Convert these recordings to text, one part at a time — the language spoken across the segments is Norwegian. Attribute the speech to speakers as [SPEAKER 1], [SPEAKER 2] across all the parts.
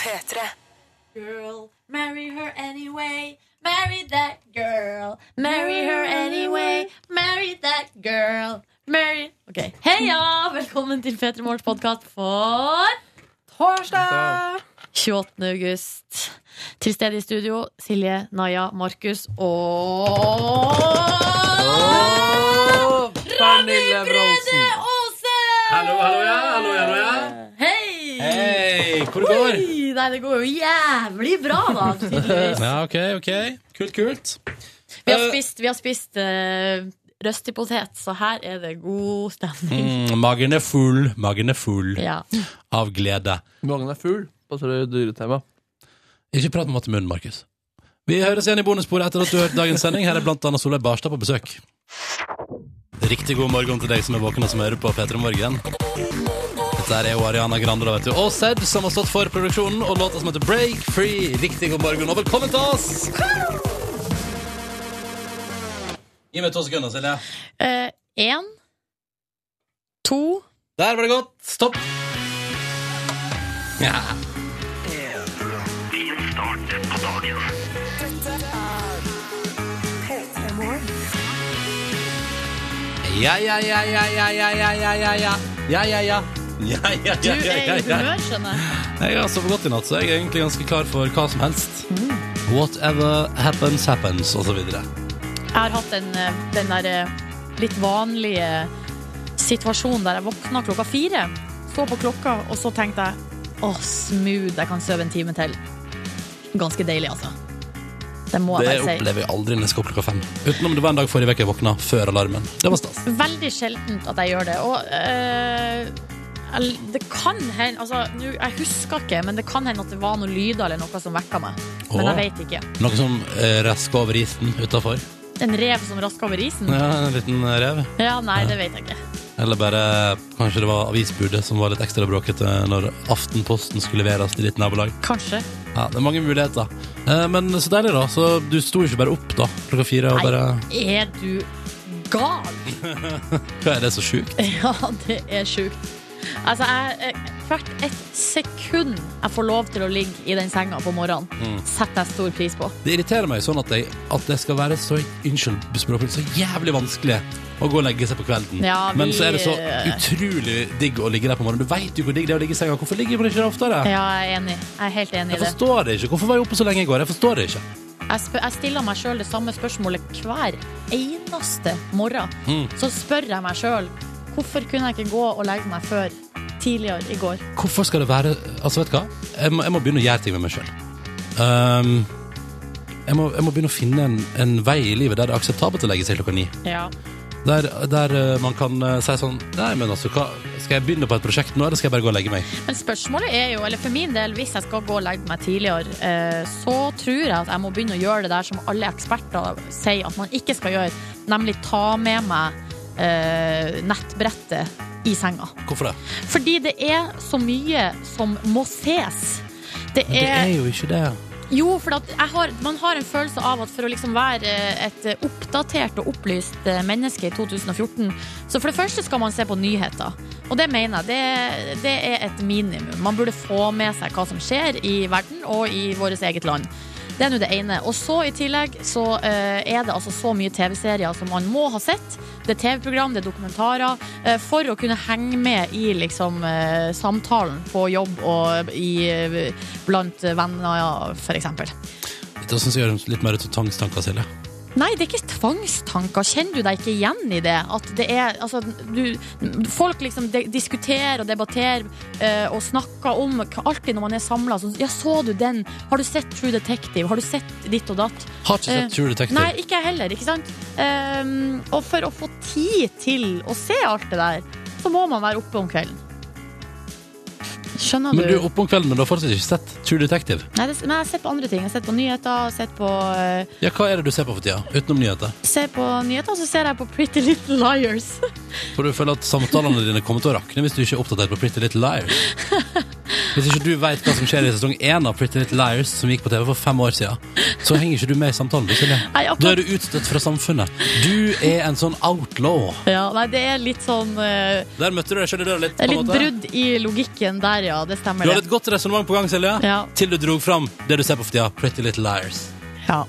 [SPEAKER 1] P3.
[SPEAKER 2] girl, marry her anyway. Marry that girl, marry her anyway. Marry that girl, marry Ok, Heia! Velkommen til P3 Morgens podkast for
[SPEAKER 3] Torsdag!
[SPEAKER 2] 28. august. Til stede i studio Silje, Naja, Markus og
[SPEAKER 3] Pernille Bronsen.
[SPEAKER 2] Åse!
[SPEAKER 4] Hallo, hallo, ja, hallo, ja, hallo, ja.
[SPEAKER 2] Hei!
[SPEAKER 4] Hei, hvor det går?
[SPEAKER 2] Oi, nei, det går jo jævlig bra, da. Tydeligvis.
[SPEAKER 4] Ja, ok, ok. Kult, kult.
[SPEAKER 2] Vi har
[SPEAKER 4] Eh,
[SPEAKER 2] spist, vi har spist eh, røstig potet, så her er det god stemning.
[SPEAKER 4] Mm, magen er full, magen er full
[SPEAKER 2] Ja.
[SPEAKER 4] av glede.
[SPEAKER 3] Magen er full på så det dyretema.
[SPEAKER 4] Ikke prat med mat i munnen, Markus. Vi høres igjen i bonussporet etter at du har hørt dagens sending. Her er blant annet Solveig Barstad på besøk. Riktig god morgen til deg som er våken og som hører på P3 Morgen. Dette er jo Ariana Grande da, vet du. og Sed, som har stått for produksjonen, og låta som heter Break Free. Riktig god morgen, og velkommen til oss! Gi meg to sekunder, Silje.
[SPEAKER 2] Eh, En, to
[SPEAKER 4] Der var det godt. Stopp. Ja. Ja, ja, ja, ja, ja, ja, ja, ja, ja, ja. Ja, ja, ja. Ja, ja, ja, ja,
[SPEAKER 2] Du er
[SPEAKER 4] ja,
[SPEAKER 2] i
[SPEAKER 4] ja.
[SPEAKER 2] humør, skjønner jeg.
[SPEAKER 4] Jeg har sovet godt i natt, så jeg er egentlig ganske klar for hva som helst. Whatever happens, happens, og så videre.
[SPEAKER 2] Jeg har hatt den, eh, den der eh, litt vanlige situasjonen der jeg våkna klokka fire, så på klokka, og så tenkte jeg å, smooth, jeg kan sove en time til. Ganske deilig, altså. Det må
[SPEAKER 4] Det
[SPEAKER 2] jeg bare si.
[SPEAKER 4] opplever jeg aldri når jeg skal opp klokka fem. Utenom det var en dag forrige uke jeg våkna før alarmen. Det var stas.
[SPEAKER 2] Veldig sjeldent at jeg gjør det. Og eh, el- det kan hende altså, nu, Jeg husker ikke, men det kan hende at det var noen lyder eller noe som vekka meg. Men
[SPEAKER 4] Åh.
[SPEAKER 2] jeg vet ikke.
[SPEAKER 4] Noe som eh, rasker over isen utafor.
[SPEAKER 2] En rev som raska over isen?
[SPEAKER 4] Ja, en liten rev.
[SPEAKER 2] Ja, nei, det vet jeg ikke.
[SPEAKER 4] Eller bare kanskje det var avisbudet som var litt ekstra bråkete når Aftenposten skulle leveres til ditt nabolag.
[SPEAKER 2] Kanskje.
[SPEAKER 4] Ja, Det er mange muligheter. Eh, men så deilig, da. Så du sto ikke bare opp da klokka fire og
[SPEAKER 2] Nei.
[SPEAKER 4] bare
[SPEAKER 2] Er du gal?
[SPEAKER 4] Hva er det så sjukt?
[SPEAKER 2] Ja, det er sjukt. Altså, jeg, eh, hvert et sekund jeg får lov til å ligge i den senga på morgenen,
[SPEAKER 4] Mm.
[SPEAKER 2] setter jeg stor pris på.
[SPEAKER 4] Det irriterer meg sånn at, jeg, at det skal være så unnskyld, språkbruk, så jævlig vanskelig å gå og legge seg på kvelden.
[SPEAKER 2] Ja, vi-
[SPEAKER 4] Men så er det så utrolig digg å ligge der på morgenen. Du veit jo hvor digg det er å ligge i senga. Hvorfor ligger man ikke der oftere?
[SPEAKER 2] Ja, jeg er enig. Jeg er helt enig i
[SPEAKER 4] Jeg
[SPEAKER 2] det.
[SPEAKER 4] forstår det ikke. Hvorfor var jeg oppe så lenge i går? Jeg forstår det ikke.
[SPEAKER 2] Jeg, spør, jeg stiller meg sjøl det samme spørsmålet hver eneste morgen.
[SPEAKER 4] Mm.
[SPEAKER 2] Så spør jeg meg sjøl hvorfor kunne jeg ikke gå og legge meg før tidligere i går.
[SPEAKER 4] Hvorfor skal det være Altså, vet du hva? Jeg må, jeg må begynne å gjøre ting med meg sjøl. Um, jeg, må- jeg må begynne å finne en, en vei i livet der det er akseptabelt å legge seg klokka ni.
[SPEAKER 2] Ja.
[SPEAKER 4] Der, der eh, man kan eh, si sånn Nei, men altså, hva, skal jeg begynne på et prosjekt nå, eller skal jeg bare gå og legge meg?
[SPEAKER 2] Men spørsmålet er jo, eller for min del, hvis jeg skal gå og legge meg tidligere, eh, så tror jeg at jeg må begynne å gjøre det der som alle eksperter sier at man ikke skal gjøre, nemlig ta med meg eh, nettbrettet i senga.
[SPEAKER 4] Hvorfor det?
[SPEAKER 2] Fordi det er så mye som må ses. Det
[SPEAKER 4] Men det
[SPEAKER 2] er
[SPEAKER 4] er jo ikke det.
[SPEAKER 2] Jo, for at jeg har, man har en følelse av at for å liksom være eh, et oppdatert og opplyst eh, menneske i 2014, så for det første skal man se på nyheter. Og det mener jeg, det, det er et minimum. Man burde få med seg hva som skjer i verden og i vårt eget land. Det er nå det ene. Og så i tillegg så eh, er det altså så mye TV-serier som man må ha sett. Det er TV-program, det er dokumentarer. eh, for å kunne henge med i liksom eh, samtalen på jobb og i eh, blant venner, ja, for eksempel.
[SPEAKER 4] Dette syns jeg gjør litt mer ut som tvangstanker, Silje.
[SPEAKER 2] Nei, det er ikke tvangstanker. Kjenner du deg ikke igjen i det? At det er, altså, du, folk liksom de, diskuterer og debatterer eh, og snakker om k- Alltid når man er samla, så Ja, så du den? Har du sett True Detective? Har du sett ditt og datt?
[SPEAKER 4] Har ikke
[SPEAKER 2] Eh,
[SPEAKER 4] sett True Detective.
[SPEAKER 2] Nei, ikke jeg heller, ikke sant? Ehm, og for å få tid til å se alt det der, så må man være oppe om kvelden. Skjønner du?
[SPEAKER 4] Men du er oppe om kvelden, men du har fortsatt ikke sett True Detective.
[SPEAKER 2] Nei, det, nei, jeg har sett på andre ting. Jeg har sett på nyheter, jeg har sett på eh,
[SPEAKER 4] Ja, hva er det du ser på for tida, utenom nyheter?
[SPEAKER 2] Ser på nyheter, og så ser jeg på Pretty Little Liars.
[SPEAKER 4] For du føler at samtalene dine kommer til å rakne hvis du ikke er oppdatert på Pretty Little Liars. Hvis ikke du vet hva som skjer i sesong én av Pretty Little Liars, som gikk på TV for fem år siden, så henger ikke du med i samtalen. du, Silje.
[SPEAKER 2] Nei,
[SPEAKER 4] Da
[SPEAKER 2] akkurat
[SPEAKER 4] er du utstøtt fra samfunnet. Du er en sånn outlaw.
[SPEAKER 2] ja, nei, det er litt sånn eh,
[SPEAKER 4] Der møtte du deg sjøl i døra litt.
[SPEAKER 2] Det er
[SPEAKER 4] på en
[SPEAKER 2] litt
[SPEAKER 4] måte.
[SPEAKER 2] brudd i logikken der, ja. Det
[SPEAKER 4] Du
[SPEAKER 2] stemmer,
[SPEAKER 4] hadde
[SPEAKER 2] det.
[SPEAKER 4] et godt resonnement på gang, Silje,
[SPEAKER 2] Ja.
[SPEAKER 4] til du dro fram det du ser på for tida. Pretty Little Liars.
[SPEAKER 2] Ja.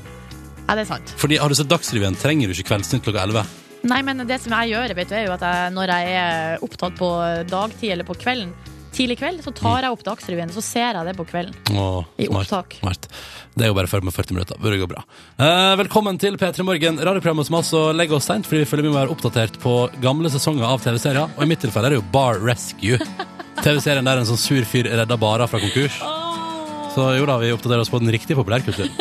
[SPEAKER 2] Nei, det er sant.
[SPEAKER 4] Fordi Har du sett Dagsrevyen, trenger du ikke Kveldsnytt klokka 11.
[SPEAKER 2] Nei, men det som jeg gjør, vet du, er jo at jeg, når jeg er opptatt på dagtid eller på kvelden, tidlig kveld, så tar jeg opp Dagsrevyen, så ser jeg det på kvelden.
[SPEAKER 4] Åh,
[SPEAKER 2] I
[SPEAKER 4] smart,
[SPEAKER 2] opptak.
[SPEAKER 4] Smart. Det er jo bare 40 med 40 minutter. Det går bra. Eh, velkommen til P3 Morgen, radioprogrammet som altså legger oss seint fordi vi føler vi må være oppdatert på gamle sesonger av TV-serier. Og i mitt tilfelle er det jo Bar Rescue. TV-serien der en sånn sur fyr redda barer fra konkurs. Så jo da, vi oppdaterer oss på den riktige populærkulturen.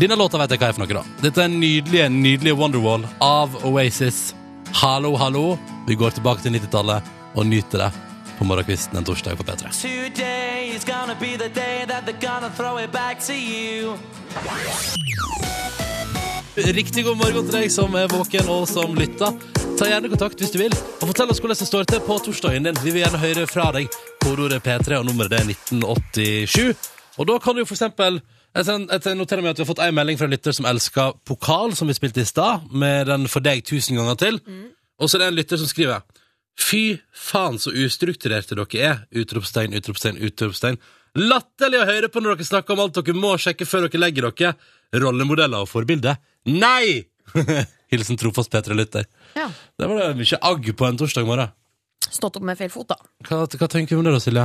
[SPEAKER 4] Denne låta vet jeg hva er for noe, da. Dette er nydelige, nydelige Wonderwall av Oasis. Hallo, hallo. Vi går tilbake til 90-tallet og nyter det på morgenkvisten en torsdag på P3.
[SPEAKER 1] Today is gonna be the day that they're gonna throw it back to you.
[SPEAKER 4] Riktig god morgen til deg som er våken og som lytter. Ta gjerne kontakt hvis du vil, og fortell oss hvordan det står til på torsdagen din. Vi vil gjerne høre fra deg. Kodeordet P3 og nummeret det er 1987. Og da kan du for eksempel jeg sen- jeg noterer meg at Vi har fått en melding fra en lytter som elsker pokal, som vi spilte i stad, med den for deg tusen ganger til. Og så er det en lytter som skriver Fy faen så ustrukturerte dere er! Utropstegn, utropstegn, utropstegn. Latterlig å høre på når dere snakker om alt dere må sjekke før dere legger dere. Rollemodeller og forbilder. Nei! Hilsen trofast P3-lytter.
[SPEAKER 2] Ja.
[SPEAKER 4] Det var det mye agg på en torsdag morgen.
[SPEAKER 2] Stått opp med feil fot, da.
[SPEAKER 4] Hva, hva tenker du om det da, Silje?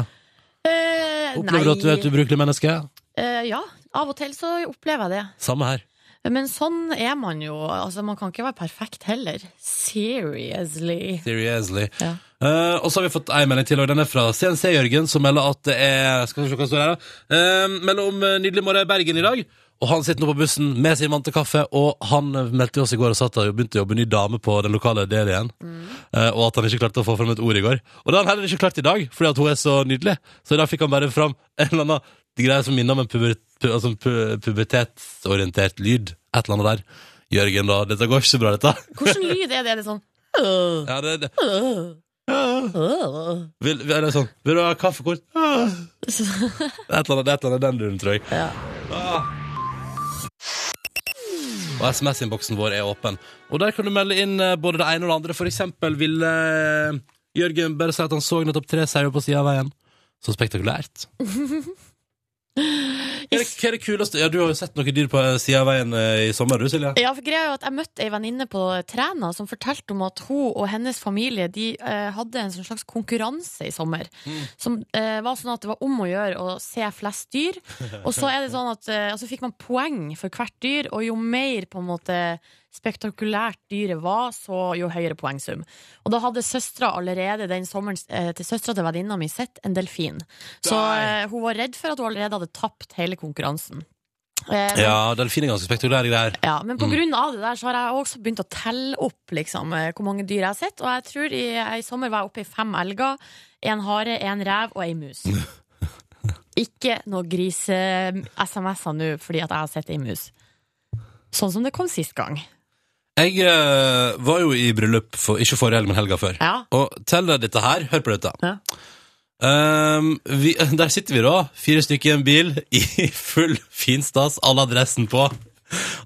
[SPEAKER 2] Eh,
[SPEAKER 4] Opplever du at du er et ubrukelig menneske?
[SPEAKER 2] Eh, ja, av og til så opplever jeg det.
[SPEAKER 4] Samme her.
[SPEAKER 2] Men sånn er man jo. Altså, man kan ikke være perfekt heller. Seriously.
[SPEAKER 4] Seriously.
[SPEAKER 2] Ja.
[SPEAKER 4] Eh, og så har vi fått ei melding til, og den er fra CNC Jørgen, som melder at det er Skal vi se hva det står her, da. Eh, melder om eh, nydelig morgen i Bergen i dag. Og han sitter nå på bussen med sin vante kaffe, og han eh, meldte jo oss i går og satt der og begynte å jobbe ny dame på den lokale DD-en. Eh, og at han ikke klarte å få fram et ord i går. Og det har han heller ikke klart i dag, fordi at hun er så nydelig. Så i dag fikk han bare fram en eller annen greie som minner om en puber, pu, altså en pu, pubertetsorientert lyd. Et eller annet der. Jørgen, da. Dette går ikke så bra, dette.
[SPEAKER 2] Hvordan lyd er det? Er det sånn
[SPEAKER 4] Ja, det, det.
[SPEAKER 2] Øh, øh.
[SPEAKER 4] Vil, vil, eller sånn, vil du ha kaffekort? Ah. Det er et eller annet, det er et eller annet den duren, tror jeg.
[SPEAKER 2] Ja.
[SPEAKER 4] Og SMS-innboksen vår er åpen. Og der kan du melde inn eh, både det ene og det andre. For eksempel vil eh, Jørgen bare si at han så nettopp tre sauer på sida av veien. Så spektakulært. Hva er, det, hva er det kuleste? Ja, Du har jo sett noen dyr på sida av veien eh, i sommer, du, Silje?
[SPEAKER 2] Ja, for greia er jo at Jeg møtte ei venninne på Træna som fortalte om at hun og hennes familie De eh, hadde en sånn slags konkurranse i sommer. Som eh, var sånn at det var om å gjøre å se flest dyr. Og så er det sånn at eh, og så fikk man poeng for hvert dyr, og jo mer på en måte spektakulært dyret var, så jo høyere poengsum. Og da hadde søstera allerede den sommeren eh, til søstera til venninna mi sett en delfin. Så
[SPEAKER 4] Nei.
[SPEAKER 2] eh, hun var redd for at hun allerede hadde tapt hele konkurransen. Eh, men
[SPEAKER 4] Ja, delfin er ganske spektakulære greier.
[SPEAKER 2] ja, men på
[SPEAKER 4] Mm.
[SPEAKER 2] grunn av det der så har jeg også begynt å telle opp liksom, eh, hvor mange dyr jeg har sett. Og jeg tror i, i sommer var jeg oppe i fem elger, en hare, en rev og ei mus. Ikke noe grise-SMS-er nå fordi at jeg har sett ei mus. Sånn som det kom sist gang.
[SPEAKER 4] Jeg eh, var jo i bryllup, for, ikke forrige helg, men helga før.
[SPEAKER 2] Ja.
[SPEAKER 4] Og tell deg dette her. Hør på dette.
[SPEAKER 2] Ja.
[SPEAKER 4] Ehm, vi, der sitter vi da, fire stykker i en bil, i full fin stas, alle adressen på.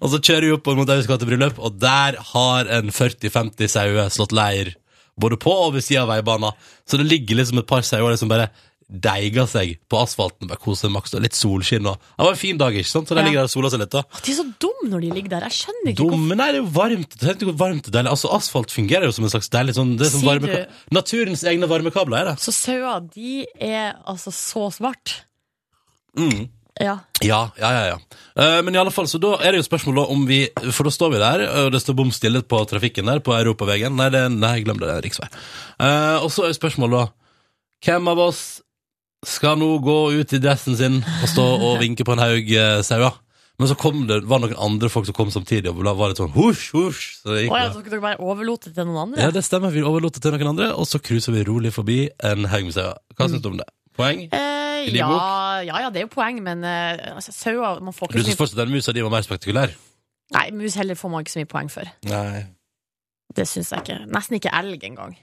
[SPEAKER 4] Og så kjører vi opp mot der vi skal til bryllup, og der har en 40-50 sauer slått leir. Både på og ved sida av veibanen. Så det ligger liksom et par sauer der som bare deiger seg på asfalten. Bare koser seg maks, og litt solskinn og Det var en fin dag, ikke sant? Så der
[SPEAKER 2] Ja.
[SPEAKER 4] ligger der og soler seg litt, da.
[SPEAKER 2] Å, de er så dumme når de ligger der. Jeg skjønner ikke
[SPEAKER 4] Dumme, nei, det er jo varmt. Tenk deg hvor varmt og deilig. Altså, asfalt fungerer jo som en slags deilig sånn, det er som
[SPEAKER 2] Sier
[SPEAKER 4] varme,
[SPEAKER 2] du?
[SPEAKER 4] Naturens egne varmekabler er det.
[SPEAKER 2] hvorfor. Så sauer, de er altså så svart.
[SPEAKER 4] Mm.
[SPEAKER 2] Ja.
[SPEAKER 4] Ja, ja, ja, ja. Eh, men i alle fall, så da er det jo spørsmål da om vi For da står vi der, og det står bom stille på trafikken der, på europaveien. Nei, det, er- nei, glem det, det er en riksvei. Eh, og så er spørsmålet da Hvem av oss skal nå gå ut i dressen sin og stå og vinke på en haug eh, sauer? Men så kom det, var det noen andre folk som kom samtidig og var litt sånn husj, husj. Så det gikk
[SPEAKER 2] Å, ja,
[SPEAKER 4] det.
[SPEAKER 2] så dere bare overlot det til noen andre?
[SPEAKER 4] Ja, det stemmer. Vi overlot det til noen andre, og så cruiser vi rolig forbi en haug med sauer. Hva syns du om det? Poeng?
[SPEAKER 2] Eh,
[SPEAKER 4] I din
[SPEAKER 2] ja,
[SPEAKER 4] bok?
[SPEAKER 2] ja, ja, det er jo poeng, men eh, altså, sauer Man får
[SPEAKER 4] Du
[SPEAKER 2] ikke så
[SPEAKER 4] syns
[SPEAKER 2] mye
[SPEAKER 4] fortsatt den musa di var mer spektakulær?
[SPEAKER 2] Nei, mus heller får man ikke så mye poeng for.
[SPEAKER 4] Nei.
[SPEAKER 2] Det syns jeg ikke. Nesten ikke elg engang.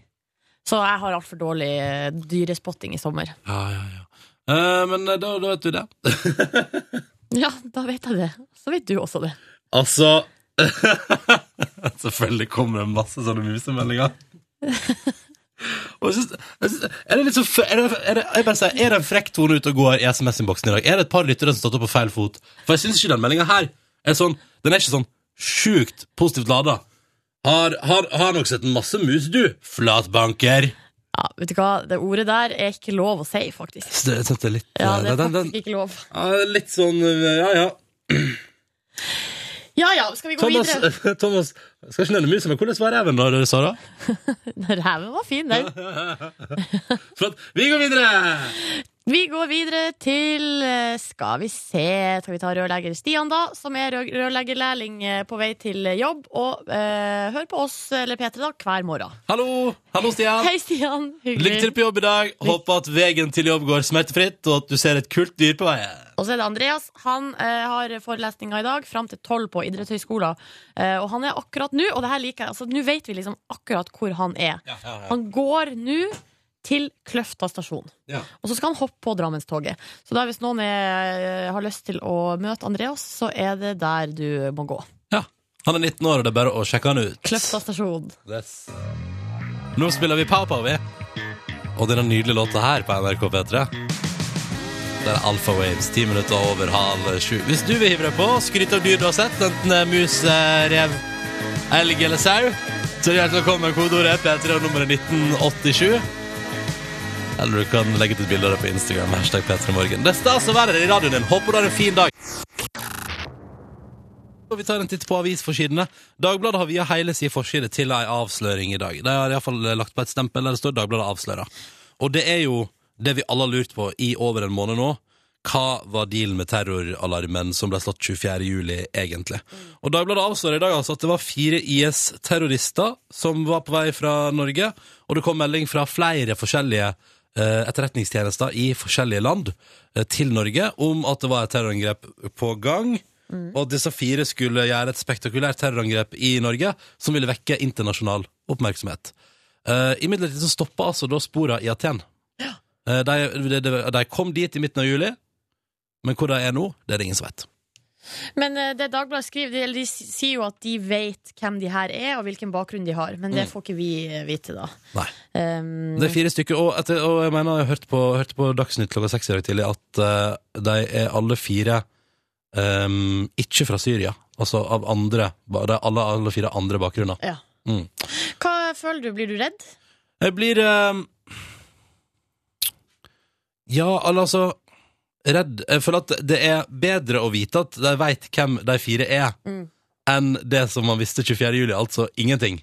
[SPEAKER 2] Så jeg har altfor dårlig eh, dyrespotting i sommer.
[SPEAKER 4] Ja, ja, ja. Eh, men eh, da, da vet vi det.
[SPEAKER 2] Ja, da vet jeg det. Så vet du også det.
[SPEAKER 4] Altså Selvfølgelig kommer det masse sånne musemeldinger. Og jeg synes, jeg synes, er det litt så fre- er det, er det, jeg bare sier, er det en frekk tone ute og går i SMS-innboksen i dag? Er det et par lyttere som har stått opp på feil fot? For jeg syns ikke den meldinga her er sånn Den er ikke sånn sjukt positivt lada. Har, har, har nok sett en masse mus, du, flatbanker.
[SPEAKER 2] Ja, vet du hva, det ordet der er ikke lov å si, faktisk.
[SPEAKER 4] Så det, jeg synes det er litt, eh,
[SPEAKER 2] Ja, det er
[SPEAKER 4] den- den-
[SPEAKER 2] faktisk ikke lov.
[SPEAKER 4] ja, litt sånn Ja, ja.
[SPEAKER 2] Ja ja, skal vi gå
[SPEAKER 4] Thomas,
[SPEAKER 2] videre?
[SPEAKER 4] Thomas skal ikke nevne musa, men hvordan var reven da, Sara?
[SPEAKER 2] Ræven var fin, den.
[SPEAKER 4] Flott. Vi går videre!
[SPEAKER 2] Vi går videre til eh, Skal vi se Skal vi ta rørlegger Stian, da, som er rør- rørleggerlærling eh, på vei til jobb. Og eh, hør på oss, eller P3, da, hver morgen.
[SPEAKER 4] Hallo, hallo Stian.
[SPEAKER 2] Hei, Stian.
[SPEAKER 4] Lykke til
[SPEAKER 2] Hyggelig.
[SPEAKER 4] på jobb i dag. Håper at veien til jobb går smertefritt, og at du ser et kult dyr på veien.
[SPEAKER 2] Og så er det Andreas. Han eh, har forelesninga i dag fram til tolv på idrettshøyskolen. Eh, og han er akkurat nå, og det her liker jeg, altså nå vet vi liksom akkurat hvor han er. Han går nå til Kløfta stasjon.
[SPEAKER 4] Ja.
[SPEAKER 2] Og så skal han hoppe på Drammenstoget. Så da hvis noen er, eh, har lyst til å møte Andreas, så er det der du må gå.
[SPEAKER 4] Ja. Han er 19 år, og det er bare å sjekke han ut.
[SPEAKER 2] Kløfta stasjon.
[SPEAKER 4] Yes. Nå spiller vi Pow Pow, vi. Og denne nydelige låta her på NRK P3. Det er Alfa Waves, ti minutter over halv sju. Hvis du vil hive deg på og skryte av dyr du har sett, enten det er mus, eh, rev, elg eller sau, så er du hjertelig velkommen. Kodeordet er P3 og nummeret er 1987. Eller du kan legge ut et bilde av det på Instagram. Hashtag P3morgen. Det er stas å være her i radioen din. Håper du har en fin dag. Og vi tar en titt på avisforsidene. Dagbladet har via hele sin forside til ei avsløring i dag. De har iallfall lagt på et stempel der det står 'Dagbladet avslører'. Og det er jo det vi alle har lurt på i over en måned nå. Hva var dealen med terroralarmen som ble slått 24. juli, egentlig? Og Dagbladet avslører i dag altså at det var fire IS-terrorister som var på vei fra Norge, og det kom melding fra flere forskjellige eh, etterretningstjenester i forskjellige land eh, til Norge om at det var et terrorangrep på gang. Og at disse fire skulle gjøre et spektakulært terrorangrep i Norge som ville vekke internasjonal oppmerksomhet. Uh, Imidlertid så stoppa altså da spora i Aten. Eh, de, de, de, de kom dit i midten av juli, men hvor de er nå, det er det ingen som vet.
[SPEAKER 2] Men eh, det Dagbladet skriver, de, eller de s- sier jo at de vet hvem de her er, og hvilken bakgrunn de har. Men det får ikke vi eh, vite, da.
[SPEAKER 4] Nei.
[SPEAKER 2] Um,
[SPEAKER 4] Det er fire stykker, og, etter, og jeg mener jeg hørte på, hørte på Dagsnytt klokka seks i dag tidlig at eh, de er alle fire ehm, ikke fra Syria. Altså av andre ba- De er alle, alle fire andre bakgrunner.
[SPEAKER 2] ja.
[SPEAKER 4] Mm.
[SPEAKER 2] Hva føler du? Blir du redd?
[SPEAKER 4] Jeg blir eh, Ja, eller altså Redd. Jeg føler at det er bedre å vite at de veit hvem de fire er,
[SPEAKER 2] Mm.
[SPEAKER 4] enn det som man visste 24. juli, altså ingenting.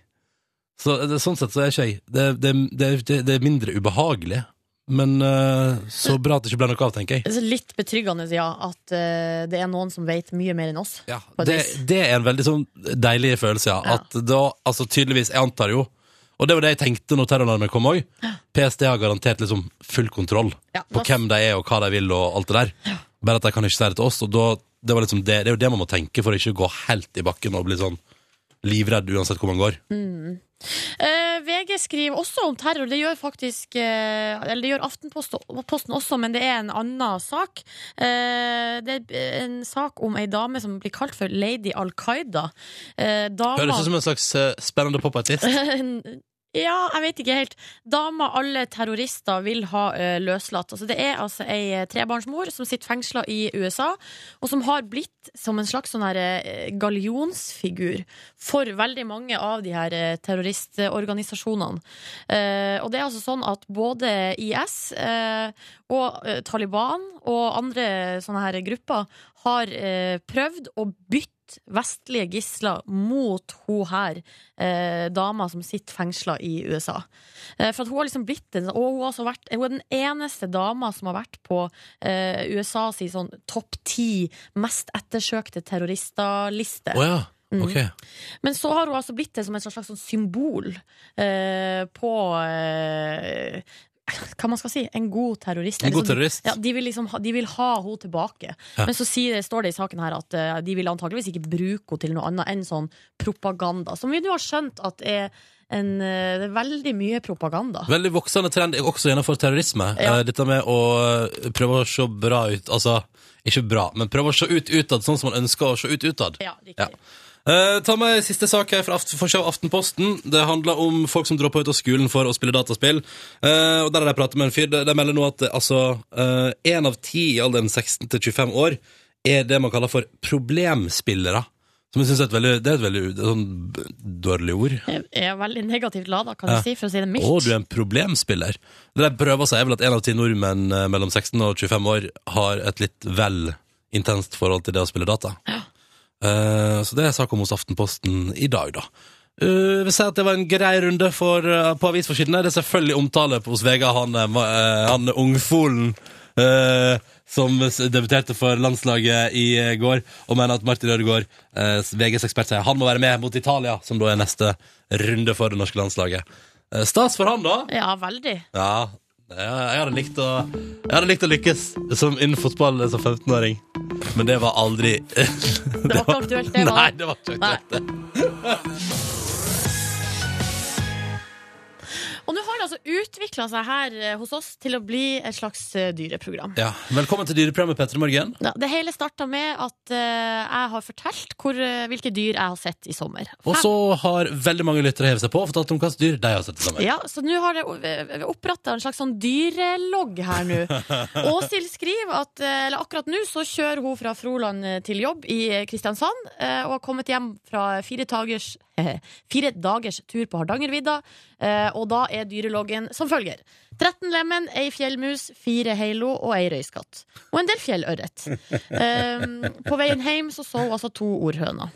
[SPEAKER 4] Så det, Sånn sett så er ikke jeg det, det, det, det, det er mindre ubehagelig. Men eh, så bra at det ikke ble noe av, tenker jeg.
[SPEAKER 2] Altså, Litt betryggende, ja, at eh, det er noen som vet mye mer enn oss.
[SPEAKER 4] Ja,
[SPEAKER 2] På et
[SPEAKER 4] det,
[SPEAKER 2] vis.
[SPEAKER 4] det er en veldig sånn deilig følelse, ja.
[SPEAKER 2] Ja.
[SPEAKER 4] At da, altså tydeligvis, jeg antar jo Og det var det jeg tenkte når terroralarmen kom òg. PST har garantert liksom full kontroll
[SPEAKER 2] Ja,
[SPEAKER 4] på
[SPEAKER 2] da-
[SPEAKER 4] hvem de er og hva de vil og alt det der. Bare at de kan ikke si det til oss. Og da, det, var liksom det, det er jo det man må tenke for å ikke gå helt i bakken og bli sånn livredd uansett hvor man går.
[SPEAKER 2] Mm. Eh, VG skriver også om terror. Det gjør faktisk eh, Eller det gjør Aftenposten også, men det er en annen sak. Eh, det er en sak om ei dame som blir kalt for Lady Al Qaida. Eh, dama-
[SPEAKER 4] Høres ut som en slags eh, spennende pop-artist.
[SPEAKER 2] Ja, jeg vet ikke helt. Dama alle terrorister vil ha eh, løslatt. Altså, det er altså ei eh, trebarnsmor som sitter fengsla i USA, og som har blitt som en slags sånn her, eh, gallionsfigur for veldig mange av de her eh, terroristorganisasjonene. Eh, og det er altså sånn at både IS eh, og eh, Taliban og andre sånne her grupper har eh, prøvd å bytte vestlige gisler mot hun her eh, dama som sitter fengsla i USA. Eh, for at hun har liksom blitt en, Og hun, har også vært, hun er den eneste dama som har vært på eh, USA si sånn topp ti mest ettersøkte Mm. terrorister-liste.
[SPEAKER 4] Å ja. Ok.
[SPEAKER 2] Men så har hun altså blitt det som et slags sånn symbol eh, på eh, hva man skal si, en god terrorist.
[SPEAKER 4] En god
[SPEAKER 2] Eller så-
[SPEAKER 4] terrorist.
[SPEAKER 2] Ja, de, vil liksom ha, de vil ha henne tilbake.
[SPEAKER 4] Ja.
[SPEAKER 2] Men så sier, det- står det i saken her at eh, de vil antakeligvis ikke bruke henne til noe annet enn sånn propaganda. Som vi nå har skjønt at er en, eh, det er veldig mye propaganda.
[SPEAKER 4] Veldig voksende trend også innenfor terrorisme.
[SPEAKER 2] Ja.
[SPEAKER 4] Eh, Dette med å eh, prøve å se bra ut. Altså, Ikke bra, men prøv å se ut utad sånn som man ønsker å se ut utad.
[SPEAKER 2] Ja, riktig.
[SPEAKER 4] Ja. Eh, ta med siste sak her fra Aft forsida av Aftenposten. Det handler om folk som dropper ut av skolen for å spille dataspill. Eh, og Der har de pratet med en fyr. De de melder nå at eh, altså én av ti i alderen 16 til 25 år er det man kaller for problemspillere. Som jeg synes er et veldig, det er et veldig det er sånn b- dårlig ord.
[SPEAKER 2] Jeg er veldig negativt lada, kan
[SPEAKER 4] Ja.
[SPEAKER 2] du si, for å si det mildt.
[SPEAKER 4] Å, du er en problemspiller. Det de prøver å si, er vel at én av ti nordmenn eh, mellom 16 og 25 år har et litt vel intenst forhold til det å spille data. Eh, så det er sak om hos Aftenposten i dag, da. Uh, vil si at Det var en grei runde for, eh, på avisforsidene. Det er selvfølgelig omtale på- hos VG, han, eh, ma- eh, han ungfolen eh, som s- debuterte for landslaget i eh, går, og mener at Martin Ødegaard, eh, VGs ekspert, sier han må være med mot Italia, som da er neste runde for det norske landslaget. Eh, stas for han, da.
[SPEAKER 2] Ja, veldig.
[SPEAKER 4] Ja, jeg, jeg, hadde likt å, jeg hadde likt å lykkes som innen fotball som 15-åring. Men det var aldri Det
[SPEAKER 2] var ikke aktuelt, det var-
[SPEAKER 4] Nei, det var ikke
[SPEAKER 2] Nei.
[SPEAKER 4] aktuelt. det.
[SPEAKER 2] Og nå har det altså utvikla seg her eh, hos oss til å bli et slags eh, dyreprogram.
[SPEAKER 4] Ja, velkommen til dyreprogrammet Petter i morgen.
[SPEAKER 2] Ja, det hele starta med at eh, jeg har fortalt hvor, eh, hvilke dyr jeg har sett i sommer.
[SPEAKER 4] Og så har veldig mange lyttere hevet seg på og fortalt om hva slags dyr de har sett sammen.
[SPEAKER 2] Ja, så nå har det oppretta en slags sånn dyrelogg her nå. Åshild skriver at eh, eller akkurat nå så kjører hun fra Froland eh, til jobb i eh, Kristiansand, eh, og har kommet hjem fra fire dagers, fire dagers tur på Hardangervidda, eh, og da er dyreloggen som følger. 13 lemen, ei fjellmus, fire heilo og ei røyskatt. Og en del fjellørret. Eh, På veien hjem så så hun altså to ordhøner.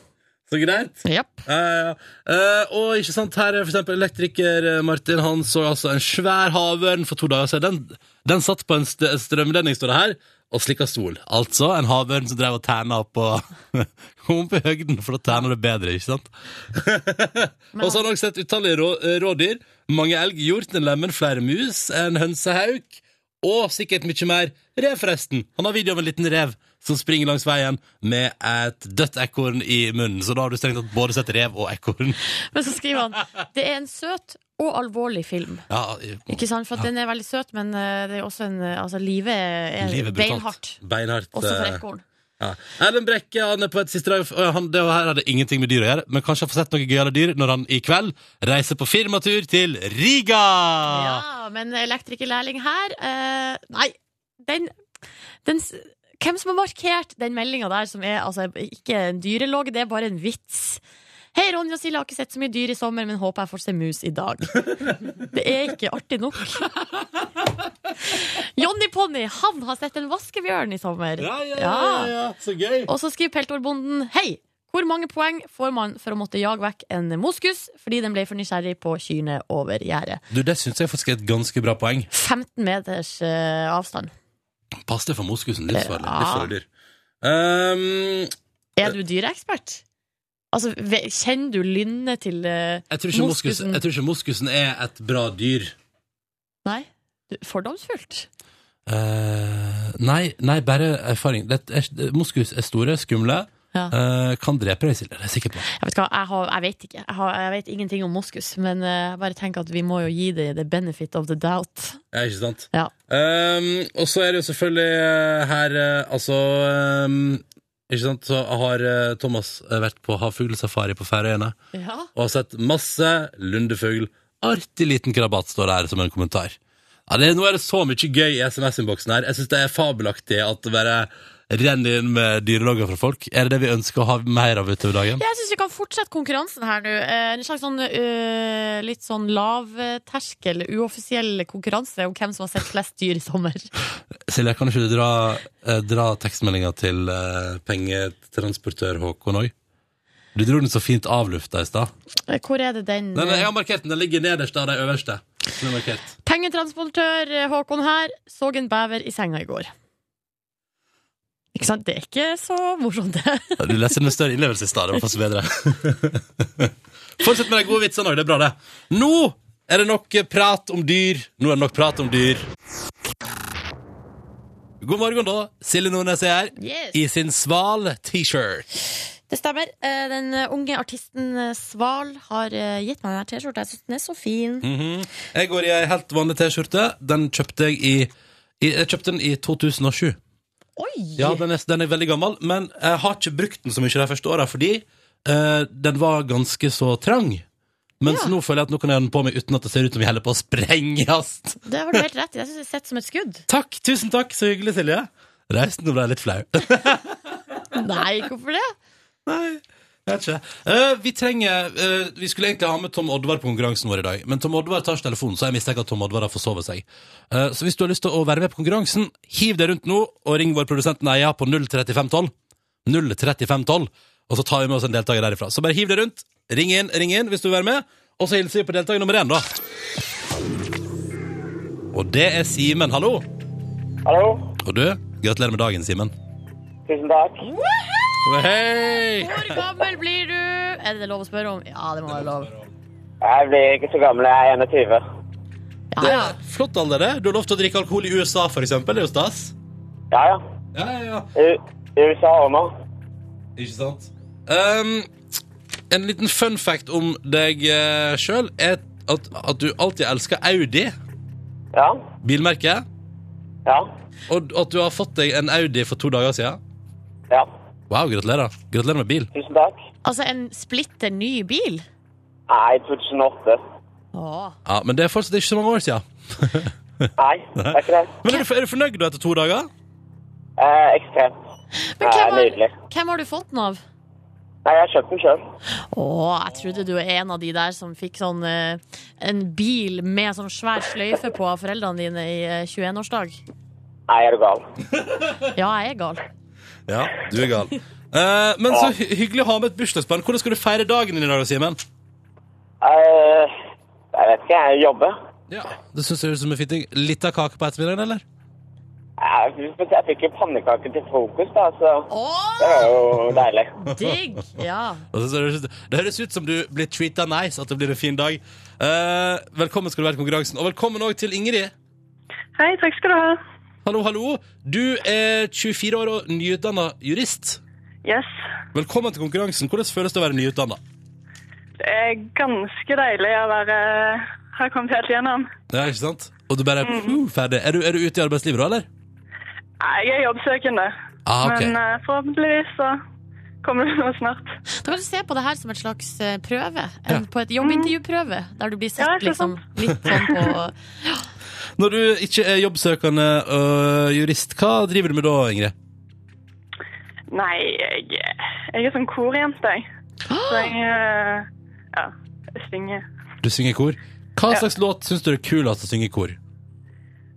[SPEAKER 4] Så greit.
[SPEAKER 2] Japp.
[SPEAKER 4] Ja, ja, ja. Eh, og ikke sant, her er for eksempel elektriker eh, Martin Han så altså en svær havørn for to dager siden. Den, den satt på en st strømledning, står det her, og slikka sol. Altså en havørn som drev og terna på Kom opp i høgden, for da terner det bedre, ikke sant? og så har han også sett utallige rå rådyr. Mange elg, hjort, en lemen, flere mus, en hønsehauk. Og sikkert mye mer rev, forresten. Han har video av en liten rev som springer langs veien med et dødt ekorn i munnen. Så da har du strengt tatt både sett rev og ekorn.
[SPEAKER 2] Men så skriver han det er en søt og alvorlig film.
[SPEAKER 4] Ja, i-
[SPEAKER 2] Ikke sant, for at den er veldig søt, men eh, det er også en, eh, altså, livet er
[SPEAKER 4] livet er brutalt.
[SPEAKER 2] beinhardt.
[SPEAKER 4] Beinhardt.
[SPEAKER 2] Også for
[SPEAKER 4] eh,
[SPEAKER 2] ekorn.
[SPEAKER 4] Ja. Erlend Brekke han er på et siste dag Å, han, Det her hadde ingenting med dyr å gjøre, men kanskje han får sett noe gøyale dyr når han i kveld reiser på firmatur til Riga!
[SPEAKER 2] Ja, men elektrikerlærling her eh, Nei, den, den s- Hvem som har markert den meldinga der, som er altså, ikke en dyrelogg, det er bare en vits. Hei, Ronja og Silje, har ikke sett så mye dyr i sommer, men håper jeg får se mus i dag. Det er ikke artig nok. Jonny Ponni, han har sett en vaskebjørn i sommer.
[SPEAKER 4] Ja, ja, ja, ja, ja. Så gøy!
[SPEAKER 2] Og så skriver Peltorbonden Hei, hvor mange poeng får man for å måtte jage vekk en moskus fordi den ble for nysgjerrig på kyrne over gjerdet?
[SPEAKER 4] Du, Det syns jeg faktisk er et ganske bra poeng.
[SPEAKER 2] 15 meters eh, avstand.
[SPEAKER 4] Pass deg for moskusen. Livsfarlig.
[SPEAKER 2] Ja.
[SPEAKER 4] Livsfarlig dyr. Ehm,
[SPEAKER 2] Er du dyreekspert? Altså, ve- kjenner du lynnet til eh,
[SPEAKER 4] jeg, tror ikke moskusen.
[SPEAKER 2] Moskusen.
[SPEAKER 4] jeg tror ikke moskusen er et bra dyr.
[SPEAKER 2] Nei? Du- Fordomsfullt?
[SPEAKER 4] Eh, nei, nei, bare erfaring. Det er, moskus er store, skumle.
[SPEAKER 2] Ja.
[SPEAKER 4] eh, kan drepe deg, Silje. Det er jeg sikker på.
[SPEAKER 2] Jeg vet, hva, jeg, har, jeg vet ikke. Jeg, har, jeg vet ingenting om moskus, men eh, jeg bare tenker at vi må jo gi det the benefit of the doubt.
[SPEAKER 4] Ja, ikke sant?
[SPEAKER 2] Ja.
[SPEAKER 4] Ehm, og så er det jo selvfølgelig eh, her eh, Altså ehm, Ikke sant, så har eh, Thomas eh, vært på havfuglsafari på Færøyene
[SPEAKER 2] Ja.
[SPEAKER 4] og har sett masse lundefugl. Artig liten krabat står det her som en kommentar. Ja, det, nå er det så mye gøy i SMS-innboksen her. Jeg syns det er fabelaktig at det bare renner inn med dyrelogger fra folk. Er det det vi ønsker å ha mer av utover dagen?
[SPEAKER 2] Jeg syns vi kan fortsette konkurransen her nå. Eh, En slags sånn eh, litt sånn lavterskel, uoffisiell konkurranse om hvem som har sett flest dyr i sommer.
[SPEAKER 4] Silje, kan ikke du dra, eh, dra tekstmeldinga til eh, pengetransportør Håkon òg? Du dro den så fint av lufta i stad.
[SPEAKER 2] Eh, Hvor er det den
[SPEAKER 4] Nei, nei, jeg har markert den. Den ligger nederst av de øverste. Den er markert.
[SPEAKER 2] Pengetransportør eh, Håkon her så en bever i senga i går. Ikke sant? Det er ikke så morsomt, det.
[SPEAKER 4] Ja, Du leser den med større innlevelse i stad. Det var faktisk bedre. Fortsett med de gode vitsene òg. Det er bra, det. Nå er det nok prat om dyr. Nå er det nok prat om dyr. God morgen, da. Silje Nordnes er her.
[SPEAKER 2] Yes.
[SPEAKER 4] I sin sval T-shirt.
[SPEAKER 2] Det stemmer. Eh, Den eh, unge artisten eh, Sval har eh, gitt meg denne T-skjorta. Jeg syns den er så fin.
[SPEAKER 4] Mhm. Jeg går i ei helt vanlig T-skjorte. Den kjøpte jeg i, i Jeg kjøpte den i 2007.
[SPEAKER 2] Oi!
[SPEAKER 4] Ja, den er, den er veldig gammel, men jeg har ikke brukt den så mye de første åra, fordi eh, den var ganske så trang. Mens
[SPEAKER 2] Ja.
[SPEAKER 4] nå føler jeg at nå kan jeg ha den på meg uten at det ser ut som vi holder på å sprenges.
[SPEAKER 2] Det har du helt rett i. Jeg syns det sitter som et skudd.
[SPEAKER 4] Takk, tusen takk, så hyggelig, Silje. Reisen nå ble jeg litt flau. jeg
[SPEAKER 2] Nei, hvorfor det?
[SPEAKER 4] vet ikke. Eh, vi trenger eh, Vi skulle egentlig ha med Tom Oddvar på konkurransen vår i dag, men Tom Oddvar tar ikke telefonen, så jeg mistenker at Tom Oddvar har forsovet seg. Eh, så hvis du har lyst til å være med på konkurransen, hiv deg rundt nå og ring vår produsent Neia på 03512. 03512. Og så tar vi med oss en deltaker derifra. Så bare hiv deg rundt, ring inn, ring inn hvis du vil være med, og så hilser vi på deltaker nummer én, da. Og det er Simen. Hallo.
[SPEAKER 5] Hallo.
[SPEAKER 4] Og du, gratulerer med dagen, Simen.
[SPEAKER 5] Tusen takk.
[SPEAKER 4] Hei!
[SPEAKER 2] Hvor gammel blir du? Er det lov å spørre om? Ja, det må være lov.
[SPEAKER 5] Jeg blir ikke så gammel, jeg er 21.
[SPEAKER 2] Ja, ja.
[SPEAKER 4] Flott alder, det. Du har lov til å drikke alkohol i USA, for eksempel. Det er jo stas.
[SPEAKER 5] Ja, ja.
[SPEAKER 4] Ja, ja, ja.
[SPEAKER 5] U USA og nå.
[SPEAKER 4] Ikke sant? Um, en liten fun fact om deg uh, sjøl er at, at du alltid elsker Audi,
[SPEAKER 5] Ja.
[SPEAKER 4] bilmerket,
[SPEAKER 5] Ja.
[SPEAKER 4] og at du har fått deg en Audi for to dager siden.
[SPEAKER 5] Ja.
[SPEAKER 4] Wow, gratulerer. Gratulerer med bil.
[SPEAKER 5] Tusen takk.
[SPEAKER 2] Altså en splitter ny bil?
[SPEAKER 5] Nei, 2008.
[SPEAKER 2] Åh.
[SPEAKER 4] Ja, Men det er fortsatt ikke så mange år siden.
[SPEAKER 5] Nei, det er ikke det.
[SPEAKER 4] Men er du, er du fornøyd da etter to dager?
[SPEAKER 5] Eh, ekstremt.
[SPEAKER 2] Men
[SPEAKER 5] Ja,
[SPEAKER 2] hvem
[SPEAKER 5] nydelig.
[SPEAKER 2] har, hvem har du fått den av?
[SPEAKER 5] Nei, jeg har kjøpt den sjøl.
[SPEAKER 2] Å, jeg trodde du var en av de der som fikk sånn eh, en bil med sånn svær sløyfe på av foreldrene dine i eh, 21-årsdag.
[SPEAKER 5] Nei, er du gal.
[SPEAKER 2] Ja, jeg er gal.
[SPEAKER 4] Ja, du er gal. Eh, men så hy hyggelig å ha med et bursdagsbarn. Hvordan skal du feire dagen din i dag, Simen?
[SPEAKER 5] Eh, jeg vet ikke, jeg jobber.
[SPEAKER 4] Ja, det synes jeg høres ut som en fitting. Litt av kake på ettermiddagen, eller?
[SPEAKER 5] Jeg, jeg fikk jo pannekaker til frokost, da, så
[SPEAKER 2] Å,
[SPEAKER 5] det var jo deilig.
[SPEAKER 2] digg! Ja.
[SPEAKER 4] Og så ser det, høres ut, det høres ut som du blir treated nice, at det blir en fin dag. Eh, velkommen skal du være til konkurransen, og velkommen også til Ingrid.
[SPEAKER 6] Hei, takk skal du ha.
[SPEAKER 4] Hallo, hallo. Du er 24 år og nyutdannet jurist.
[SPEAKER 6] Yes.
[SPEAKER 4] Velkommen til konkurransen. Hvordan føles det å være nyutdannet?
[SPEAKER 6] Det er ganske deilig å være har kommet helt gjennom.
[SPEAKER 4] Ja, ikke sant? Og du bare er
[SPEAKER 6] Mhm.
[SPEAKER 4] ferdig. Er du, er du ute i arbeidslivet da, eller?
[SPEAKER 6] Nei, Jeg er jobbsøkende,
[SPEAKER 4] Ah, ok.
[SPEAKER 6] men eh, forhåpentligvis så kommer det noe snart.
[SPEAKER 2] Da kan du se på det her som et slags eh, prøve. En, På et jobbintervjuprøve, der du blir
[SPEAKER 6] Ja,
[SPEAKER 2] satt
[SPEAKER 6] ikke
[SPEAKER 2] liksom
[SPEAKER 6] sant?
[SPEAKER 2] litt sånn på
[SPEAKER 4] Når du ikke er jobbsøkende øh, jurist, hva driver du med da, Ingrid?
[SPEAKER 6] Nei, jeg, jeg er sånn korjente, jeg.
[SPEAKER 4] Ah!
[SPEAKER 6] Så jeg eh, ja, jeg synger.
[SPEAKER 4] Du synger kor. Hva
[SPEAKER 6] Ja.
[SPEAKER 4] slags låt synes du er kulest å synge i kor?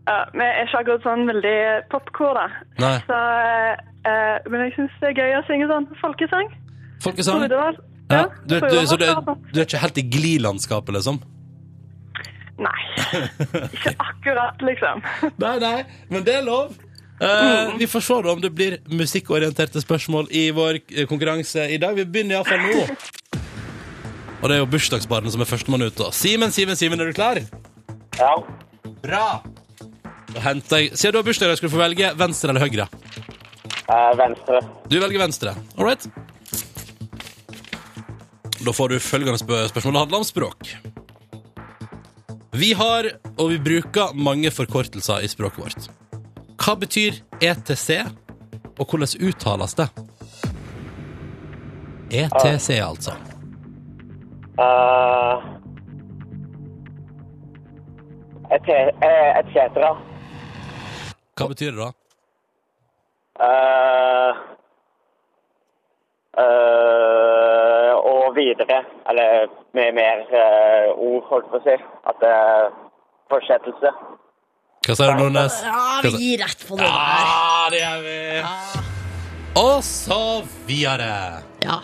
[SPEAKER 6] Ja, men jeg er ikke akkurat sånn veldig popkor, da.
[SPEAKER 4] Nei,
[SPEAKER 6] Så, eh, men jeg syns det er gøy å synge sånn folkesang.
[SPEAKER 4] folkesang?
[SPEAKER 6] Hovedvalg.
[SPEAKER 4] Ja, du,
[SPEAKER 6] på
[SPEAKER 4] du, så du,
[SPEAKER 6] Eurovision.
[SPEAKER 4] du er ikke helt i glilandskapet, liksom?
[SPEAKER 6] Nei. Ikke akkurat, liksom. Mm.
[SPEAKER 4] Nei, nei, men det er lov. Eh, Vi får se da om det blir musikkorienterte spørsmål i vår eh, konkurranse i dag. Vi begynner iallfall nå. Og det er jo bursdagsbarnet som er førstemann ut. da. Simen, Simen, Simen, er du klar?
[SPEAKER 5] Ja.
[SPEAKER 4] Bra. Da henter jeg Siden du har bursdag, i dag, skal du få velge venstre eller høyre.
[SPEAKER 5] Eh, venstre.
[SPEAKER 4] Du velger venstre. All right? Da får du følgende spø- spørsmål. Det handler om språk. Vi har, og vi bruker, mange forkortelser i språket vårt. Hva betyr ETC, og hvordan uttales det? ETC, altså.
[SPEAKER 5] Eh, et, eh, et cetera.
[SPEAKER 4] Hva betyr det, da?
[SPEAKER 5] Eh, eh, og videre, eller med mer eh, ord, holdt på å si. At det er fortsettelse.
[SPEAKER 4] Hva sier du, Nordnes?
[SPEAKER 2] Ja, vi gir rett på det der.
[SPEAKER 4] Ja, det gjør vi! Og så videre.
[SPEAKER 2] Ja.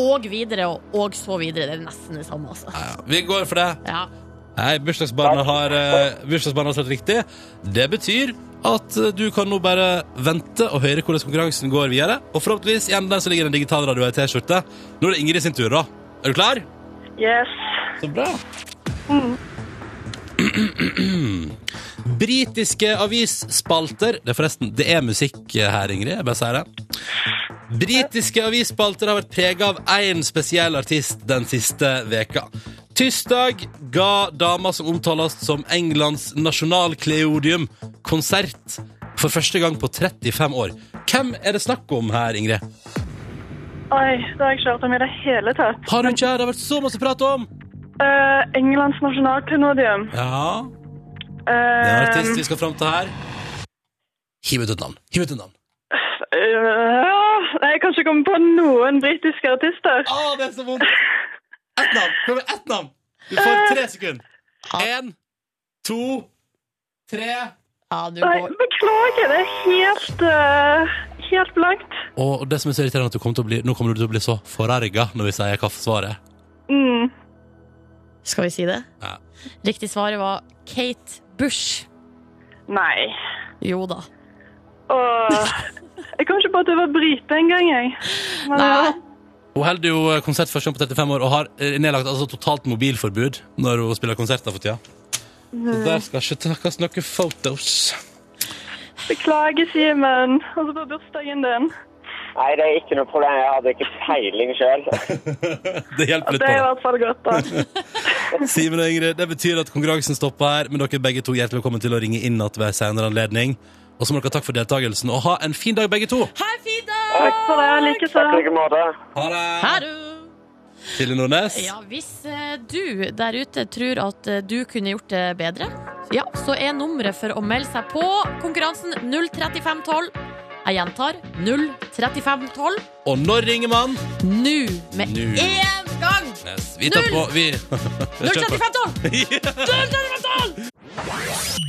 [SPEAKER 2] Og videre og, og så videre. Det er nesten det samme, altså.
[SPEAKER 4] Ja, vi går for det.
[SPEAKER 2] Ja.
[SPEAKER 4] Nei, bursdagsbarnet har, eh, bursdagsbarnet har slått riktig. Det betyr at eh, du kan nå bare vente og høre hvordan konkurransen går videre. Og forhåpentligvis i enden så ligger det en digital radio og ei T-skjorte. Nå er det Ingrid sin tur, da. Er du klar?
[SPEAKER 6] Yes. Mm.
[SPEAKER 4] Så bra. Britiske avisspalter Det er forresten, det er musikk her, Ingrid. Jeg bare sier det. Britiske avisspalter har vært prega av én spesiell artist den siste veka. Tirsdag ga dama som omtales som Englands nasjonalkleodium, konsert for første gang på 35 år. Hvem er det snakk om her, Ingrid?
[SPEAKER 6] Oi, det har jeg ikke hørt om i det hele tatt.
[SPEAKER 4] Har hun ikke her? Det har vært så masse prat om!
[SPEAKER 6] Eh, Englands nasjonalklenodium.
[SPEAKER 4] Ja, det er en
[SPEAKER 6] Eh,
[SPEAKER 4] artist vi skal fram til her. Hiv ut et navn. Hiv ut et navn.
[SPEAKER 6] eh, nei, jeg kan ikke komme på noen britiske artister.
[SPEAKER 4] Å, det er så vondt! Ett navn! Kom med ett navn! Du
[SPEAKER 6] Eh,
[SPEAKER 4] får tre sekunder. Én, to, tre
[SPEAKER 2] Ja, du
[SPEAKER 6] Nei,
[SPEAKER 2] går.
[SPEAKER 6] beklager, det er helt, eh, helt blankt.
[SPEAKER 4] Og det som er så irriterende, er at du kommer til å bli, nå kommer du til å bli så forarga når vi sier hva svaret er.
[SPEAKER 6] Mm.
[SPEAKER 2] Skal vi si det?
[SPEAKER 4] Ja.
[SPEAKER 2] Riktig svaret var Kate Bush.
[SPEAKER 6] Nei.
[SPEAKER 2] Jo da.
[SPEAKER 6] Åh. Jeg kom ikke på at det var brite engang, jeg. Men,
[SPEAKER 2] Nei.
[SPEAKER 6] ja.
[SPEAKER 4] Hun holder jo eh, konsert første gang på 35 år og har eh, nedlagt altså, totalt mobilforbud når hun spiller konserter for tida.
[SPEAKER 6] eh,
[SPEAKER 4] Så der skal ikke takkes noen photos.
[SPEAKER 6] Beklager, Simen. Og så på bursdagen din.
[SPEAKER 5] Nei, det er ikke noe problem. Jeg hadde ikke peiling sjøl.
[SPEAKER 4] Det hjelper litt på
[SPEAKER 6] Det er i
[SPEAKER 4] det.
[SPEAKER 6] hvert fall godt, da.
[SPEAKER 4] Simen og Ingrid, det betyr at konkurransen stopper her, men dere er begge to hjertelig velkommen til å ringe inn at ved senere anledning. Og så må dere takke for deltakelsen, og ha en fin dag begge to!
[SPEAKER 2] Ha en fin
[SPEAKER 6] Takk
[SPEAKER 2] dag!
[SPEAKER 6] for det. Likeså.
[SPEAKER 5] Takk i like måte.
[SPEAKER 4] Ha det!
[SPEAKER 2] Ha det!
[SPEAKER 4] Silje Nordnes.
[SPEAKER 2] Ja, hvis eh, du der ute tror at eh, du kunne gjort det bedre, ja, så er nummeret for å melde seg på konkurransen 03512. Jeg gjentar 03512
[SPEAKER 4] Og når ringer man?
[SPEAKER 2] nå med
[SPEAKER 4] Nå.
[SPEAKER 2] én gang!
[SPEAKER 4] Mm. Yes, vi tar
[SPEAKER 2] Null.
[SPEAKER 4] på Vi Kjør på.
[SPEAKER 2] 03512! 03512!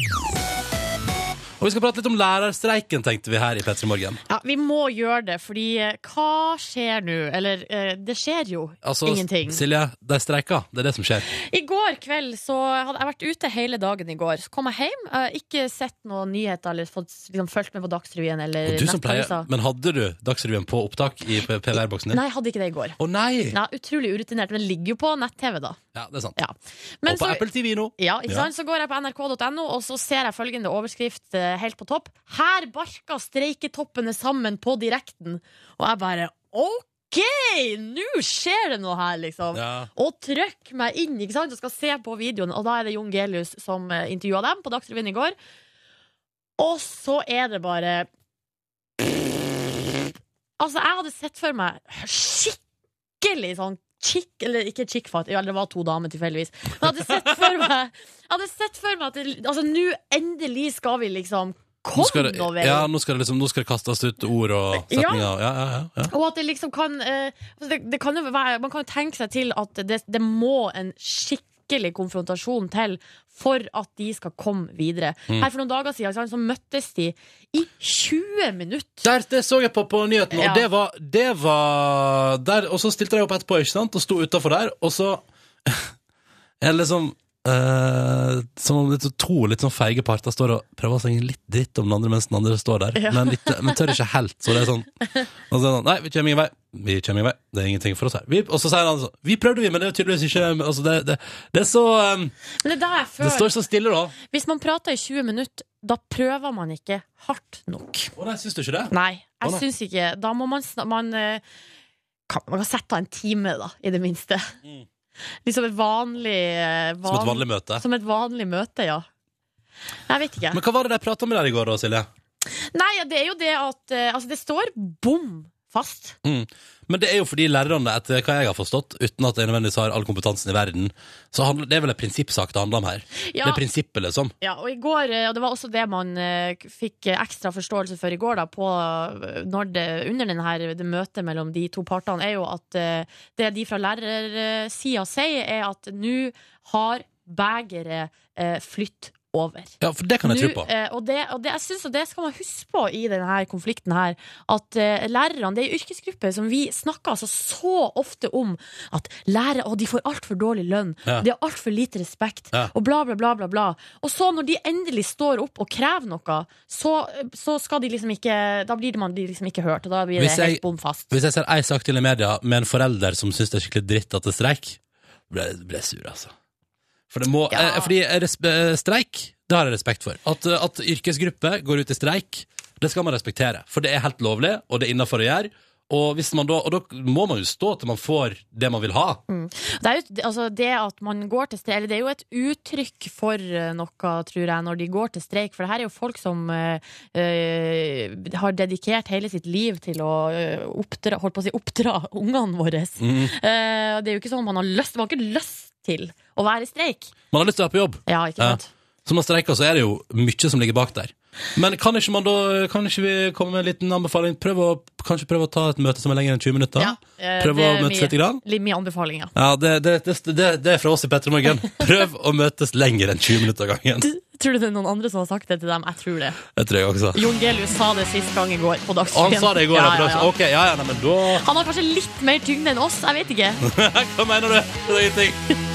[SPEAKER 4] Og vi skal prate litt om lærerstreiken, tenkte vi her i P3 Morgen.
[SPEAKER 2] Ja, vi må gjøre det, fordi eh, hva skjer nå? Eller eh, det skjer jo
[SPEAKER 4] Altså,
[SPEAKER 2] ingenting.
[SPEAKER 4] Silje, de streika. Det er det som skjer.
[SPEAKER 2] I går kveld så hadde jeg vært ute hele dagen i går. Så kom jeg hjem, eh, ikke sett noen nyheter eller fått liksom, fulgt med på Dagsrevyen eller
[SPEAKER 4] Og du som pleier,
[SPEAKER 2] Nettavisa.
[SPEAKER 4] men hadde du Dagsrevyen på opptak i PVR-boksen din?
[SPEAKER 2] Nei, jeg hadde ikke det i går.
[SPEAKER 4] Å nei!
[SPEAKER 2] Ja, utrolig urutinert, men det ligger jo på nett-TV, da.
[SPEAKER 4] Ja, det er sant.
[SPEAKER 2] Ja.
[SPEAKER 4] Og
[SPEAKER 2] Men
[SPEAKER 4] på
[SPEAKER 2] så,
[SPEAKER 4] Apple TV nå.
[SPEAKER 2] ja, ikke
[SPEAKER 4] Ja.
[SPEAKER 2] sant? så går jeg på nrk.no, og så ser jeg følgende overskrift eh, helt på topp. Her barka streiketoppene sammen på direkten. Og jeg bare OK! Nå skjer det noe her, liksom.
[SPEAKER 4] Ja.
[SPEAKER 2] Og trøkk meg inn, ikke sant? Og skal se på videoen. Og da er det Jon Gelius som eh, intervjua dem på Dagsrevyen i går. Og så er det bare Altså, jeg hadde sett for meg skikkelig sånn Chick, eller ikke chickfight, eller det var to damer tilfeldigvis. Men jeg hadde sett for meg, jeg hadde sett for meg at det, altså, nå endelig skal vi liksom
[SPEAKER 4] Nå skal,
[SPEAKER 2] komme
[SPEAKER 4] det,
[SPEAKER 2] over.
[SPEAKER 4] ja, nå, skal det liksom, nå skal det kastes ut ord og
[SPEAKER 2] Ja.
[SPEAKER 4] setninger. Ja, ja, ja, ja.
[SPEAKER 2] Og at det liksom kan, eh, altså det, det kan jo være, Man kan jo tenke seg til at det, det må en skikkelig konfrontasjon til for at de skal komme videre.
[SPEAKER 4] Mm.
[SPEAKER 2] Her For noen dager siden sant, så møttes de i 20 minutter.
[SPEAKER 4] Der, det så jeg på på nyheten, og
[SPEAKER 2] Ja.
[SPEAKER 4] det var, det var der, Og så stilte de opp etterpå, ikke sant, og sto utafor der, og så er det liksom eh, Som om det er to litt sånn feige parter står og prøver å slenge litt dritt om den andre mens den andre står der, men, litt, men tør ikke helt, så det er sånn og så er det sånn, Nei, vi kommer ingen vei. Vi kommer ingen vei. Det er ingenting for oss her. Vi, og så sier han sånn Vi prøvde, vi, men det er tydeligvis ikke altså det, det, det er så eh,
[SPEAKER 2] Men det er der jeg
[SPEAKER 4] Det
[SPEAKER 2] føler
[SPEAKER 4] står så stille, da.
[SPEAKER 2] Hvis man prater i 20 minutter, da prøver man ikke hardt nok.
[SPEAKER 4] Å nei, syns du ikke det?
[SPEAKER 2] Nei,
[SPEAKER 4] Å,
[SPEAKER 2] jeg
[SPEAKER 4] nei.
[SPEAKER 2] syns ikke Da må man sna- Man, eh, kan, man kan sette av en time, da, i det minste.
[SPEAKER 4] Mm.
[SPEAKER 2] Liksom et vanlig eh,
[SPEAKER 4] Som et
[SPEAKER 2] van-
[SPEAKER 4] vanlig møte.
[SPEAKER 2] Som et vanlig møte, ja. Jeg vet ikke.
[SPEAKER 4] Men hva var det de prata med der i går, da, Silje?
[SPEAKER 2] Nei, ja, det er jo det at eh, Altså, det står bom fast.
[SPEAKER 4] Mm. Men det er jo fordi lærerne, etter hva jeg har forstått, uten at jeg nødvendigvis har all kompetansen i verden, så handler, det er vel en prinsippsak det handler om her.
[SPEAKER 2] Ja,
[SPEAKER 4] Det er prinsippet, liksom.
[SPEAKER 2] ja, og i går, eh, og det var også det man eh, fikk eh, ekstra forståelse for i går, da, på eh, når det, under den her, det møtet mellom de to partene, er jo at eh, det de fra lærersida sier, er at nå har begeret eh, flytt over.
[SPEAKER 4] Ja, for det kan jeg
[SPEAKER 2] Nå,
[SPEAKER 4] tro på.
[SPEAKER 2] eh, og det, og det, jeg synes at det skal man huske på i denne her konflikten her, at eh, lærerne, det er en yrkesgruppe som vi snakker altså så ofte om, at lærere, å, de får altfor dårlig lønn,
[SPEAKER 4] Ja.
[SPEAKER 2] de har altfor lite respekt,
[SPEAKER 4] Ja.
[SPEAKER 2] og bla, bla, bla, bla, bla. Og så når de endelig står opp og krever noe, så, eh, så skal de liksom ikke, da blir man de liksom ikke hørt, og da blir
[SPEAKER 4] Hvis
[SPEAKER 2] det
[SPEAKER 4] jeg-
[SPEAKER 2] helt bomfast.
[SPEAKER 4] Hvis jeg ser ei sak til i media med en forelder som syns det er skikkelig dritt at det er streik, blir jeg- blir jeg sur, altså. For det må,
[SPEAKER 2] Ja.
[SPEAKER 4] eh, fordi resp eh, streik, det har jeg respekt for. At, eh, at yrkesgrupper går ut i streik, det skal man respektere. For det er helt lovlig, og det er innafor å gjøre. Og, hvis man da, og da må man jo stå til man får det man vil ha.
[SPEAKER 2] Det, er jo, altså det at man går til streik, eller det er jo et uttrykk for eh, noe, tror jeg, når de går til streik. For det her er jo folk som eh, eh, har dedikert hele sitt liv til å eh, oppdra, holdt på å si, oppdra ungene våre.
[SPEAKER 4] Mm.
[SPEAKER 2] Eh, og det er jo ikke sånn man har lyst Man har ikke lyst til å være i streik.
[SPEAKER 4] Man har lyst til å være på jobb.
[SPEAKER 2] Ja, ikke
[SPEAKER 4] Ja.
[SPEAKER 2] sant?
[SPEAKER 4] Så man streiker, så er det jo mye som ligger bak der. Men kan ikke, man da, kan ikke vi komme med en liten anbefaling? Prøv å, kanskje prøve å ta et møte som er lenger enn 20 minutter?
[SPEAKER 2] Ja, eh,
[SPEAKER 4] Prøv
[SPEAKER 2] det
[SPEAKER 4] å
[SPEAKER 2] er
[SPEAKER 4] møtes
[SPEAKER 2] mye-
[SPEAKER 4] litt? Grann.
[SPEAKER 2] Litt mye anbefalinger.
[SPEAKER 4] Ja, det, det, det, det, det er fra oss i Petter Morgen. Prøv å møtes lenger enn 20 minutter av gangen.
[SPEAKER 2] Tror du det er noen andre som har sagt det til dem? Jeg tror det.
[SPEAKER 4] Det tror jeg også.
[SPEAKER 2] Jon Gelius sa det sist gang i går på
[SPEAKER 4] Og
[SPEAKER 2] Dagsrevyen.
[SPEAKER 4] Ah. han sa det i går. da,
[SPEAKER 2] Ja,
[SPEAKER 4] for da-
[SPEAKER 2] ja, ja.
[SPEAKER 4] Ok, ja, ja, nei, men da
[SPEAKER 2] Han har kanskje litt mer tyngde enn oss, jeg vet ikke.
[SPEAKER 4] Hva mener du? Det er ingenting.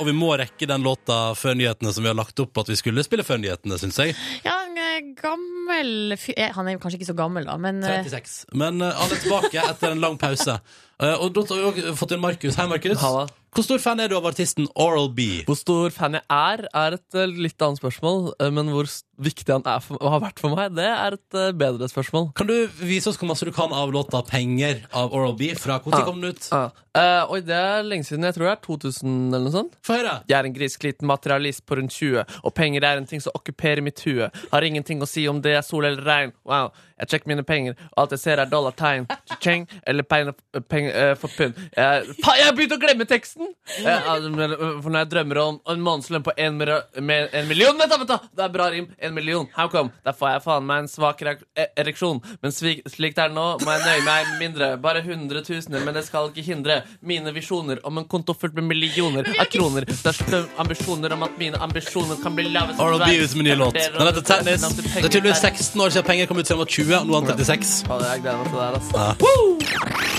[SPEAKER 4] Og vi må rekke den låta før nyhetene som vi har lagt opp at vi skulle spille før nyhetene, syns jeg.
[SPEAKER 2] Ja, en eh, gammel fyr eh, Han er jo kanskje ikke så gammel, da, men eh,
[SPEAKER 4] 36. Men eh, alle er tilbake etter en lang pause. Eh, og da har vi også fått inn Markus. Hei, Markus.
[SPEAKER 7] Halla.
[SPEAKER 4] Hvor stor fan er du av artisten Oral B?
[SPEAKER 7] Hvor stor fan jeg er, er et eh, litt annet spørsmål. eh, Men hvor s- viktig han er for, har vært for meg, det er et eh, bedre spørsmål.
[SPEAKER 4] Kan du vise oss hvor masse du kan av låta 'Penger' av Oral B? Fra når
[SPEAKER 7] Ah.
[SPEAKER 4] kom den ut?
[SPEAKER 7] Ah. Eh, oi, det er lenge siden. Jeg tror det er 2000 eller noe sånt.
[SPEAKER 4] Få høre!
[SPEAKER 7] Jeg er en griskliten materialist på rundt 20, og penger er en ting som okkuperer mitt hue. Har ingenting å si om det er sol eller regn. Wow, jeg sjekker mine penger, og alt jeg ser er dollartegn. Cheng, eller penger, penger eh, for pund. Jeg, fa, jeg har begynt å glemme teksten! Eh, altså, men, eh, for når jeg drømmer om en månedslønn på en, mira- med, en million Vent, da, vent, da! Det er bra rim. En million. How come? Der får jeg faen meg en svak reak- eh, ereksjon. Men svik, slik det er nå, må jeg nøye meg med mindre. Bare hundretusener, men det skal ikke hindre mine visjoner om en konto fullt med millioner av kroner. Største ambisjoner om at mine ambisjoner kan bli lave som
[SPEAKER 4] Oral B
[SPEAKER 7] dverg.
[SPEAKER 4] ut med ny låt. Den heter Tennis. Det er tydeligvis 16 år siden 'Penger' kom ut, siden han var 20, og nå er han 36.
[SPEAKER 7] Fader, Jeg gleder meg til det her, altså. ass.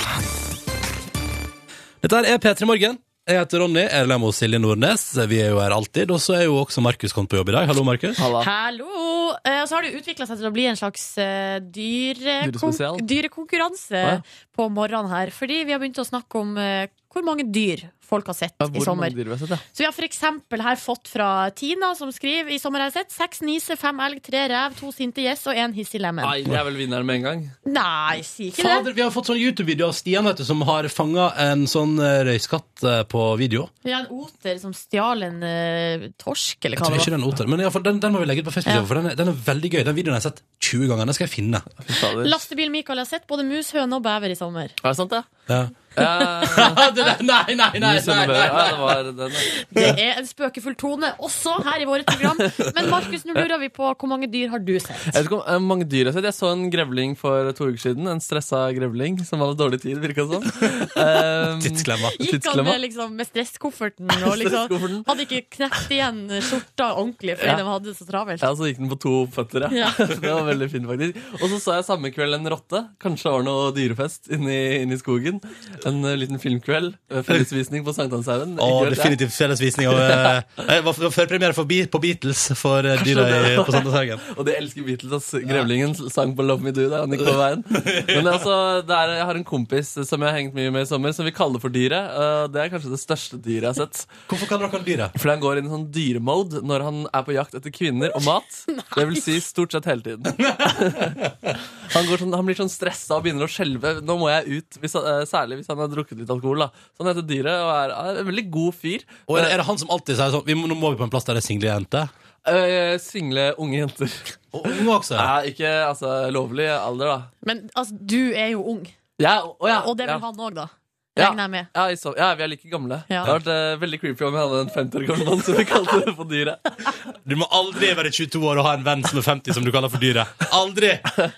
[SPEAKER 4] Dette her er P3 Morgen. Jeg heter Ronny, Erlem og Silje Nordnes. Vi er jo her alltid. Og så er jo også Markus kommet på jobb i dag. Hallo, Markus.
[SPEAKER 7] Halla.
[SPEAKER 2] Hallo! Eh, Og så har det utvikla seg til å bli en slags eh, dyre,
[SPEAKER 7] Dyrespesial.
[SPEAKER 2] kon- dyrekonkurranse
[SPEAKER 7] Å, ja.
[SPEAKER 2] på morgenen her. Fordi vi har begynt å snakke om eh, hvor mange dyr folk har sett i
[SPEAKER 7] Hvor mange
[SPEAKER 2] sommer.
[SPEAKER 7] dyr vi har sett, ja.
[SPEAKER 2] Så vi har for eksempel her fått fra Tina, som skriver i sommer har jeg sett seks niser, fem elg, tre rev, to sinte gjess og en hissig lemen.
[SPEAKER 7] Nei, jeg er vel vinneren med en gang.
[SPEAKER 2] Nei, si ikke det.
[SPEAKER 4] Fader, vi har fått sånn YouTube-video av Stian vet du, som har fanga en sånn eh, røyskatt eh, på video.
[SPEAKER 2] Vi har en oter som stjal en eh, torsk, eller
[SPEAKER 4] Jeg
[SPEAKER 2] hva
[SPEAKER 4] tror
[SPEAKER 2] det
[SPEAKER 4] ikke
[SPEAKER 2] var.
[SPEAKER 4] det er en oter, men i alle fall, den, den må vi legge ut på Facebook.
[SPEAKER 2] Ja.
[SPEAKER 4] For den er, den er veldig gøy. Den videoen har jeg sett 20 ganger. Den skal jeg finne.
[SPEAKER 7] Fy fader.
[SPEAKER 2] Lastebil-Mikael har sett både mus, høne og bever i sommer.
[SPEAKER 7] Er det sant, det?
[SPEAKER 4] Ja.
[SPEAKER 7] Eh,
[SPEAKER 4] det der, nei, nei, nei,
[SPEAKER 7] Mus under børa, ja, det var den.
[SPEAKER 2] Det er en spøkefull tone også her i våre program. Men Markus, nå lurer vi på hvor mange dyr har du
[SPEAKER 7] Jeg
[SPEAKER 2] sett?
[SPEAKER 7] vet ikke om eh, mange dyr jeg har sett. Jeg så en grevling for to uker siden. En stressa grevling som hadde dårlig tid, virka det som. Um,
[SPEAKER 4] Tidsklemma.
[SPEAKER 2] Gikk han
[SPEAKER 7] tidsklemma.
[SPEAKER 2] med, liksom, med stresskofferten og liksom
[SPEAKER 7] Stresskofferten.
[SPEAKER 2] hadde ikke knept igjen skjorta ordentlig fordi
[SPEAKER 7] Ja.
[SPEAKER 2] de hadde det så travelt?
[SPEAKER 7] Ja, så gikk den på to føtter, ja.
[SPEAKER 2] Ja.
[SPEAKER 7] det var veldig fint, faktisk. Og så så jeg samme kveld en rotte. Kanskje det var noe dyrefest inni, inni skogen. En eh, liten filmkveld. eh, Fellesvisning på Sankthanshaugen.
[SPEAKER 4] Og
[SPEAKER 7] Ikke vet jeg.
[SPEAKER 4] definitivt fellesvisning av eh, Det var f- førpremiere for Be- på Beatles for eh, dyra i- på Sandneshaugen.
[SPEAKER 7] Og de elsker Beatles. ass. Grevlingen sang på Love Me Do. Der, han gikk på veien. Men altså, det er, jeg har en kompis som jeg har hengt mye med i sommer, som vi kaller for Dyret. Eh, Det er kanskje det største dyret jeg har sett.
[SPEAKER 4] Hvorfor kaller dere han dyra?
[SPEAKER 7] Fordi han går inn i sånn dyremode når han er på jakt etter kvinner og mat. Det vil si stort sett hele tiden. han, går sånn, han blir sånn stressa og begynner å skjelve. Nå må jeg ut, hvis han, eh, særlig hvis han har drukket litt alkohol. da Så han heter Dyret og er, er en veldig god fyr.
[SPEAKER 4] Og er, er det han som alltid sier sånn vi må, Nå må vi på en plass der det er single jenter?
[SPEAKER 7] Eh, single unge jenter.
[SPEAKER 4] Og unge også.
[SPEAKER 7] Ja, ikke altså, lovlig alder, da.
[SPEAKER 2] Men altså, du er jo ung,
[SPEAKER 7] Ja, å ja,
[SPEAKER 2] og det vil
[SPEAKER 7] ja.
[SPEAKER 2] han òg, da.
[SPEAKER 7] Ja.
[SPEAKER 2] Regner jeg med.
[SPEAKER 7] Ja, i så, ja, vi er like gamle. Det
[SPEAKER 2] Ja.
[SPEAKER 7] hadde vært eh, veldig creepy om vi hadde en 50 år gammel mann som vi kalte det for dyret.
[SPEAKER 4] Du må aldri være 22 år og ha en venn som er 50, som du kaller for dyret. Aldri!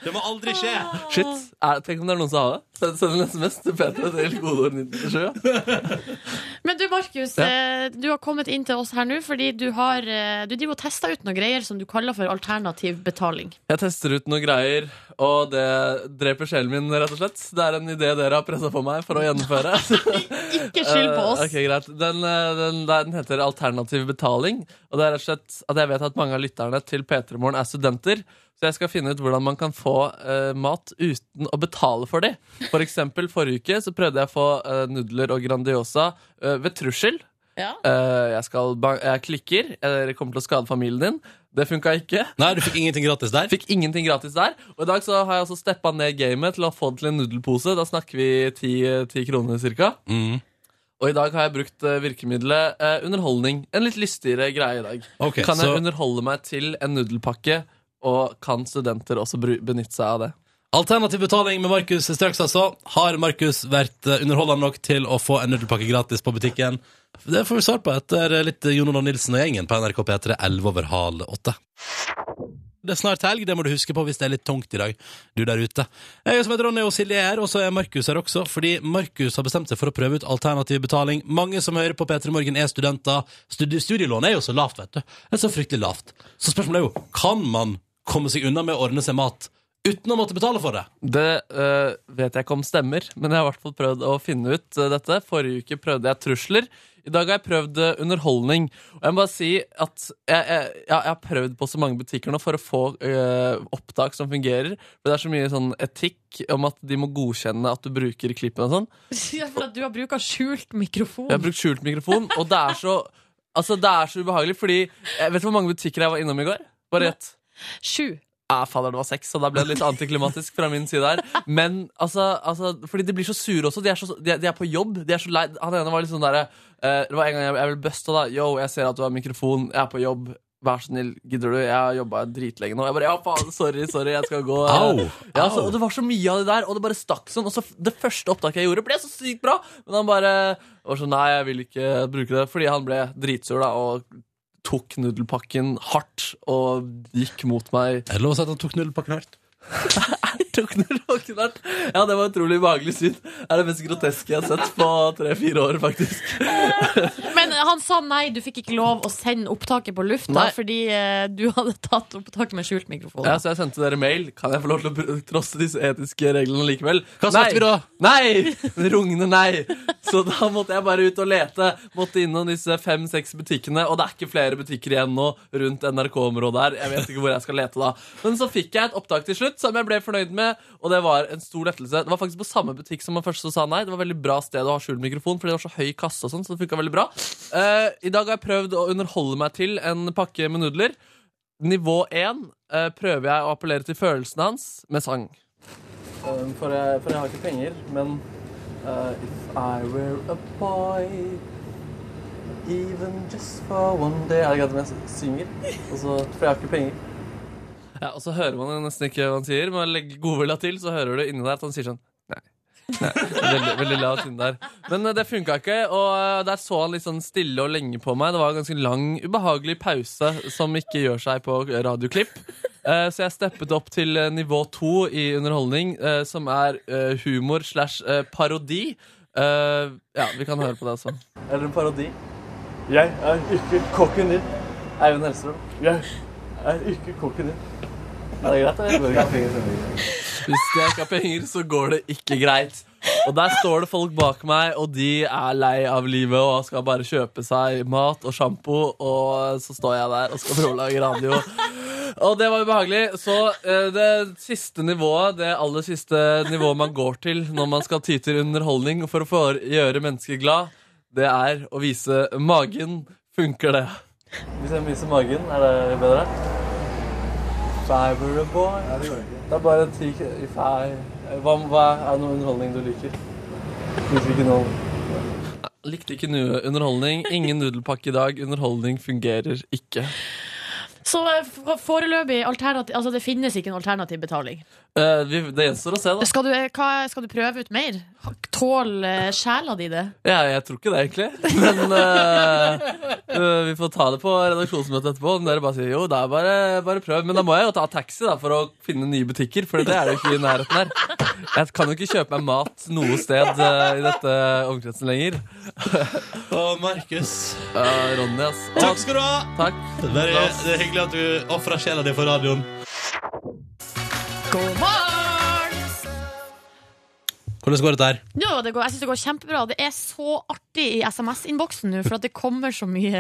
[SPEAKER 4] Det må aldri skje!
[SPEAKER 7] Shit, eh, Tenk om det er noen som har det. Send, send en SMS til Peter til kodeord 97.
[SPEAKER 2] Men du, Markus,
[SPEAKER 7] Ja.
[SPEAKER 2] eh, du har kommet inn til oss her nå fordi du har eh, Du driver og tester ut noen greier som du kaller for alternativ betaling.
[SPEAKER 7] Jeg tester ut noen greier, og det dreper sjelen min, rett og slett. Det er en idé dere har pressa på meg for å gjennomføre.
[SPEAKER 2] Ikke skyld på oss.
[SPEAKER 7] Eh, ok, greit. Den, eh, den, den heter Alternativ betaling. Og det er rett og slett at jeg vet at mange av lytterne til P3 Morgen er studenter. Så jeg skal finne ut hvordan man kan få eh, mat uten å betale for det. For eksempel forrige uke så prøvde jeg å få eh, nudler og Grandiosa eh, ved trussel.
[SPEAKER 2] Ja.
[SPEAKER 7] Eh, jeg, skal ba jeg klikker, eh, det kommer til å skade familien din. Det funka ikke.
[SPEAKER 4] Nei, du fikk ingenting gratis der.
[SPEAKER 7] Fikk ingenting gratis der. Og i dag så har jeg altså steppa ned gamet til å få det til en nudelpose. Da snakker vi ti, ti kroner cirka.
[SPEAKER 4] Mm.
[SPEAKER 7] Og i dag har jeg brukt eh, virkemidlet eh, underholdning. En litt lystigere greie i dag.
[SPEAKER 4] Ok,
[SPEAKER 7] kan
[SPEAKER 4] så-
[SPEAKER 7] jeg underholde meg til en nudelpakke, og kan studenter også bru- benytte seg av det?
[SPEAKER 4] Alternativ betaling med Markus er straks, altså. Har Markus vært eh, underholdende nok til å få en nudelpakke gratis på butikken? Det får vi svar på etter eh, litt Jon Olav Nilsen og gjengen på NRK P3 11 over halv åtte. Det er snart helg, det må du huske på hvis det er litt tungt i dag, du der ute. Jeg som heter Ronny og Silje er her, og så er Markus her også, fordi Markus har bestemt seg for å prøve ut alternativ betaling. Mange som hører på P3 Morgen er studenter. Studi studielånet er jo så lavt, vet du. Det er så fryktelig lavt. Så spørsmålet er jo, kan man komme seg unna med å ordne seg mat uten å måtte betale for det?
[SPEAKER 7] Det øh, vet jeg ikke om stemmer, men jeg har i hvert fall prøvd å finne ut øh, dette. Forrige uke prøvde jeg trusler. I dag har jeg prøvd øh, underholdning. Og jeg må bare si at jeg, jeg, ja, jeg har prøvd på så mange butikker nå for å få øh, opptak som fungerer. For det er så mye sånn etikk om at de må godkjenne at du bruker klippene og sånn.
[SPEAKER 2] Ja, For at du har bruka skjult mikrofon.
[SPEAKER 7] Jeg har brukt skjult mikrofon, og det er så, altså, det er så ubehagelig, fordi jeg Vet du hvor mange butikker jeg var innom i går? Bare gjett.
[SPEAKER 2] Sju.
[SPEAKER 7] Ja, fader, det var seks, så da ble det litt antiklimatisk fra min side her. Men altså, altså Fordi de blir så sure også. De er, så, de, er- de er på jobb. De er så lei. Han ene var litt sånn derre eh, Det var en gang jeg, jeg ble busta, da. Yo, jeg ser at du har mikrofon. Jeg er på jobb. Vær så snill, gidder du? Jeg har jobba dritlenge nå. Jeg bare, ja, faen, sorry, sorry, jeg skal gå.
[SPEAKER 4] Au,
[SPEAKER 7] Eh, Ja,
[SPEAKER 4] au.
[SPEAKER 7] så, og det var så mye av det der, og det bare stakk sånn. Og så f- det første opptaket jeg gjorde, ble så sykt bra. Men han bare var sånn, nei, jeg vil ikke bruke det. Fordi han ble dritsur, da, og tok nudelpakken hardt og gikk mot meg.
[SPEAKER 4] Er det lov å si at han tok nudelpakken hardt?
[SPEAKER 7] Tok noe rocknart. Ja, det var utrolig behagelig syn. Det er det mest groteske jeg har sett på tre-fire år, faktisk.
[SPEAKER 2] Men han sa nei, du fikk ikke lov å sende opptaket på lufta
[SPEAKER 7] Nei.
[SPEAKER 2] fordi eh, du hadde tatt opptaket med skjult mikrofon.
[SPEAKER 7] Ja, så jeg sendte dere mail. Kan jeg få lov til å br- trosse disse etiske reglene likevel?
[SPEAKER 4] Hva
[SPEAKER 7] Nei.
[SPEAKER 4] svarte vi da?
[SPEAKER 7] Nei! Rungende nei. Så da måtte jeg bare ut og lete. Måtte innom disse fem-seks butikkene, og det er ikke flere butikker igjen nå rundt NRK-området her. Jeg vet ikke hvor jeg skal lete da. Men så fikk jeg et opptak til slutt som jeg ble fornøyd med, og det var en stor lettelse. Det var faktisk på samme butikk som man først så sa nei. Det var et veldig bra sted å ha skjult mikrofon, fordi det var så høy kasse og sånn, så det funka veldig bra. Eh, I dag har jeg prøvd å underholde meg til en pakke med nudler. Nivå 1 eh, prøver jeg å appellere til følelsene hans med sang. Eh, For jeg, for jeg har ikke penger, men uh, If I were a boy Even just for one day Er det greit om jeg synger? Og så, for jeg har ikke penger. Ja, og så hører man jo nesten ikke hva han sier, men legg godvilja til, så hører du inni der at han sier sånn Nei. Nei. Veldig, veldig lavt inni der. Men eh, det funka ikke, og eh, der så han litt sånn stille og lenge på meg. Det var en ganske lang, ubehagelig pause som ikke gjør seg på radioklipp. Eh, Så jeg steppet opp til eh, nivå to i underholdning, eh, som er eh, humor slash eh, parodi. Eh, Ja, vi kan høre på det altså. også. Eller en parodi. Jeg er ikke kokken din. Eivind Hellstrøm. Jeg er ikke kokken din. Er det greit? Hvis jeg ikke har penger, så går det ikke greit. Og der står det folk bak meg, og de er lei av livet og skal bare kjøpe seg mat og sjampo, og så står jeg der og skal prøve å lage radio. Og det var ubehagelig. Så eh, det siste nivået, det aller siste nivået man går til når man skal ty til underholdning for å få gjøre mennesker glad, det er å vise magen. Funker det? Hvis jeg viser magen, er det bedre? Fiber boy. Det er bare ti if I hva, hva er noe underholdning du liker? Liker ikke noe. Likte ikke noe underholdning. Ingen nudelpakke i dag. Underholdning fungerer ikke.
[SPEAKER 2] Så eh, f- foreløpig alternativ, altså det finnes ikke en alternativ betaling.
[SPEAKER 7] Eh, vi, det gjenstår å se, da.
[SPEAKER 2] Skal du, eh, hva, skal du prøve ut mer? Tåler sjela di det?
[SPEAKER 7] Ja, jeg tror ikke det, egentlig. Men eh, eh, vi får ta det på redaksjonsmøtet etterpå. Om dere bare sier jo, det er bare, bare prøv. Men da må jeg jo ta taxi da, for å finne nye butikker, for det er det jo ikke i nærheten her. Jeg kan jo ikke kjøpe meg mat noe sted eh, i dette omkretsen lenger.
[SPEAKER 4] Å, Markus.
[SPEAKER 7] Eh, Ronny, ass. Å,
[SPEAKER 4] Takk skal du ha!
[SPEAKER 7] takk.
[SPEAKER 4] Det er, det er hyggelig at du ofra sjela di for radioen.
[SPEAKER 2] God morgen!
[SPEAKER 4] Hvordan går det der?
[SPEAKER 2] Jo, det går, jeg synes det går kjempebra. Det er så artig i SMS-innboksen nå, for at det kommer så mye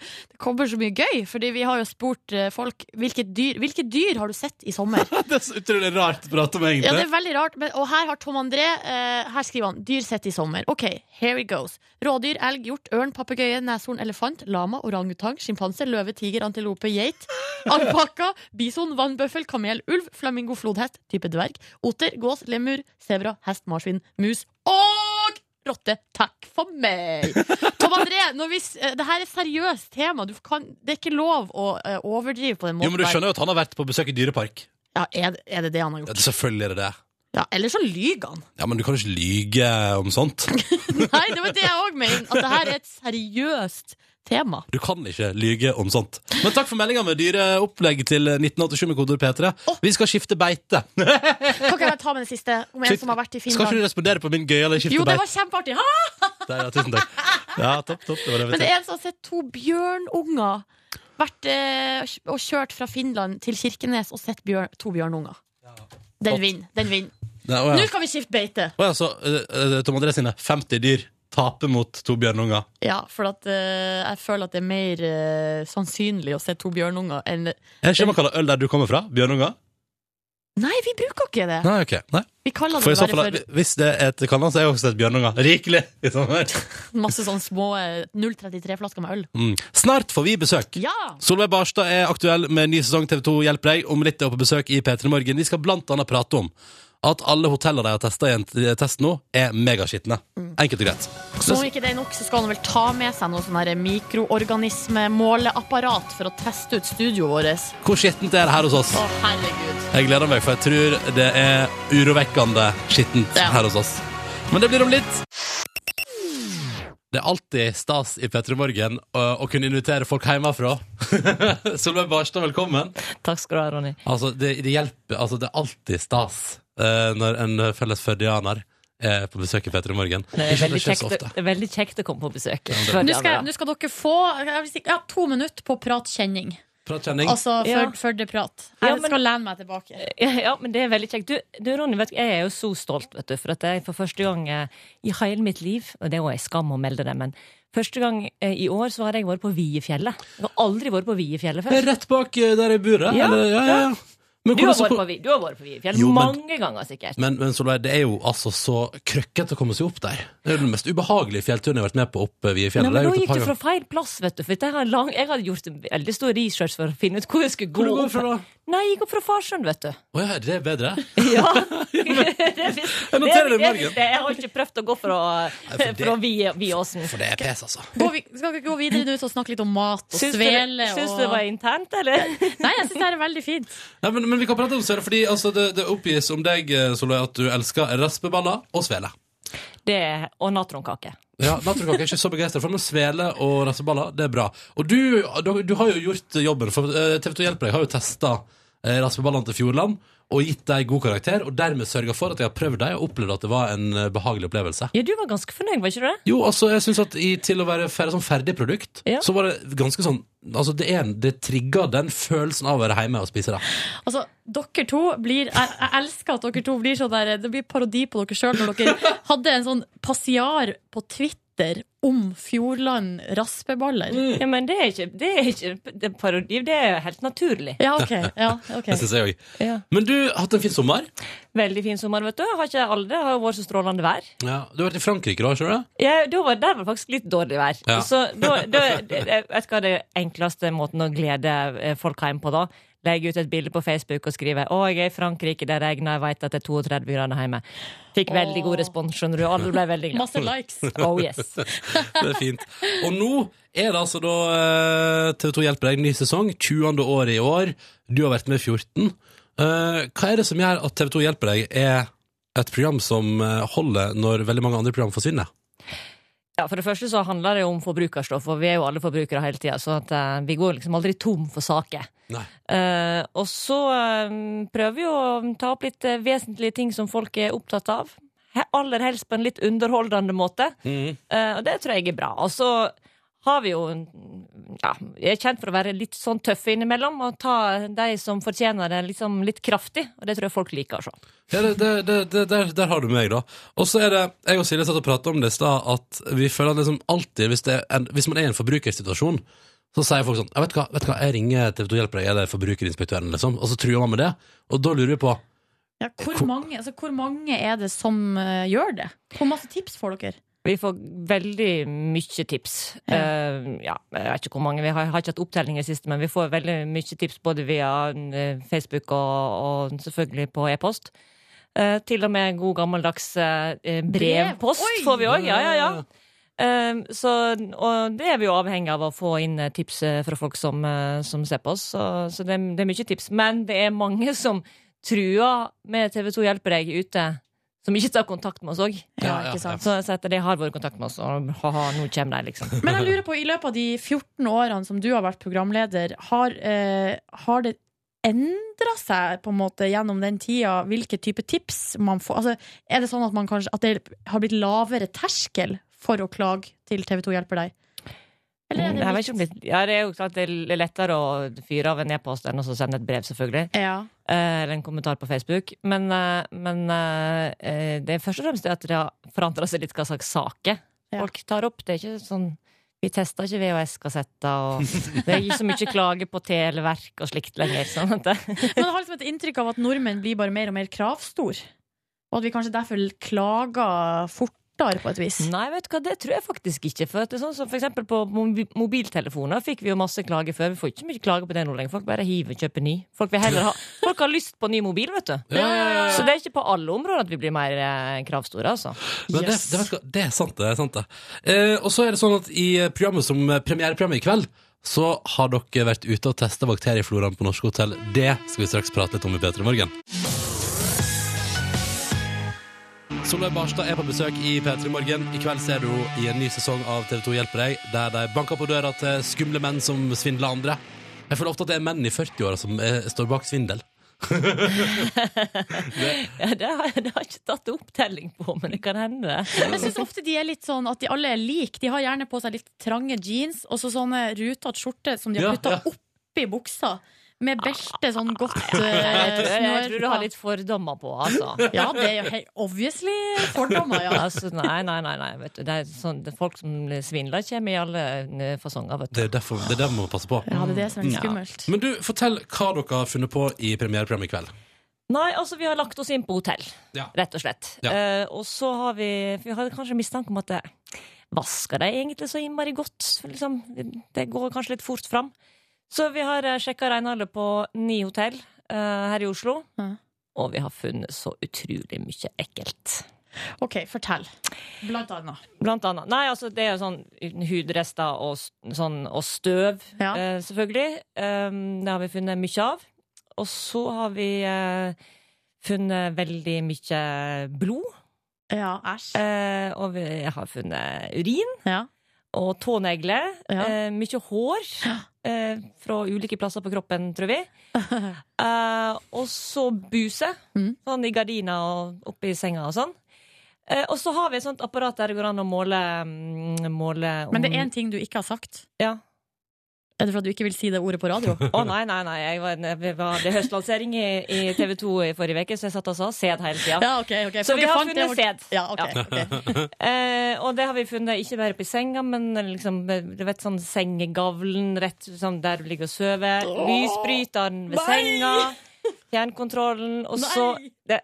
[SPEAKER 2] Det kommer så mye gøy. Fordi vi har jo spurt eh, folk hvilket dyr, hvilket dyr har du sett i sommer.
[SPEAKER 4] Det er så utrolig rart å prate om,
[SPEAKER 2] Ja, det er veldig rart. Men, og her har Tom André eh, Her skriver han 'dyr sett i sommer'. Ok, here it goes. Rådyr, elg, hjort, ørn, papegøye, neshorn, elefant, lama, orangutang, sjimpanse, løve, tiger, antilope, geit, alpakka, bison, vannbøffel, kamel, ulv, flamingo, flodhest, type dverg, oter, gås, lemur, sebra, hest, marsvin, mus og rotte. Takk for meg! Tom André, når vi, s- eh, det her er seriøst tema. Du kan, det er ikke lov å eh, overdrive på den
[SPEAKER 4] Jo,
[SPEAKER 2] måten.
[SPEAKER 4] men du
[SPEAKER 2] der.
[SPEAKER 4] skjønner jo at han har vært på besøk i dyrepark.
[SPEAKER 2] ja, er, det- er det det han har
[SPEAKER 4] Ja,
[SPEAKER 2] gjort?
[SPEAKER 4] det- selvfølgelig er det det.
[SPEAKER 2] Ja, Eller så lyver han.
[SPEAKER 4] Ja, men du kan jo ikke lyge om sånt.
[SPEAKER 2] Nei, det var det jeg òg mener. At det her er et seriøst tema.
[SPEAKER 4] Du kan ikke lyge om sånt. Men takk for meldinga med dyreopplegg til 1987 med kodeord P3. Vi skal skifte beite.
[SPEAKER 2] Kan ikke jeg bare ta med det siste om en som har vært i
[SPEAKER 4] Skal ikke
[SPEAKER 2] Finland?
[SPEAKER 4] du respondere på min gøyale skifte
[SPEAKER 2] Jo, det var
[SPEAKER 4] beite?
[SPEAKER 2] kjempeartig! Ha!
[SPEAKER 4] Der, ja, tusen takk. Ja, topp, topp. Det var det vi
[SPEAKER 2] Men det
[SPEAKER 4] tenkte.
[SPEAKER 2] er en som har sett to bjørnunger vært eh, og kjørt fra Finland til Kirkenes og sett bjørn, to bjørnunger. Den vinner. Den vinner.
[SPEAKER 4] Nei, å,
[SPEAKER 2] Nå
[SPEAKER 4] ja.
[SPEAKER 2] kan vi skifte beite!
[SPEAKER 4] Å, ja, så eh, eh, Tom André sine 50 dyr taper mot to bjørnunger.
[SPEAKER 2] Ja, for at, eh, jeg føler at det er mer eh, sannsynlig å se to bjørnunger enn
[SPEAKER 4] Er det ikke det man kaller øl der du kommer fra? Bjørnunger?
[SPEAKER 2] Nei, vi bruker ikke det!
[SPEAKER 4] Nei, ok. Nei.
[SPEAKER 2] Vi kaller
[SPEAKER 4] For
[SPEAKER 2] det
[SPEAKER 4] i så
[SPEAKER 2] bare
[SPEAKER 4] fall,
[SPEAKER 2] for
[SPEAKER 4] hvis det er et kallenavn, så er jeg også et bjørnunger. Rikelig! i sommer.
[SPEAKER 2] masse sånn små eh, 0,33-flasker med øl.
[SPEAKER 4] Mm. Snart får vi besøk.
[SPEAKER 2] Ja!
[SPEAKER 4] Solveig Barstad er aktuell med ny sesong TV 2 Hjelper deg. Om litt er hun på besøk i P3 Morgen. De skal blant annet prate om at alle hoteller de har testa i en t- test nå, er megaskitne. Enkelt og greit.
[SPEAKER 2] Som om ikke det er nok, så skal han vel ta med seg noe sånn her mikroorganismemåleapparat for å teste ut studioet vårt.
[SPEAKER 4] Hvor skittent er det her hos oss?
[SPEAKER 2] Å, herregud.
[SPEAKER 4] Jeg gleder meg, for jeg tror det er urovekkende skittent
[SPEAKER 2] Ja.
[SPEAKER 4] her hos oss. Men det blir om litt. Det er alltid stas i P3 Morgen å, å kunne invitere folk hjemmefra. Solveig Barstad, velkommen.
[SPEAKER 8] Takk skal du ha, Ronny.
[SPEAKER 4] Altså, det, det hjelper Altså, det er alltid stas eh, når en felles førdianer er på besøk i Petter i morgen.
[SPEAKER 8] Det er
[SPEAKER 4] Ikke at
[SPEAKER 8] veldig
[SPEAKER 4] det skjer så
[SPEAKER 8] kjekt,
[SPEAKER 4] ofte.
[SPEAKER 8] det er veldig kjekt å komme på besøk.
[SPEAKER 2] Nå skal, nå skal dere få jeg vil si, ja, to minutter på pratkjenning.
[SPEAKER 4] Prat kjenning.
[SPEAKER 2] Altså før,
[SPEAKER 8] Ja.
[SPEAKER 2] før det prat.
[SPEAKER 8] Ja,
[SPEAKER 2] Jeg
[SPEAKER 8] men-
[SPEAKER 2] skal lene meg tilbake.
[SPEAKER 8] Ja, ja, men det er veldig kjekt. Du, du Ronny, vet, du, jeg er jo så stolt, vet du, for at jeg for første gang eh, i hele mitt liv Og det er jo en skam å melde det, men første gang eh, i år så har jeg vært på Viefjellet. Jeg har aldri vært på Viefjellet
[SPEAKER 4] Det er
[SPEAKER 8] før.
[SPEAKER 4] rett bak eh, der jeg bor,
[SPEAKER 8] Ja,
[SPEAKER 4] eller? Ja, ja, ja. Men,
[SPEAKER 8] Du har
[SPEAKER 4] hvordan så
[SPEAKER 8] vært
[SPEAKER 4] på-
[SPEAKER 8] på, Vi- du har vært på Viefjellet
[SPEAKER 4] Jo, men-
[SPEAKER 8] mange ganger, sikkert.
[SPEAKER 4] men, men Solveig, det er jo altså så krøkkete å komme seg opp der. Det er jo den mest ubehagelige fjellturen jeg har vært med på oppe via
[SPEAKER 8] Nei,
[SPEAKER 4] fjellet.
[SPEAKER 8] men
[SPEAKER 4] Det
[SPEAKER 8] Nå
[SPEAKER 4] har jeg
[SPEAKER 8] gikk
[SPEAKER 4] gjort et
[SPEAKER 8] du
[SPEAKER 4] par
[SPEAKER 8] fra feil plass, vet du. For jeg har, lang, jeg har gjort en veldig stor research for å finne ut hvor jeg skulle gå.
[SPEAKER 4] ganger. Hvor du går
[SPEAKER 8] opp.
[SPEAKER 4] fra da?
[SPEAKER 8] Nei, jeg gikk opp fra Farsund, vet du.
[SPEAKER 4] Å ja, det er bedre.
[SPEAKER 8] Ja, det visste
[SPEAKER 4] Jeg noterer det i morgen.
[SPEAKER 8] Jeg har ikke prøvd å gå fra,
[SPEAKER 4] Nei, for det-
[SPEAKER 8] fra vi, vi åsen.
[SPEAKER 4] For det er pes, altså.
[SPEAKER 2] Gå, vi, skal vi gå videre nå og snakke litt om mat og
[SPEAKER 8] Syns du,
[SPEAKER 2] svele?
[SPEAKER 8] syns
[SPEAKER 2] Og...
[SPEAKER 8] du det var internt, eller?
[SPEAKER 2] Nei, jeg syns det her er veldig fint.
[SPEAKER 4] Nei, men, men vi kan prate om Søre, fordi altså, det, det oppgis om deg, eh, Solveig, at du elsker raspeballer og svele.
[SPEAKER 8] Det, og natronkake.
[SPEAKER 4] Ja, Naturkake er ikke så begeistra for, men svele og rasseballer, det er bra. Og du, du, du har jo gjort jobben, for eh, TV 2 Hjelper deg har jo testa raspeballene til Fjordland og gitt dem god karakter, og dermed sørga for at jeg har prøvd dem og opplevd at det var en eh, behagelig opplevelse.
[SPEAKER 8] Ja, du var ganske fornøyd, var ikke du det?
[SPEAKER 4] Jo, altså, jeg synes at i, til å være fer, sånn ferdig produkt,
[SPEAKER 8] Ja.
[SPEAKER 4] så var det ganske sånn Altså, det, er en- det trigger den følelsen av å være hjemme og spise det.
[SPEAKER 2] Altså, dere to blir Jeg, jeg elsker at dere to blir sånn der Det blir parodi på dere sjøl når dere hadde en sånn passiar på Twitter om Fjordland raspeballer.
[SPEAKER 8] Ja, men det er ikke, det er ikke det er parodi, det er helt naturlig.
[SPEAKER 2] Ja, ok. Ja, ok.
[SPEAKER 4] Det synes jeg òg. Men du har hatt en fin sommer.
[SPEAKER 8] Veldig fin sommer, vet du. Jeg Har ikke alle, det har jo vært så strålende vær.
[SPEAKER 4] Ja, du har vært i Frankrike, da, skjønner du?
[SPEAKER 8] Ja, da var, der var det faktisk litt dårlig vær.
[SPEAKER 4] Ja.
[SPEAKER 8] Så da, da, jeg vet hva det enkleste måten å glede eh, folk hjem på da? Legge ut et bilde på Facebook og skrive 'Å, jeg er i Frankrike, det regner, jeg vet at det er 32 grader hjemme'. Fikk veldig god respons, skjønner du. Alle ble veldig glad.
[SPEAKER 2] Masse likes.
[SPEAKER 8] Oh yes.
[SPEAKER 4] Det er fint. Og nå er det altså da TV 2 hjelper deg, ny sesong, 20. året i år. Du har vært med 14. Eh, hva er det som gjør at TV 2 hjelper deg er et program som eh, holder når veldig mange andre program forsvinner?
[SPEAKER 8] Ja, For det første så handler det jo om forbrukerstoff, og vi er jo alle forbrukere hele tida. Så at, eh, vi går liksom aldri tom for saker.
[SPEAKER 4] Nei.
[SPEAKER 8] Eh, og så eh, prøver vi å ta opp litt eh, vesentlige ting som folk er opptatt av. He- Aller helst på en litt underholdende måte. Eh, og det tror jeg er bra. Og så har vi jo ja, vi er kjent for å være litt sånn tøffe innimellom og ta de som fortjener det, liksom litt kraftig. Og det tror jeg folk liker å se.
[SPEAKER 4] Ja, det, det, det, det, der, der har du meg, da. Og så er det Jeg og Silje satt og prata om det i stad, at vi føler at liksom alltid hvis, det er en, hvis man er i en forbrukersituasjon, så sier folk sånn jeg vet, du hva, 'Vet du hva, jeg ringer TV 2 Hjelp deg, eller Forbrukerinspektøren', liksom. Og så truer man med det. Og da lurer vi på
[SPEAKER 2] Ja, hvor, mange, altså, hvor mange er det som eh, gjør det? Hvor masse tips får dere?
[SPEAKER 8] Vi får veldig mye tips. Eh, ja, jeg vet ikke hvor mange. Vi har, har ikke hatt opptelling i det siste, men vi får veldig mye tips både via eh, Facebook og, og selvfølgelig på e-post. Eh, til og med god gammeldags eh, brevpost
[SPEAKER 2] Brev? Oi!
[SPEAKER 8] får vi òg. Ja, ja, ja. Eh, så, og det er vi jo avhengig av å få inn eh, tips eh, fra folk som, eh, som ser på oss. Så, så det, er- det er mye tips. Men det er mange som truer med TV2 hjelper deg ute, som ikke tar kontakt med oss òg.
[SPEAKER 4] Ja, ja,
[SPEAKER 2] ikke sant?
[SPEAKER 8] Så, så etter det har vært kontakt med oss, og ha-ha, nå kommer de, liksom.
[SPEAKER 2] Men jeg lurer på, i løpet av de 14 årene som du har vært programleder, har, eh, har det endra seg på en måte gjennom den tida hvilke type tips man får? Altså, er det sånn at, man kanskje, at det har blitt lavere terskel for å klage til TV 2 hjelper deg? Eller
[SPEAKER 8] Jeg vet
[SPEAKER 2] er det
[SPEAKER 8] ikke om
[SPEAKER 2] litt
[SPEAKER 8] det, ja, det er jo klart det er lettere å fyre av en e-post enn å sende et brev, selvfølgelig.
[SPEAKER 2] ja.
[SPEAKER 8] Eh, Eller en kommentar på Facebook. Men, eh, men eh, eh, det er først og fremst det at det har forandra seg litt hva slags saker
[SPEAKER 2] Ja.
[SPEAKER 8] folk tar opp. Det er ikke sånn vi tester ikke VHS-kassetter, og det er ikke så mye klage på televerk og slikt lenger. Sånn at det,
[SPEAKER 2] Men jeg har liksom et inntrykk av at nordmenn blir bare mer og mer kravstor. Og at vi kanskje derfor klager fortere, på et vis.
[SPEAKER 8] Nei, vet du hva, det tror jeg faktisk ikke. For, at det er sånn som for eksempel på mobi- mobiltelefoner fikk vi jo masse klager før. Vi får ikke mye klager på det nå lenger. Folk bare hiver og kjøper ny. Folk, vil heller ha, folk har lyst på ny mobil, vet du.
[SPEAKER 4] Ja, ja, ja.
[SPEAKER 8] Så det er ikke på alle områder at vi blir mer eh, kravstore, altså.
[SPEAKER 4] Men det, det, vet du hva, det er sant, det. er sant det eh, Og så er det sånn at i programmet som eh, premiereprogrammet i kveld, så har dere vært ute og testa bakteriefloraen på norske hotell. Det skal vi straks prate litt om i P3 Morgen. Solveig Barstad er på besøk i P3 Morgen. I kveld ser du henne i en ny sesong av TV2 hjelper deg, der de banker på døra til skumle menn som svindler andre. Jeg føler ofte at det er menn i 40-åra som eh, står bak svindel.
[SPEAKER 8] Ja, det, har, det har jeg ikke tatt opptelling på, men det kan hende.
[SPEAKER 2] Jeg syns ofte de er litt sånn at de alle er like. De har gjerne på seg litt trange jeans og så sånne rutete skjorter som de
[SPEAKER 4] Ja,
[SPEAKER 2] har putta
[SPEAKER 4] ja.
[SPEAKER 2] oppi buksa. Med belte sånn godt
[SPEAKER 8] Jeg tror,
[SPEAKER 2] eh,
[SPEAKER 8] jeg, jeg tror du har
[SPEAKER 2] på.
[SPEAKER 8] litt fordommer på, altså.
[SPEAKER 2] Ja, det er jo helt obviously fordommer, ja.
[SPEAKER 8] altså nei, nei, nei. nei vet du. Det er sånn, det er folk som svindler, kommer i alle eh, fasonger, vet du.
[SPEAKER 4] Det er derfor det er derfor man må passe på.
[SPEAKER 2] Ja, det er det som er litt skummelt.
[SPEAKER 4] Men du, fortell hva dere har funnet på i premiereprogrammet i kveld.
[SPEAKER 8] Nei, altså vi har lagt oss inn på hotell,
[SPEAKER 4] Ja.
[SPEAKER 8] rett og slett.
[SPEAKER 4] Ja.
[SPEAKER 8] Eh, og så har vi Vi hadde kanskje mistanke om at det vasker de egentlig så innmari godt. For liksom, det går kanskje litt fort fram. Så vi har uh, sjekka renholdet på ni hotell eh, her i Oslo.
[SPEAKER 2] Mhm.
[SPEAKER 8] Og vi har funnet så utrolig mye ekkelt.
[SPEAKER 2] OK, fortell. Blant annet.
[SPEAKER 8] Blant annet. Nei, altså det er jo sånn hudrester og, s- sånn, og støv,
[SPEAKER 2] Ja.
[SPEAKER 8] eh, selvfølgelig. Um, det har vi funnet mye av. Og så har vi eh, funnet veldig mye blod.
[SPEAKER 2] Ja, æsj.
[SPEAKER 8] eh, og vi har funnet urin
[SPEAKER 2] Ja.
[SPEAKER 8] og tånegler.
[SPEAKER 2] Ja.
[SPEAKER 8] eh, mye hår eh, fra ulike plasser på kroppen, tror vi. Eh, og så buse.
[SPEAKER 2] Mm.
[SPEAKER 8] Sånn i gardina og oppi senga og sånn. Eh, og så har vi et sånt apparat der det går an å måle, mm, måle om,
[SPEAKER 2] Men det er én ting du ikke har sagt.
[SPEAKER 8] ja.
[SPEAKER 2] Er det for at du ikke vil si det ordet på radio?
[SPEAKER 8] Å nei, nei, nei. Jeg var, jeg var, det er høstlansering i, i TV 2 i forrige uke, så jeg satt og sa sæd hele tida.
[SPEAKER 2] Ja, ok, ok.
[SPEAKER 8] Så
[SPEAKER 2] For
[SPEAKER 8] vi
[SPEAKER 2] dere
[SPEAKER 8] har
[SPEAKER 2] fant det
[SPEAKER 8] funnet
[SPEAKER 2] bort-
[SPEAKER 8] sæd.
[SPEAKER 2] Ja, ok, ok.
[SPEAKER 8] Eh, og det har vi funnet ikke bare oppi senga, men liksom, du vet, sånn sengegavlen rett sånn der du ligger og sover. Lysbryteren ved
[SPEAKER 2] nei!
[SPEAKER 8] senga. Fjernkontrollen. Og så
[SPEAKER 2] Nei!
[SPEAKER 8] det,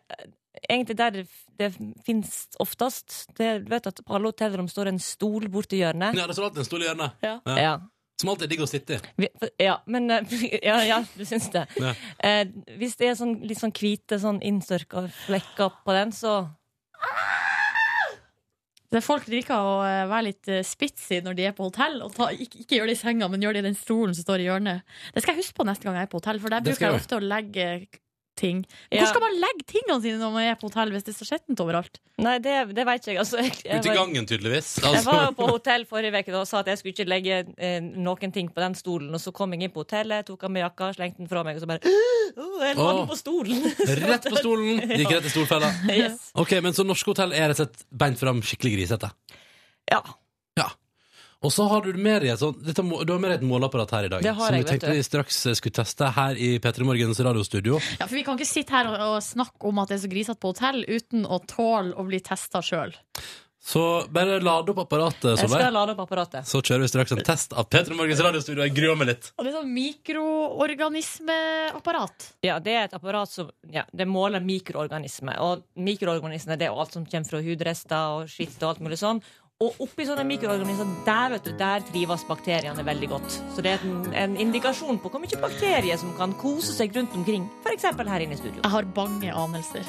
[SPEAKER 8] Egentlig der det, det fins oftest det, Du vet at på alle hotellrom står det en stol borti hjørnet.
[SPEAKER 4] Ja, det står alltid en stol i hjørnet.
[SPEAKER 2] Ja.
[SPEAKER 4] Ja.
[SPEAKER 8] Ja.
[SPEAKER 4] Som alltid er digg å sitte i.
[SPEAKER 8] Vi, ja, men eh, Ja, ja, du syns det.
[SPEAKER 4] Ja.
[SPEAKER 8] Eh, hvis det er sånn, litt sånn hvite sånn innstørka flekker på den, så
[SPEAKER 2] Det er folk liker å eh, være litt eh, spitsy når de er på hotell. Og ta, ikke, ikke gjør det i senga, men gjør det i den stolen som står i hjørnet. Det skal jeg huske på neste gang jeg er på hotell, for der
[SPEAKER 4] Det skal
[SPEAKER 2] bruker jeg
[SPEAKER 4] jeg
[SPEAKER 2] ofte å legge eh, ting. Men
[SPEAKER 8] Ja.
[SPEAKER 2] Hvor skal man legge tingene sine når man er på hotell, hvis det er så skjettent overalt?
[SPEAKER 8] Nei, det, det veit ikke jeg. Altså, jeg, jeg
[SPEAKER 4] Ute i
[SPEAKER 8] var-
[SPEAKER 4] gangen, tydeligvis.
[SPEAKER 8] Jeg
[SPEAKER 4] Altså.
[SPEAKER 8] var jo på hotell forrige uke da og sa at jeg skulle ikke legge eh, noen ting på den stolen. Og så kom jeg inn på hotellet, tok av meg jakka, slengte den fra meg, og så bare «Åh, Jeg
[SPEAKER 4] Åh.
[SPEAKER 8] landet på stolen!
[SPEAKER 4] Rett på stolen! Gikk rett i stolfella.
[SPEAKER 8] yes.
[SPEAKER 4] Ok, men så norske hotell er rett og slett beint fram skikkelig grisete.
[SPEAKER 8] Ja.
[SPEAKER 4] Og så har du med deg et sånt dette må- Du har med deg et måleapparat her i dag.
[SPEAKER 8] Det har
[SPEAKER 4] som
[SPEAKER 8] jeg,
[SPEAKER 4] vi
[SPEAKER 8] vet
[SPEAKER 4] tenkte
[SPEAKER 8] du.
[SPEAKER 4] vi straks eh, skulle teste her i P3 Morgens radiostudio.
[SPEAKER 2] Ja, for Vi kan ikke sitte her og, og snakke om at det er så grisete på hotell, uten å tåle å bli testa sjøl.
[SPEAKER 4] Så bare lad opp apparatet,
[SPEAKER 8] Jeg skal
[SPEAKER 4] Solveig.
[SPEAKER 8] lade opp apparatet.
[SPEAKER 4] Så kjører vi straks en test av P3 Morgens radiostudio. Jeg gruer meg litt.
[SPEAKER 2] Og det er sånn mikroorganismeapparat.
[SPEAKER 8] Ja, det er et apparat som ja, det måler mikroorganismer. Og mikroorganismer det er jo alt som kommer fra hudrester og skitt og alt mulig sånn. Og oppi sånne mikroorganismer der vet du, der trives bakteriene veldig godt. Så det er en, en indikasjon på hvor mye bakterier som kan kose seg rundt omkring. F.eks. her inne i studio.
[SPEAKER 2] Jeg har bange anelser.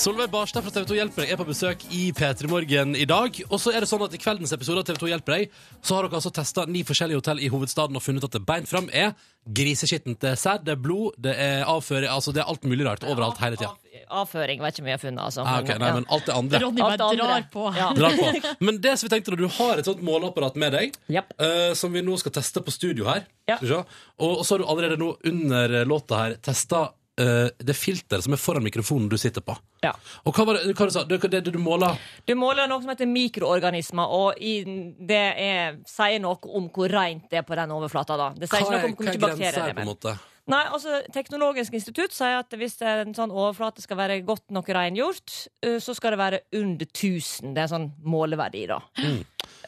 [SPEAKER 4] Solveig Barstad fra TV 2 Hjelper deg er på besøk i P3 Morgen i dag. Og så er det sånn at I kveldens episode av TV 2 Hjelper deg Så har dere altså testa ni forskjellige hotell i hovedstaden og funnet at det beint fram er griseskittent. Det er sæd, det er blod, det er avføring Altså det er alt mulig rart overalt hele tida.
[SPEAKER 8] Avføring vet ikke om vi har funnet, altså.
[SPEAKER 4] Ah, ok, nei, men alt det andre.
[SPEAKER 2] Ronny
[SPEAKER 8] Alt
[SPEAKER 2] bare
[SPEAKER 8] det andre.
[SPEAKER 2] drar på.
[SPEAKER 8] Ja.
[SPEAKER 4] Dra på. Men det som vi tenkte da, du har et sånt måleapparat med deg,
[SPEAKER 8] Japp.
[SPEAKER 4] eh, som vi nå skal teste på studio her.
[SPEAKER 8] Ja.
[SPEAKER 4] Skal vi se. Og, og så har du allerede nå under låta her testa eh, det filteret som er foran mikrofonen du sitter på.
[SPEAKER 8] Ja.
[SPEAKER 4] Og hva var det, hva du sa du? Det, det du måla?
[SPEAKER 8] Du måler noe som heter mikroorganismer, og i, det er, sier noe om hvor rent det er på den overflata. da. Det sier ikke noe om hvor mye bakterier det er.
[SPEAKER 4] på en
[SPEAKER 8] men-
[SPEAKER 4] måte?
[SPEAKER 8] Nei, altså Teknologisk institutt sier at hvis en sånn overflate skal være godt nok rengjort, eh, så skal det være under 1000. Det er en sånn måleverdi, da.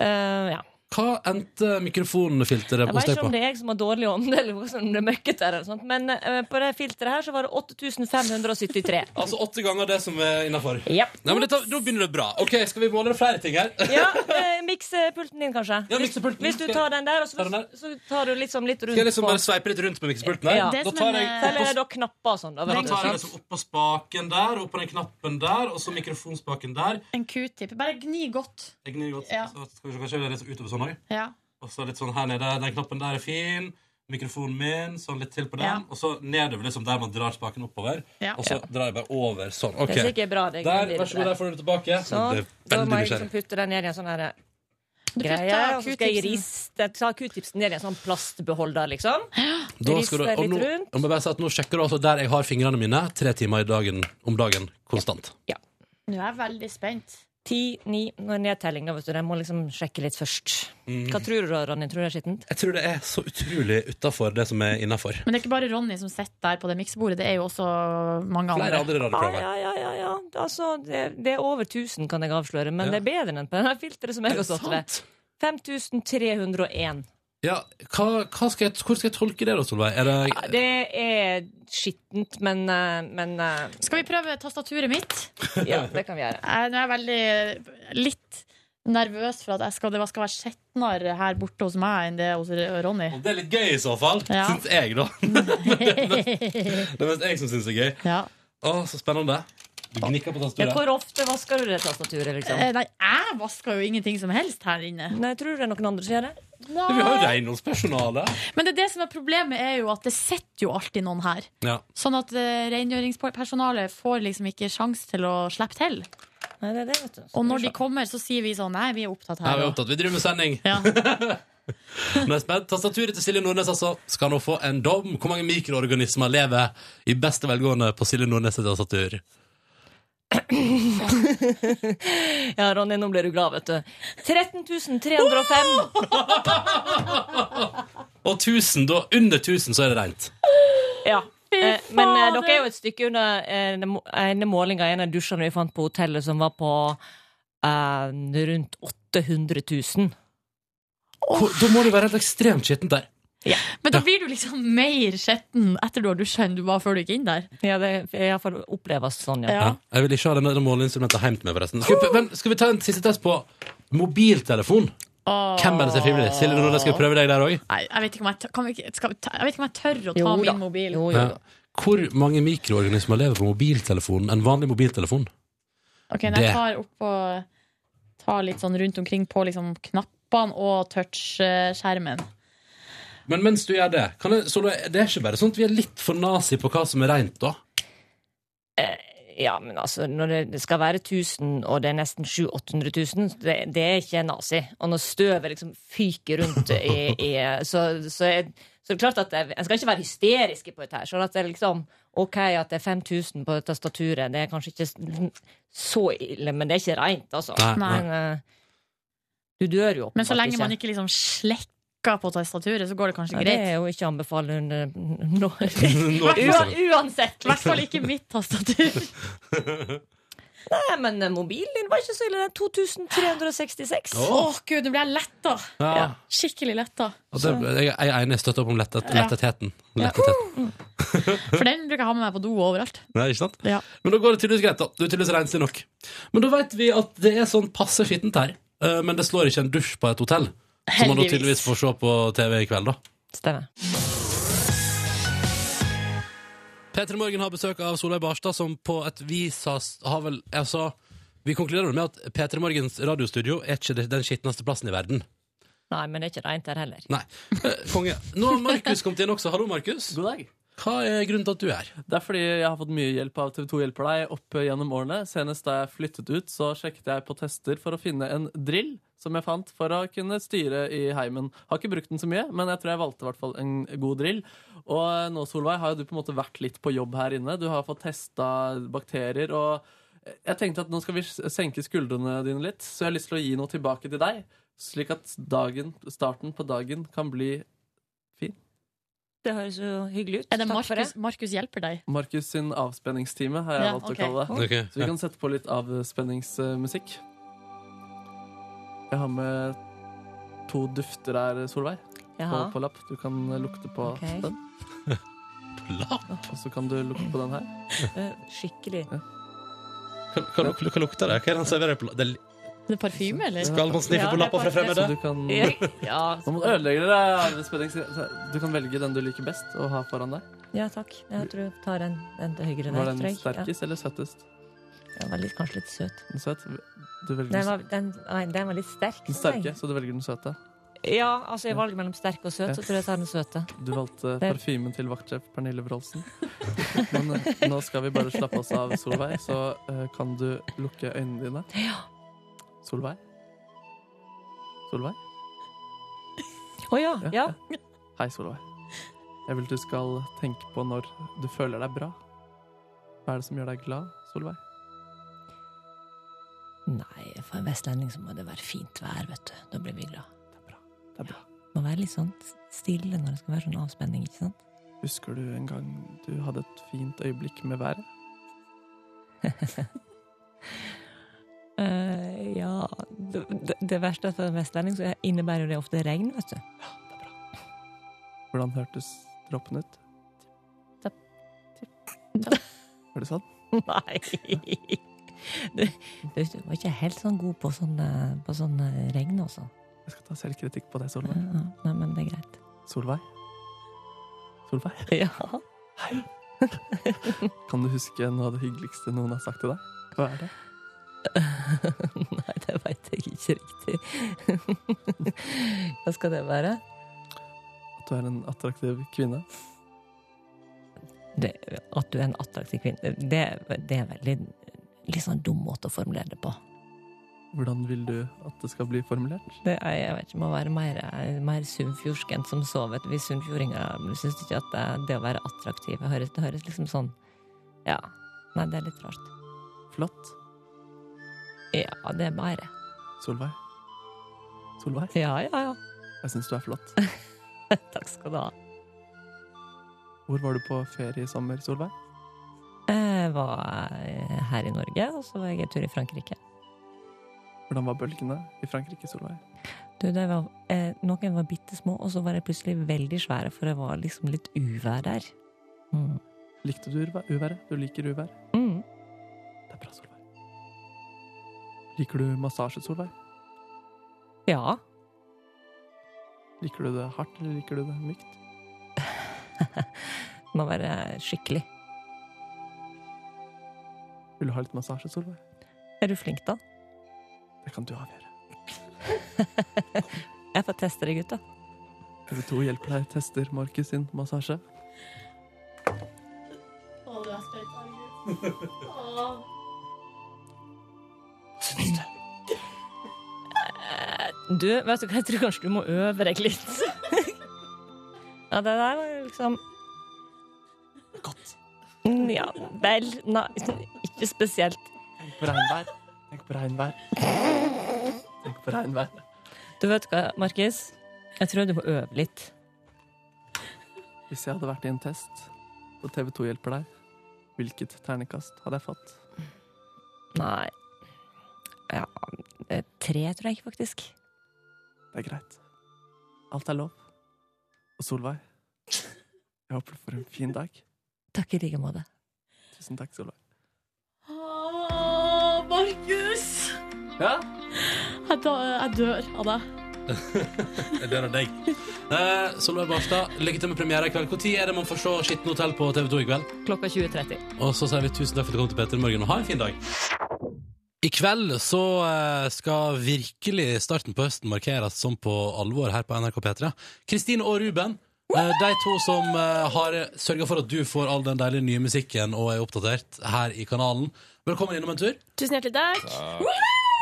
[SPEAKER 8] Eh, ja.
[SPEAKER 4] Mm. Hva endte mikrofonfilteret
[SPEAKER 8] Jeg
[SPEAKER 4] hos
[SPEAKER 8] vet
[SPEAKER 4] deg
[SPEAKER 8] ikke
[SPEAKER 4] på?
[SPEAKER 8] om det er jeg som har dårlig ånd, eller hva som det er møkkete eller noe sånt, men eh, på det filteret her så var det 8573.
[SPEAKER 4] Altså åtte ganger det som er innafor.
[SPEAKER 8] Japp.
[SPEAKER 4] Nei, men dette, Nå begynner det bra. Ok, Skal vi måle flere ting her?
[SPEAKER 8] Ja, eh, Miksepulten din, kanskje.
[SPEAKER 4] Ja, miksepulten.
[SPEAKER 8] Hvis, hvis du tar den der, og
[SPEAKER 4] Ta
[SPEAKER 8] så,
[SPEAKER 4] den der.
[SPEAKER 8] så tar du liksom litt rundt
[SPEAKER 4] Skal jeg liksom
[SPEAKER 8] på.
[SPEAKER 4] bare sveipe litt rundt med miksepulten her?
[SPEAKER 8] Ja.
[SPEAKER 2] Det
[SPEAKER 4] Da
[SPEAKER 2] som
[SPEAKER 4] tar
[SPEAKER 2] en,
[SPEAKER 4] jeg
[SPEAKER 2] eh,
[SPEAKER 8] Eller er det da knapper og sånn? da,
[SPEAKER 4] Da
[SPEAKER 8] hverandre?
[SPEAKER 4] tar jeg liksom opp på spaken der, opp på den knappen der, og så mikrofonspaken der.
[SPEAKER 2] En q-tip. Bare gni godt.
[SPEAKER 4] Jeg gnir godt,
[SPEAKER 2] Ja.
[SPEAKER 4] så skal vi se, kanskje det er litt utover sånn også.
[SPEAKER 2] Ja.
[SPEAKER 4] Og så litt sånn her nede. Den knappen der er fin. Mikrofonen min, sånn litt til på den.
[SPEAKER 2] Ja.
[SPEAKER 4] Og så nedover, liksom der man drar spaken oppover.
[SPEAKER 2] Ja.
[SPEAKER 4] Og så drar jeg bare over sånn.
[SPEAKER 8] Det er
[SPEAKER 4] Ok.
[SPEAKER 8] sikkert bra. Det
[SPEAKER 4] Der, vær så god, der får du det tilbake.
[SPEAKER 8] Sånn.
[SPEAKER 4] Det er
[SPEAKER 8] Da må
[SPEAKER 4] veldig
[SPEAKER 8] jeg liksom
[SPEAKER 4] nysgjerrig.
[SPEAKER 8] putte den ned i en sånn her
[SPEAKER 2] Du
[SPEAKER 8] greie.
[SPEAKER 2] putter
[SPEAKER 8] Og så skal jeg
[SPEAKER 2] q-tipsen.
[SPEAKER 8] riste ta Q-tipsen ned i en sånn plastbeholder, liksom.
[SPEAKER 4] Da skal du,
[SPEAKER 8] rister
[SPEAKER 4] og
[SPEAKER 8] litt
[SPEAKER 4] nå,
[SPEAKER 8] rundt.
[SPEAKER 4] jeg må bare si at nå sjekker du altså der jeg har fingrene mine, tre timer i dagen, om dagen konstant.
[SPEAKER 2] Nå er jeg veldig spent.
[SPEAKER 8] Ti, ni Nå er nedtelling, da, vet du. Jeg må liksom sjekke litt først.
[SPEAKER 4] Mm.
[SPEAKER 8] Hva tror du, da, Ronny? Tror du det er skittent?
[SPEAKER 4] Jeg tror det er så utrolig utafor det som er innafor.
[SPEAKER 2] Men det er ikke bare Ronny som sitter der på det miksebordet, det er jo også mange
[SPEAKER 4] Flere
[SPEAKER 2] andre.
[SPEAKER 4] andre
[SPEAKER 8] Ja,
[SPEAKER 4] radioprogrammer.
[SPEAKER 8] ja, ja. ja, ja. Altså, det, det er over 1000, kan jeg avsløre.
[SPEAKER 4] Ja.
[SPEAKER 8] Men det er bedre enn på denne filteret som jeg har stått ved. 5301.
[SPEAKER 4] Ja, hva, hva skal jeg, hvor skal jeg tolke det da, Solveig? Er det,
[SPEAKER 8] Ja, det er skittent, men, eh, men eh,
[SPEAKER 2] Skal vi prøve tastaturet mitt?
[SPEAKER 8] Ja, det kan vi gjøre.
[SPEAKER 2] Jeg, nå er jeg veldig eh, litt nervøs for at jeg skal, det skal være skjetnere her borte hos meg enn det er hos Ronny.
[SPEAKER 4] Og det er litt gøy i så fall,
[SPEAKER 2] Ja.
[SPEAKER 4] syns jeg da. Men det er mest- det er mest jeg som syns det er gøy.
[SPEAKER 2] Ja.
[SPEAKER 4] Å, så spennende. Du gnikker på
[SPEAKER 8] Ja,
[SPEAKER 4] tastaturet.
[SPEAKER 8] hvor ofte vasker du det tastaturet, liksom?
[SPEAKER 2] Eh, Nei, jeg vasker jo ingenting som helst her inne.
[SPEAKER 8] Nei, tror du det er noen andre som gjør det?
[SPEAKER 4] Vi har jo renholdspersonale.
[SPEAKER 2] Men det, er det som er problemet, er jo at det sitter jo alltid noen her.
[SPEAKER 4] Ja.
[SPEAKER 2] Sånn at eh, rengjøringspersonalet får liksom ikke sjanse til å slippe til.
[SPEAKER 8] Nei, det er det, vet du.
[SPEAKER 2] Og når de kommer, så sier vi sånn Nei, vi er opptatt
[SPEAKER 4] Her er
[SPEAKER 2] her.
[SPEAKER 4] vi
[SPEAKER 2] og-
[SPEAKER 4] opptatt. Vi driver med sending.
[SPEAKER 2] Ja.
[SPEAKER 4] Nå er jeg spent. Tastaturet til Silje Nordnes altså, skal nå få en dom. Hvor mange mikroorganismer lever i beste velgående på Silje Nordnes' sitt tastatur?
[SPEAKER 8] Ja, Ronny, nå blir du glad, vet du. 13.305
[SPEAKER 4] Og 1000, da, under 1000 så er det rent.
[SPEAKER 8] Ja. Eh, men eh, dere er jo et stykke under eh, den må- ene målinga i en av dusjene vi fant på hotellet, som var på eh, rundt 800 000.
[SPEAKER 4] Hvor, da må det være helt ekstremt skittent der.
[SPEAKER 2] Men da blir du liksom mer skjetten etter du har dusja enn du var før du gikk inn der.
[SPEAKER 8] Ja, det iallfall oppleves sånn, ja.
[SPEAKER 2] Ja.
[SPEAKER 4] Ja. Jeg vil ikke ha denne måleinstrumentet hjem til meg, forresten. Skal vi, men, skal vi ta en siste test på mobiltelefon? Hvem er det som er frivillig? Silje Nordnes, skal vi prøve deg der òg?
[SPEAKER 2] Nei, jeg vet ikke om jeg, tør- kan vi, ikke- skal, vi ta- jeg vet ikke om jeg tør å ta
[SPEAKER 8] Jo da.
[SPEAKER 2] min mobil.
[SPEAKER 8] Jo, jo.
[SPEAKER 4] Ja. Hvor mange mikroorganismer lever på mobiltelefonen? En vanlig mobiltelefon?
[SPEAKER 2] Ok, når
[SPEAKER 4] Det-
[SPEAKER 2] jeg tar opp og tar litt sånn rundt omkring på liksom knappene og touch-skjermen.
[SPEAKER 4] Men mens du gjør det, kan jeg, Solveig, det er ikke bare sånn at vi er litt for nazi på hva som er rent, da?
[SPEAKER 8] Ja, men altså, når det- det skal være 1000, og det er nesten 700 000, det, det er ikke nazi. Og når støvet liksom fyker rundt i, i så, så, er, så er det klart at jeg, jeg skal ikke være hysterisk på dette her. Sånn at det er liksom OK at det er 5000 på tastaturet, det er kanskje ikke s- så ille, men det er ikke reint, altså.
[SPEAKER 4] Nei,
[SPEAKER 2] Nei.
[SPEAKER 8] Men eh, du dør jo
[SPEAKER 2] Men så lenge man
[SPEAKER 8] ikke
[SPEAKER 2] ikke liksom slekker på tastaturet, så går det kanskje
[SPEAKER 8] ja, Det
[SPEAKER 2] greit.
[SPEAKER 8] er jo ikke å anbefale under nå.
[SPEAKER 4] Nå-
[SPEAKER 8] Ua- Uansett,
[SPEAKER 2] I hvert fall ikke mitt tastatur.
[SPEAKER 8] Nei, men eh, mobilen din var ikke så ille. Den 2366.
[SPEAKER 2] Å, gud, nå ble jeg letta.
[SPEAKER 4] Ja.
[SPEAKER 2] Skikkelig letta.
[SPEAKER 4] Og det, Altså, jeg, jeg er enig, jeg støtter opp om lettet, lettettheten. lettettheten.
[SPEAKER 8] Uh.
[SPEAKER 2] For den bruker jeg ha med meg på do overalt.
[SPEAKER 4] Nei, ikke sant?
[SPEAKER 2] Ja.
[SPEAKER 4] Men da går det tydeligvis greit, da. Du er tydeligvis renslig nok. Men da vet vi at det er sånn passe skittent her, eh, men det slår ikke en dusj på et hotell. Som man da
[SPEAKER 2] Heldigvis.
[SPEAKER 4] tydeligvis får se på TV i kveld, da.
[SPEAKER 8] Stemmer.
[SPEAKER 4] Petra Morgen har besøk av Solveig Barstad, som på et vis har, har vel altså, Vi konkluderer vel med at Petra Morgens radiostudio er ikke den skitneste plassen i verden.
[SPEAKER 8] Nei, men det er ikke rent der heller.
[SPEAKER 4] Nei. Eh, Konge. Nå har Markus kommet inn også. Hallo, Markus.
[SPEAKER 7] God dag.
[SPEAKER 4] Hva er grunnen til at du er her?
[SPEAKER 7] Det er fordi jeg har fått mye hjelp av TV2 Hjelper deg opp gjennom årene. Senest da jeg flyttet ut, så sjekket jeg på tester for å finne en drill som jeg fant for å kunne styre i heimen. Har ikke brukt den så mye, men jeg tror jeg valgte i hvert fall en god drill. Og nå, Solveig, har jo du på en måte vært litt på jobb her inne. Du har fått testa bakterier og jeg tenkte at nå skal vi s- senke skuldrene dine litt, så jeg har lyst til å gi noe tilbake til deg. Slik at dagen, starten på dagen kan bli
[SPEAKER 8] Det høres jo hyggelig ut.
[SPEAKER 2] Er det
[SPEAKER 8] Takk for det.
[SPEAKER 2] Markus, Markus hjelper deg?
[SPEAKER 7] Markus sin avspenningstime, har jeg
[SPEAKER 2] Ja,
[SPEAKER 7] valgt
[SPEAKER 2] ok.
[SPEAKER 7] å kalle det.
[SPEAKER 4] Okay.
[SPEAKER 7] Så vi kan sette på litt avspenningsmusikk. Jeg har med to dufter her, Solveig, på,
[SPEAKER 8] Jaha.
[SPEAKER 7] på lapp. Du kan eh, lukte på
[SPEAKER 8] Ok.
[SPEAKER 7] den, og så kan du lukte på den her.
[SPEAKER 8] Eh, Skikkelig.
[SPEAKER 4] Hva, hva, luk- hva lukter det? Hva er den serverer på la- det, er-
[SPEAKER 2] Er det parfyme, eller?
[SPEAKER 4] Skal man sniffe
[SPEAKER 8] Ja,
[SPEAKER 4] på
[SPEAKER 8] det er
[SPEAKER 4] lappa fra
[SPEAKER 8] parfyme.
[SPEAKER 7] Så
[SPEAKER 4] fremmede?
[SPEAKER 7] du kan
[SPEAKER 8] Ja,
[SPEAKER 7] Nå må du ødelegge det avspenningstime. Du kan velge den du liker best å ha foran deg.
[SPEAKER 8] ja takk. Jeg tror jeg tar en, en til høyre der.
[SPEAKER 7] Var
[SPEAKER 8] tror
[SPEAKER 7] den
[SPEAKER 8] jeg.
[SPEAKER 7] sterkest eller søttest?
[SPEAKER 8] Ja, den var litt, kanskje litt søt.
[SPEAKER 7] Den søt? Du velger
[SPEAKER 8] Den
[SPEAKER 7] den,
[SPEAKER 8] var, den, nei, den var litt sterk.
[SPEAKER 7] den
[SPEAKER 8] synes
[SPEAKER 7] sterke,
[SPEAKER 8] jeg.
[SPEAKER 7] så du velger den søte.
[SPEAKER 8] Ja, altså i valget mellom sterk og søt, så tror jeg jeg tar den søte.
[SPEAKER 7] Du valgte
[SPEAKER 8] Der.
[SPEAKER 7] parfymen til vaktsjef Pernille Wroldsen. Men eh, nå skal vi bare slappe oss av, Solveig. Så eh, kan du lukke øynene dine. Solveig? Solveig?
[SPEAKER 8] Å ja. ja.
[SPEAKER 7] Hei, Solveig. Jeg vil du skal tenke på når du føler deg bra. Hva er det som gjør deg glad, Solveig?
[SPEAKER 8] Nei, for en vestlending så må det være fint vær, vet du. Da blir vi glad.
[SPEAKER 7] Det er bra.
[SPEAKER 8] Må være litt sånn stille når det skal være sånn avspenning, ikke sant?
[SPEAKER 7] Husker du en gang du hadde et fint øyeblikk med været?
[SPEAKER 8] Eh, ja, det, det- det verste for en vestlending så innebærer jo det ofte regn, vet du.
[SPEAKER 7] Hvordan hørtes dråpen ut?
[SPEAKER 2] Tapp,
[SPEAKER 7] Var det sånn?
[SPEAKER 8] Nei. Du, du, du var ikke helt sånn god på sånn, eh, på sånn eh, regn, altså.
[SPEAKER 7] Jeg skal ta selvkritikk på det,
[SPEAKER 8] Ja,
[SPEAKER 7] Solveig.
[SPEAKER 8] ja. Nei, men det er greit.
[SPEAKER 7] Solveig? Solveig?
[SPEAKER 8] Ja.
[SPEAKER 7] Kan du huske noe av det hyggeligste noen har sagt til deg? Hva er det?
[SPEAKER 8] Nei, det veit jeg ikke riktig. Hva skal det være?
[SPEAKER 7] At du er en attraktiv kvinne.
[SPEAKER 8] Det, at du er en attraktiv kvinne, det, det er en veldig litt sånn dum måte å formulere det på.
[SPEAKER 7] Hvordan vil du at det skal bli formulert?
[SPEAKER 8] Det er, jeg vet ikke, må være mer, mer sunnfjordsk enn som så, vet du. Vi sunnfjordinger syns ikke at det, det å være attraktiv det høres, det høres liksom sånn Ja. Nei, det er litt rart.
[SPEAKER 7] Flott.
[SPEAKER 8] Ja, det er bare.
[SPEAKER 7] Solveig. Solveig,
[SPEAKER 8] Ja, ja, ja.
[SPEAKER 7] jeg syns du er flott.
[SPEAKER 8] Takk skal du ha.
[SPEAKER 7] Hvor var du på ferie i sommer, Solveig?
[SPEAKER 8] Jeg var eh, her i Norge, og så var jeg en tur i Frankrike.
[SPEAKER 7] Hvordan var bølgene i Frankrike, Solveig?
[SPEAKER 8] Du, det var, eh, noen var bitte små, og så var de plutselig veldig svære, for det var liksom litt uvær der. Mm.
[SPEAKER 7] Likte du urvæ- uværet? Du liker uvær.
[SPEAKER 8] Mm.
[SPEAKER 7] Det er bra, Solveig. Liker du massasje, Solveig?
[SPEAKER 8] Ja.
[SPEAKER 7] Liker du det hardt, eller liker du det mykt?
[SPEAKER 8] Må være skikkelig.
[SPEAKER 7] Vil du ha litt massasje, Solveig?
[SPEAKER 8] Er du flink, da?
[SPEAKER 7] Det kan du avgjøre.
[SPEAKER 8] Jeg får teste deg, gutta.
[SPEAKER 7] TV2 hjelper deg, tester Markus sin massasje.
[SPEAKER 2] Å, du er sprøyt.
[SPEAKER 8] Eh, Du, vet du hva, jeg tror kanskje du må øve deg litt. ja, det der var jo liksom
[SPEAKER 7] Godt.
[SPEAKER 8] Mm, Ja, vel Nei, ikke spesielt.
[SPEAKER 7] Tenk på regnvær. Tenk på regnvær. Tenk på regnvær.
[SPEAKER 8] Du vet hva, Markus? Jeg tror du må øve litt.
[SPEAKER 7] Hvis jeg hadde vært i en test på TV2 hjelper deg, hvilket ternekast hadde jeg fått?
[SPEAKER 8] Nei Ja, eh, tre tror jeg faktisk.
[SPEAKER 7] Det er greit. Alt er lov. Og Solveig, jeg håper du får en fin dag.
[SPEAKER 8] Takk i like måte.
[SPEAKER 7] Tusen takk, Solveig.
[SPEAKER 2] Åh, Markus!
[SPEAKER 7] Ja?
[SPEAKER 2] Jeg, da- jeg dør av deg.
[SPEAKER 4] Jeg dør av deg. Eh, Solveig Barstad, lykke til med premiere i kveld. Når er det man får se Skitten hotell på TV2 i kveld?
[SPEAKER 8] Klokka 20.30.
[SPEAKER 4] Og så sier vi tusen takk for at du kom til Peter i morgen, og ha en fin dag. I kveld så eh, skal virkelig starten på høsten markeres som på alvor her på NRK P3. Kristine og Ruben, eh, de to som eh, har sørga for at du får all den deilige nye musikken og er oppdatert her i kanalen. Velkommen innom en tur.
[SPEAKER 9] Tusen hjertelig takk.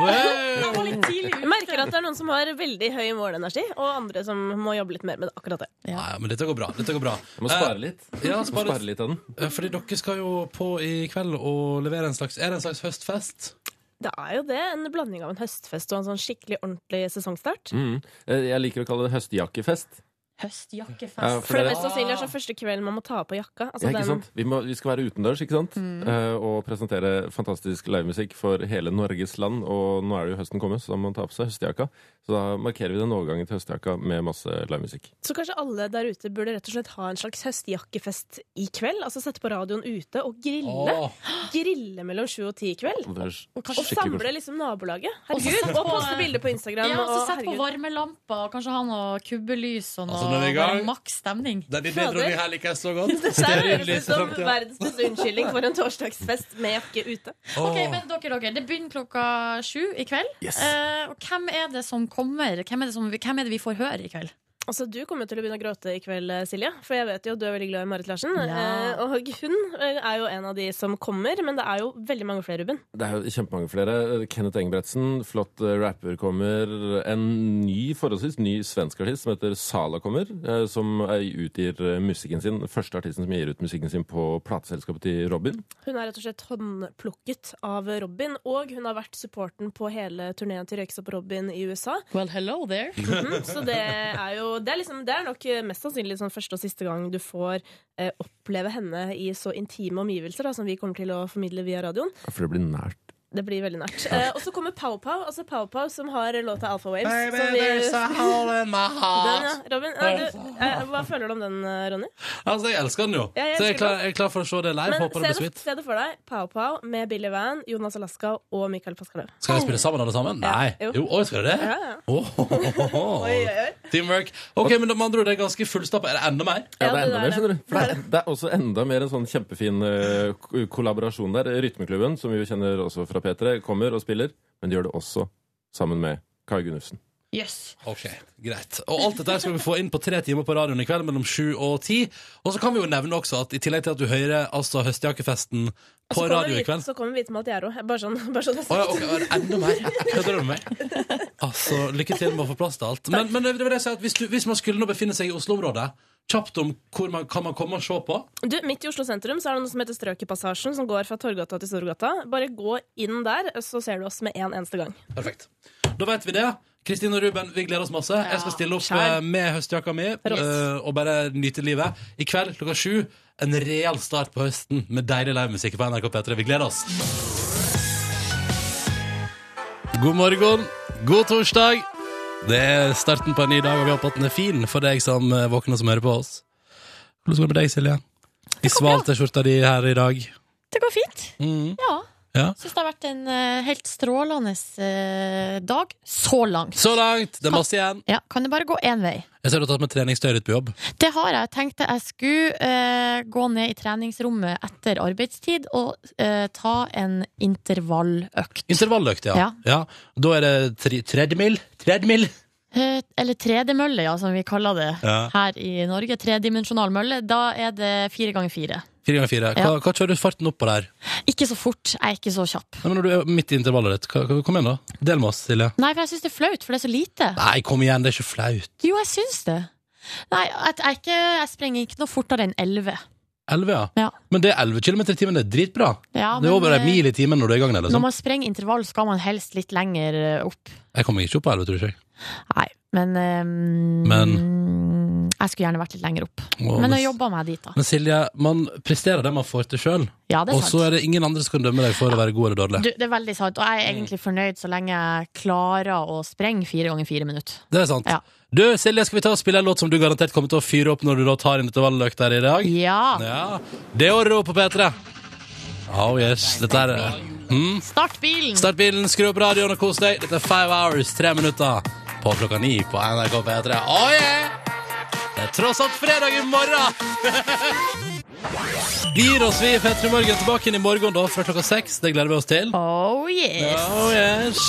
[SPEAKER 4] Hey!
[SPEAKER 9] Jeg merker at det er noen som har veldig høy morgenenergi, og andre som må jobbe litt mer med akkurat det.
[SPEAKER 4] Nei, men dette går bra. Dette går bra. Eh,
[SPEAKER 10] Jeg må spare litt.
[SPEAKER 4] ja,
[SPEAKER 10] Jeg må
[SPEAKER 4] spare-
[SPEAKER 10] spare litt av den.
[SPEAKER 4] Eh, Fordi dere skal jo på i kveld og levere en slags Er det en slags høstfest?
[SPEAKER 9] Det er jo det. En blanding av en høstfest og en sånn skikkelig ordentlig sesongstart.
[SPEAKER 10] Mm. Eh, Jeg liker å kalle det høstjakkefest.
[SPEAKER 2] Høstjakkefest.
[SPEAKER 10] Ja,
[SPEAKER 9] For det
[SPEAKER 10] det-
[SPEAKER 9] mest sannsynlig er sånn første kvelden man må ta på jakka.
[SPEAKER 10] Ja,
[SPEAKER 9] Altså
[SPEAKER 10] ikke
[SPEAKER 9] den,
[SPEAKER 10] sant? Vi, må, vi skal være utendørs ikke sant?
[SPEAKER 2] Mm.
[SPEAKER 10] Eh, og presentere fantastisk livemusikk for hele Norges land. Og nå er det jo høsten kommet, så da må man ta på seg høstjakka. Så da markerer vi den overgangen til høstjakka med masse livemusikk.
[SPEAKER 9] så kanskje alle der ute burde rett og slett ha en slags høstjakkefest i kveld. Altså sette på radioen ute og grille.
[SPEAKER 4] Åh,
[SPEAKER 9] Grille mellom sju og ti i kveld.
[SPEAKER 10] Og det er skikkelig
[SPEAKER 9] Og samle
[SPEAKER 10] koselig.
[SPEAKER 9] liksom nabolaget.
[SPEAKER 2] Og så
[SPEAKER 9] Herregud,
[SPEAKER 2] sett
[SPEAKER 9] og
[SPEAKER 2] på-
[SPEAKER 9] poste bilder på Instagram.
[SPEAKER 2] Ja, og så
[SPEAKER 9] og
[SPEAKER 2] sett på
[SPEAKER 9] herregud.
[SPEAKER 2] varmelamper, og kanskje ha noe kubbelys og noe
[SPEAKER 4] Altså, når vi er i gang-
[SPEAKER 2] bare maks stemning.
[SPEAKER 4] Den idédronninga her liker jeg så godt.
[SPEAKER 9] Dette her høres ut som verdens beste unnskyldning for en torsdagsfest med jakke ute.
[SPEAKER 2] Ok, men dere, dere, Det begynner klokka sju i kveld. Eh, og hvem er det som kommer? Hvem er det, som, hvem er det vi får høre i kveld?
[SPEAKER 9] Altså, Du kommer til å begynne å gråte i kveld, eh, Silje. For jeg vet jo at du er veldig glad i Marit Larsen.
[SPEAKER 2] Ja.
[SPEAKER 9] Eh, Og hun er jo en av de som kommer, men det er jo veldig mange flere, Ruben.
[SPEAKER 10] Det er jo kjempemange flere. Eh, Kenneth Engebretsen, flott eh, rapper, kommer. En ny, forholdsvis ny svensk artist som heter Sala kommer, eh, som eh, utgir eh, musikken sin. Den første artisten som gir ut musikken sin på plateselskapet til Robin.
[SPEAKER 9] Hun er rett og slett håndplukket av Robin, og hun har vært supporten på hele turneen til Røyksopp Robin i USA.
[SPEAKER 2] Well, hello there.
[SPEAKER 9] Mhm, så det er jo det er, liksom, det er nok eh, mest sannsynlig sånn første og siste gang du får eh, oppleve henne i så intime omgivelser da, som vi kommer til å formidle via radioen.
[SPEAKER 10] For det blir nært.
[SPEAKER 9] Det blir veldig nært. Eh, og så kommer Pow Pow, altså Pow Pow som har låta Alpha Waves. som vi, den, ja, Robin, nei, du, eh, hva føler du om den, eh, Ronny?
[SPEAKER 4] Altså, jeg elsker den jo.
[SPEAKER 9] Ja, jeg
[SPEAKER 4] så jeg er,
[SPEAKER 9] elsker
[SPEAKER 4] klar, jeg er klar for å se det live.
[SPEAKER 9] Men
[SPEAKER 4] Håper det
[SPEAKER 9] se
[SPEAKER 4] blir
[SPEAKER 9] det,
[SPEAKER 4] sweet.
[SPEAKER 9] se det for deg. Pow Pow med Billy Van, Jonas Alaska og Mikael Pascaløv.
[SPEAKER 4] Skal vi spille sammen, alle sammen?
[SPEAKER 9] Ja,
[SPEAKER 4] Nei.
[SPEAKER 9] jo.
[SPEAKER 4] Jo, oi, skal dere det?
[SPEAKER 9] Ja, ja.
[SPEAKER 4] Åh, ho, ho, ho, ho. Teamwork. Ok, men med andre ord, det er ganske fullstappa. Er det enda mer?
[SPEAKER 10] Ja,
[SPEAKER 9] Ja,
[SPEAKER 10] det er
[SPEAKER 9] det
[SPEAKER 10] enda
[SPEAKER 9] der,
[SPEAKER 10] mer, skjønner du. For det er, det er også enda mer en sånn kjempefin eh, ko- kollaborasjon der. Rytmeklubben, som vi jo kjenner også fra P3, kommer og spiller, men de gjør det også sammen med Kai Gunnufsen.
[SPEAKER 2] Yes.
[SPEAKER 4] Ok, greit. Og alt dette her skal vi få inn på tre timer på radioen i kveld mellom sju og ti. Og så kan vi jo nevne også at i tillegg til at du hører altså høstjakkefesten på radio i kveld
[SPEAKER 9] Så kommer vi til Maltiero. Bare sånn, bare sånn
[SPEAKER 4] Å
[SPEAKER 9] jeg sa.
[SPEAKER 4] ja, ok, er det enda mer. Kødder du med meg? Altså, lykke til med å få plass til alt. Men, men det vil jeg si at hvis, du, hvis man skulle nå befinne seg i Oslo-området, kjapt om hvor man kan man komme og se på.
[SPEAKER 9] Du, Midt i Oslo sentrum så er det noe som heter Strøkepassasjen, som går fra Torgata til Storgata. Bare gå inn der, så ser du oss med en eneste gang.
[SPEAKER 4] Perfekt. Da vet vi det. Kristine og Ruben, vi gleder oss masse. Jeg skal stille opp
[SPEAKER 9] kjær.
[SPEAKER 4] eh, med høstjakka mi eh, og bare nyte livet. I kveld klokka sju, en real start på høsten med deilig livemusikk på NRK P3. Vi gleder oss. God morgen, god torsdag. Det er starten på en ny dag, og vi håper at den er fin for deg som eh, våkner som hører på oss. Hvordan går det med deg, Silje? I sval T-skjorta di her i dag.
[SPEAKER 2] Det går fint.
[SPEAKER 4] Mm.
[SPEAKER 2] Ja.
[SPEAKER 4] Ja.
[SPEAKER 2] Syns det har vært en eh, helt strålende eh, dag så langt.
[SPEAKER 4] Så langt! Det er masse igjen.
[SPEAKER 2] Ja, Kan det bare gå én vei?
[SPEAKER 4] Jeg ser du har tatt med treningstøy ditt på jobb.
[SPEAKER 2] Det har jeg. Jeg tenkte jeg skulle eh, gå ned i treningsrommet etter arbeidstid og eh, ta en intervalløkt.
[SPEAKER 4] Intervalløkt, ja.
[SPEAKER 2] Ja.
[SPEAKER 4] Da er det tre- treadmill. Treadmill!
[SPEAKER 2] Eh, Eller tredemølle, ja, som vi kaller det
[SPEAKER 4] Ja.
[SPEAKER 2] her i Norge. Tredimensjonal mølle. Da er det fire ganger fire.
[SPEAKER 4] Fire ganger fire. Hva,
[SPEAKER 2] Ja.
[SPEAKER 4] hva kjører du farten opp på der?
[SPEAKER 2] Ikke så fort. Jeg er ikke så kjapp.
[SPEAKER 4] Nei, men når du er midt i intervallet ditt, hva, hva, kom igjen, da. Del med oss, Silje.
[SPEAKER 2] Nei, for jeg syns det er flaut, for det er så lite.
[SPEAKER 4] Nei, kom igjen, det er ikke flaut.
[SPEAKER 2] Jo, jeg syns det. Nei, jeg, jeg, er ikke, jeg springer ikke noe fortere enn 11.
[SPEAKER 4] 11, ja.
[SPEAKER 2] Ja.
[SPEAKER 4] Men det er 11 km i timen, det er dritbra.
[SPEAKER 2] Ja,
[SPEAKER 4] det
[SPEAKER 2] men,
[SPEAKER 4] er over
[SPEAKER 2] eh,
[SPEAKER 4] en mil i timen når du er i gang. Eller,
[SPEAKER 2] Når
[SPEAKER 4] sånn.
[SPEAKER 2] man sprenger intervall, skal man helst litt lenger eh, opp.
[SPEAKER 4] Jeg kommer ikke opp på 11, tror jeg.
[SPEAKER 2] Nei, men, eh,
[SPEAKER 4] Men,
[SPEAKER 2] Mm. Jeg skulle gjerne vært litt lenger opp.
[SPEAKER 4] Å,
[SPEAKER 2] men
[SPEAKER 4] men-
[SPEAKER 2] jeg jobba meg dit, da.
[SPEAKER 4] men Silje, man presterer det man får til sjøl.
[SPEAKER 2] Ja, det er
[SPEAKER 4] Og
[SPEAKER 2] sant.
[SPEAKER 4] så er det ingen andre som kan dømme deg for å være god eller dårlig.
[SPEAKER 2] Du, det er veldig sant, og jeg er egentlig fornøyd så lenge jeg klarer å sprenge fire ganger fire minutter.
[SPEAKER 4] Det er sant.
[SPEAKER 2] Ja.
[SPEAKER 4] Du, Silje, skal vi ta og spille en låt som du garantert kommer til å fyre opp når du da tar inn intervalløk der i dag?
[SPEAKER 2] Ja.
[SPEAKER 4] Ja. Det er oro på P3. Oh yes, dette er mm.
[SPEAKER 2] Start bilen!
[SPEAKER 4] Start bilen, skru opp radioen og kos deg. Dette er Five Hours, tre minutter på klokka ni på NRK P3. Oh yeah! Det er tross alt fredag i morgen! Vi gir oss, vi i P3 Morgen tilbake inn i morgen da fra klokka seks. Det gleder vi oss til.
[SPEAKER 2] Oh yes!
[SPEAKER 4] Oh, yes.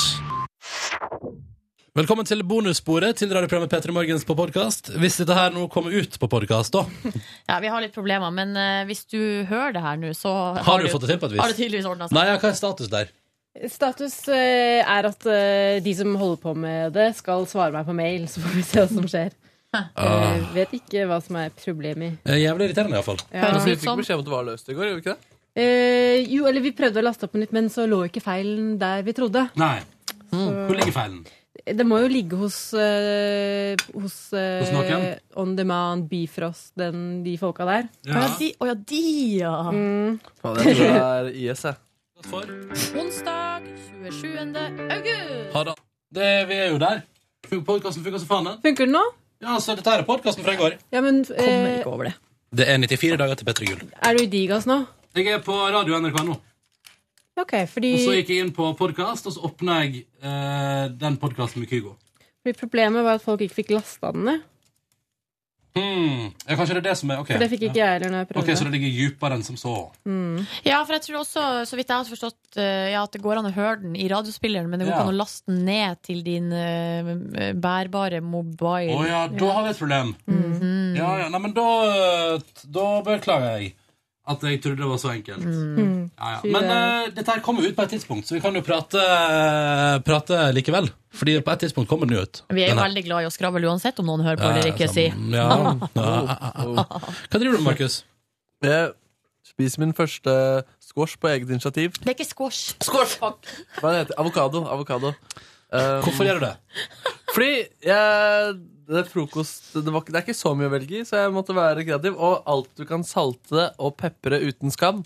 [SPEAKER 4] Velkommen til bonussporet til radioprogrammet P3 Morgens på podkast. Hvis dette her nå kommer ut på podkast, da.
[SPEAKER 2] Ja, vi har litt problemer, men eh, hvis du hører det her nå, så
[SPEAKER 4] Har du fått det til på et vis?
[SPEAKER 2] Har det tydeligvis ordna seg.
[SPEAKER 4] Nei, ja, hva er status der?
[SPEAKER 11] Status eh, er at eh, de som holder på med det, skal svare meg på mail, så får vi se hva som skjer.
[SPEAKER 4] Ah.
[SPEAKER 11] Jeg vet ikke hva som er problemet.
[SPEAKER 4] Eh, Jævlig irriterende, iallfall.
[SPEAKER 11] Ja. Høres
[SPEAKER 7] Vi
[SPEAKER 11] ut
[SPEAKER 7] fikk
[SPEAKER 11] som.
[SPEAKER 7] beskjed om at det var løst i går, gjorde vi ikke det?
[SPEAKER 11] Eh, jo, eller vi prøvde å laste opp på nytt, men så lå ikke feilen der vi trodde.
[SPEAKER 4] Nei. Hvor ligger feilen?
[SPEAKER 11] Det må jo ligge hos eh, hos, eh,
[SPEAKER 4] Hos noen?
[SPEAKER 11] On Demand, Bifrost, den, de folka der.
[SPEAKER 4] Ja. Å ja,
[SPEAKER 2] de, ja!
[SPEAKER 11] Mm.
[SPEAKER 7] Faen, jeg tror det er IS, jeg.
[SPEAKER 2] Onsdag 27. august.
[SPEAKER 4] Ha det. det. Vi er jo der. Podkasten funker som faen, den.
[SPEAKER 11] Funker den nå?
[SPEAKER 4] Ja, så dette her er podkasten fra i går.
[SPEAKER 11] Ja, men
[SPEAKER 4] Kommer
[SPEAKER 11] eh,
[SPEAKER 4] ikke over Det er 94 dager til P3 Gull.
[SPEAKER 11] er du i digas nå?
[SPEAKER 4] Jeg er på radio NRK nå.
[SPEAKER 11] Ok, fordi,
[SPEAKER 4] Og så gikk jeg inn på podkast, og så åpna jeg eh, den podkasten med Kygo.
[SPEAKER 11] fordi problemet var at folk ikke fikk lasta den ned.
[SPEAKER 4] Hmm. Ja, kanskje det er det som er Ok,
[SPEAKER 11] For det fikk ikke jeg heller når jeg
[SPEAKER 4] Ok,
[SPEAKER 11] prøvde.
[SPEAKER 4] så det ligger dypere enn som så.
[SPEAKER 11] Mm.
[SPEAKER 2] Ja, for jeg tror også, så vidt jeg har forstått, eh, ja, at det går an å høre den i radiospilleren, men det går
[SPEAKER 4] Ja.
[SPEAKER 2] ikke an å laste den ned til din eh, bærbare
[SPEAKER 4] Å
[SPEAKER 2] mobile.
[SPEAKER 4] ja, da har vi et problem.
[SPEAKER 2] Mhm.
[SPEAKER 4] Ja, ja, nei, men da, da beklager jeg at jeg trodde det var så enkelt.
[SPEAKER 2] Mhm.
[SPEAKER 11] Mm.
[SPEAKER 4] Ja, ja. Men eh, dette her kommer jo ut på et tidspunkt, så vi kan jo prate, prate likevel. Fordi på et tidspunkt kommer den jo ut.
[SPEAKER 2] Vi er jo
[SPEAKER 4] Den her.
[SPEAKER 2] veldig glad i å skravle uansett om noen hører på
[SPEAKER 4] Eh, Ja,
[SPEAKER 2] eller ikke. Si.
[SPEAKER 4] sammen. Ja. Hva driver du med, Markus?
[SPEAKER 7] Jeg spiser min første squash på eget initiativ.
[SPEAKER 2] Det er ikke squash.
[SPEAKER 7] Hva heter det? Avokado. Avokado. Um,
[SPEAKER 4] Hvorfor gjør du det?
[SPEAKER 7] Fordi jeg, det er frokost det, var, ikke- det er ikke så mye å velge i, så jeg måtte være kreativ. Og alt du kan salte og pepre uten skam,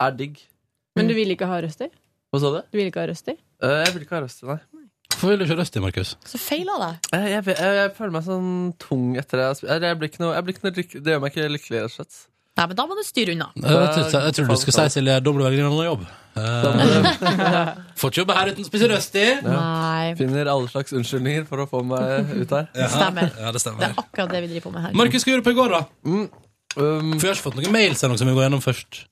[SPEAKER 7] er digg.
[SPEAKER 4] Mm.
[SPEAKER 11] Men du ville ikke ha røster?
[SPEAKER 7] Hva sa du?
[SPEAKER 11] Du ville ikke ha røster?
[SPEAKER 7] Eh, jeg vil ikke ha røst til deg.
[SPEAKER 4] Hvorfor vil du ikke ha røst i, Markus?
[SPEAKER 2] Så feila det.
[SPEAKER 7] Jeg, jeg, jeg, jeg føler meg sånn tung etter jeg, har sp- eller jeg blir ikke noe, jeg blir ikke noe lykke, Det gjør meg ikke lykkelig, rett og slett.
[SPEAKER 2] Nei, men da må du styre unna.
[SPEAKER 4] Jeg, Eh, jeg, jeg tror du skal si, Silje, da må du velge en annen jobb. Eh, Får ikke jobbe her uten å spise røst i.
[SPEAKER 2] Nei,
[SPEAKER 7] Finner alle slags unnskyldninger for å få meg ut her.
[SPEAKER 2] stemmer.
[SPEAKER 4] Ja, det
[SPEAKER 2] Det
[SPEAKER 4] stemmer.
[SPEAKER 2] er akkurat det vi driver på med her.
[SPEAKER 4] Markus, hva gjorde du på i går, da?
[SPEAKER 7] Um,
[SPEAKER 4] For jeg har ikke fått noen mails ennå som vi går gjennom først.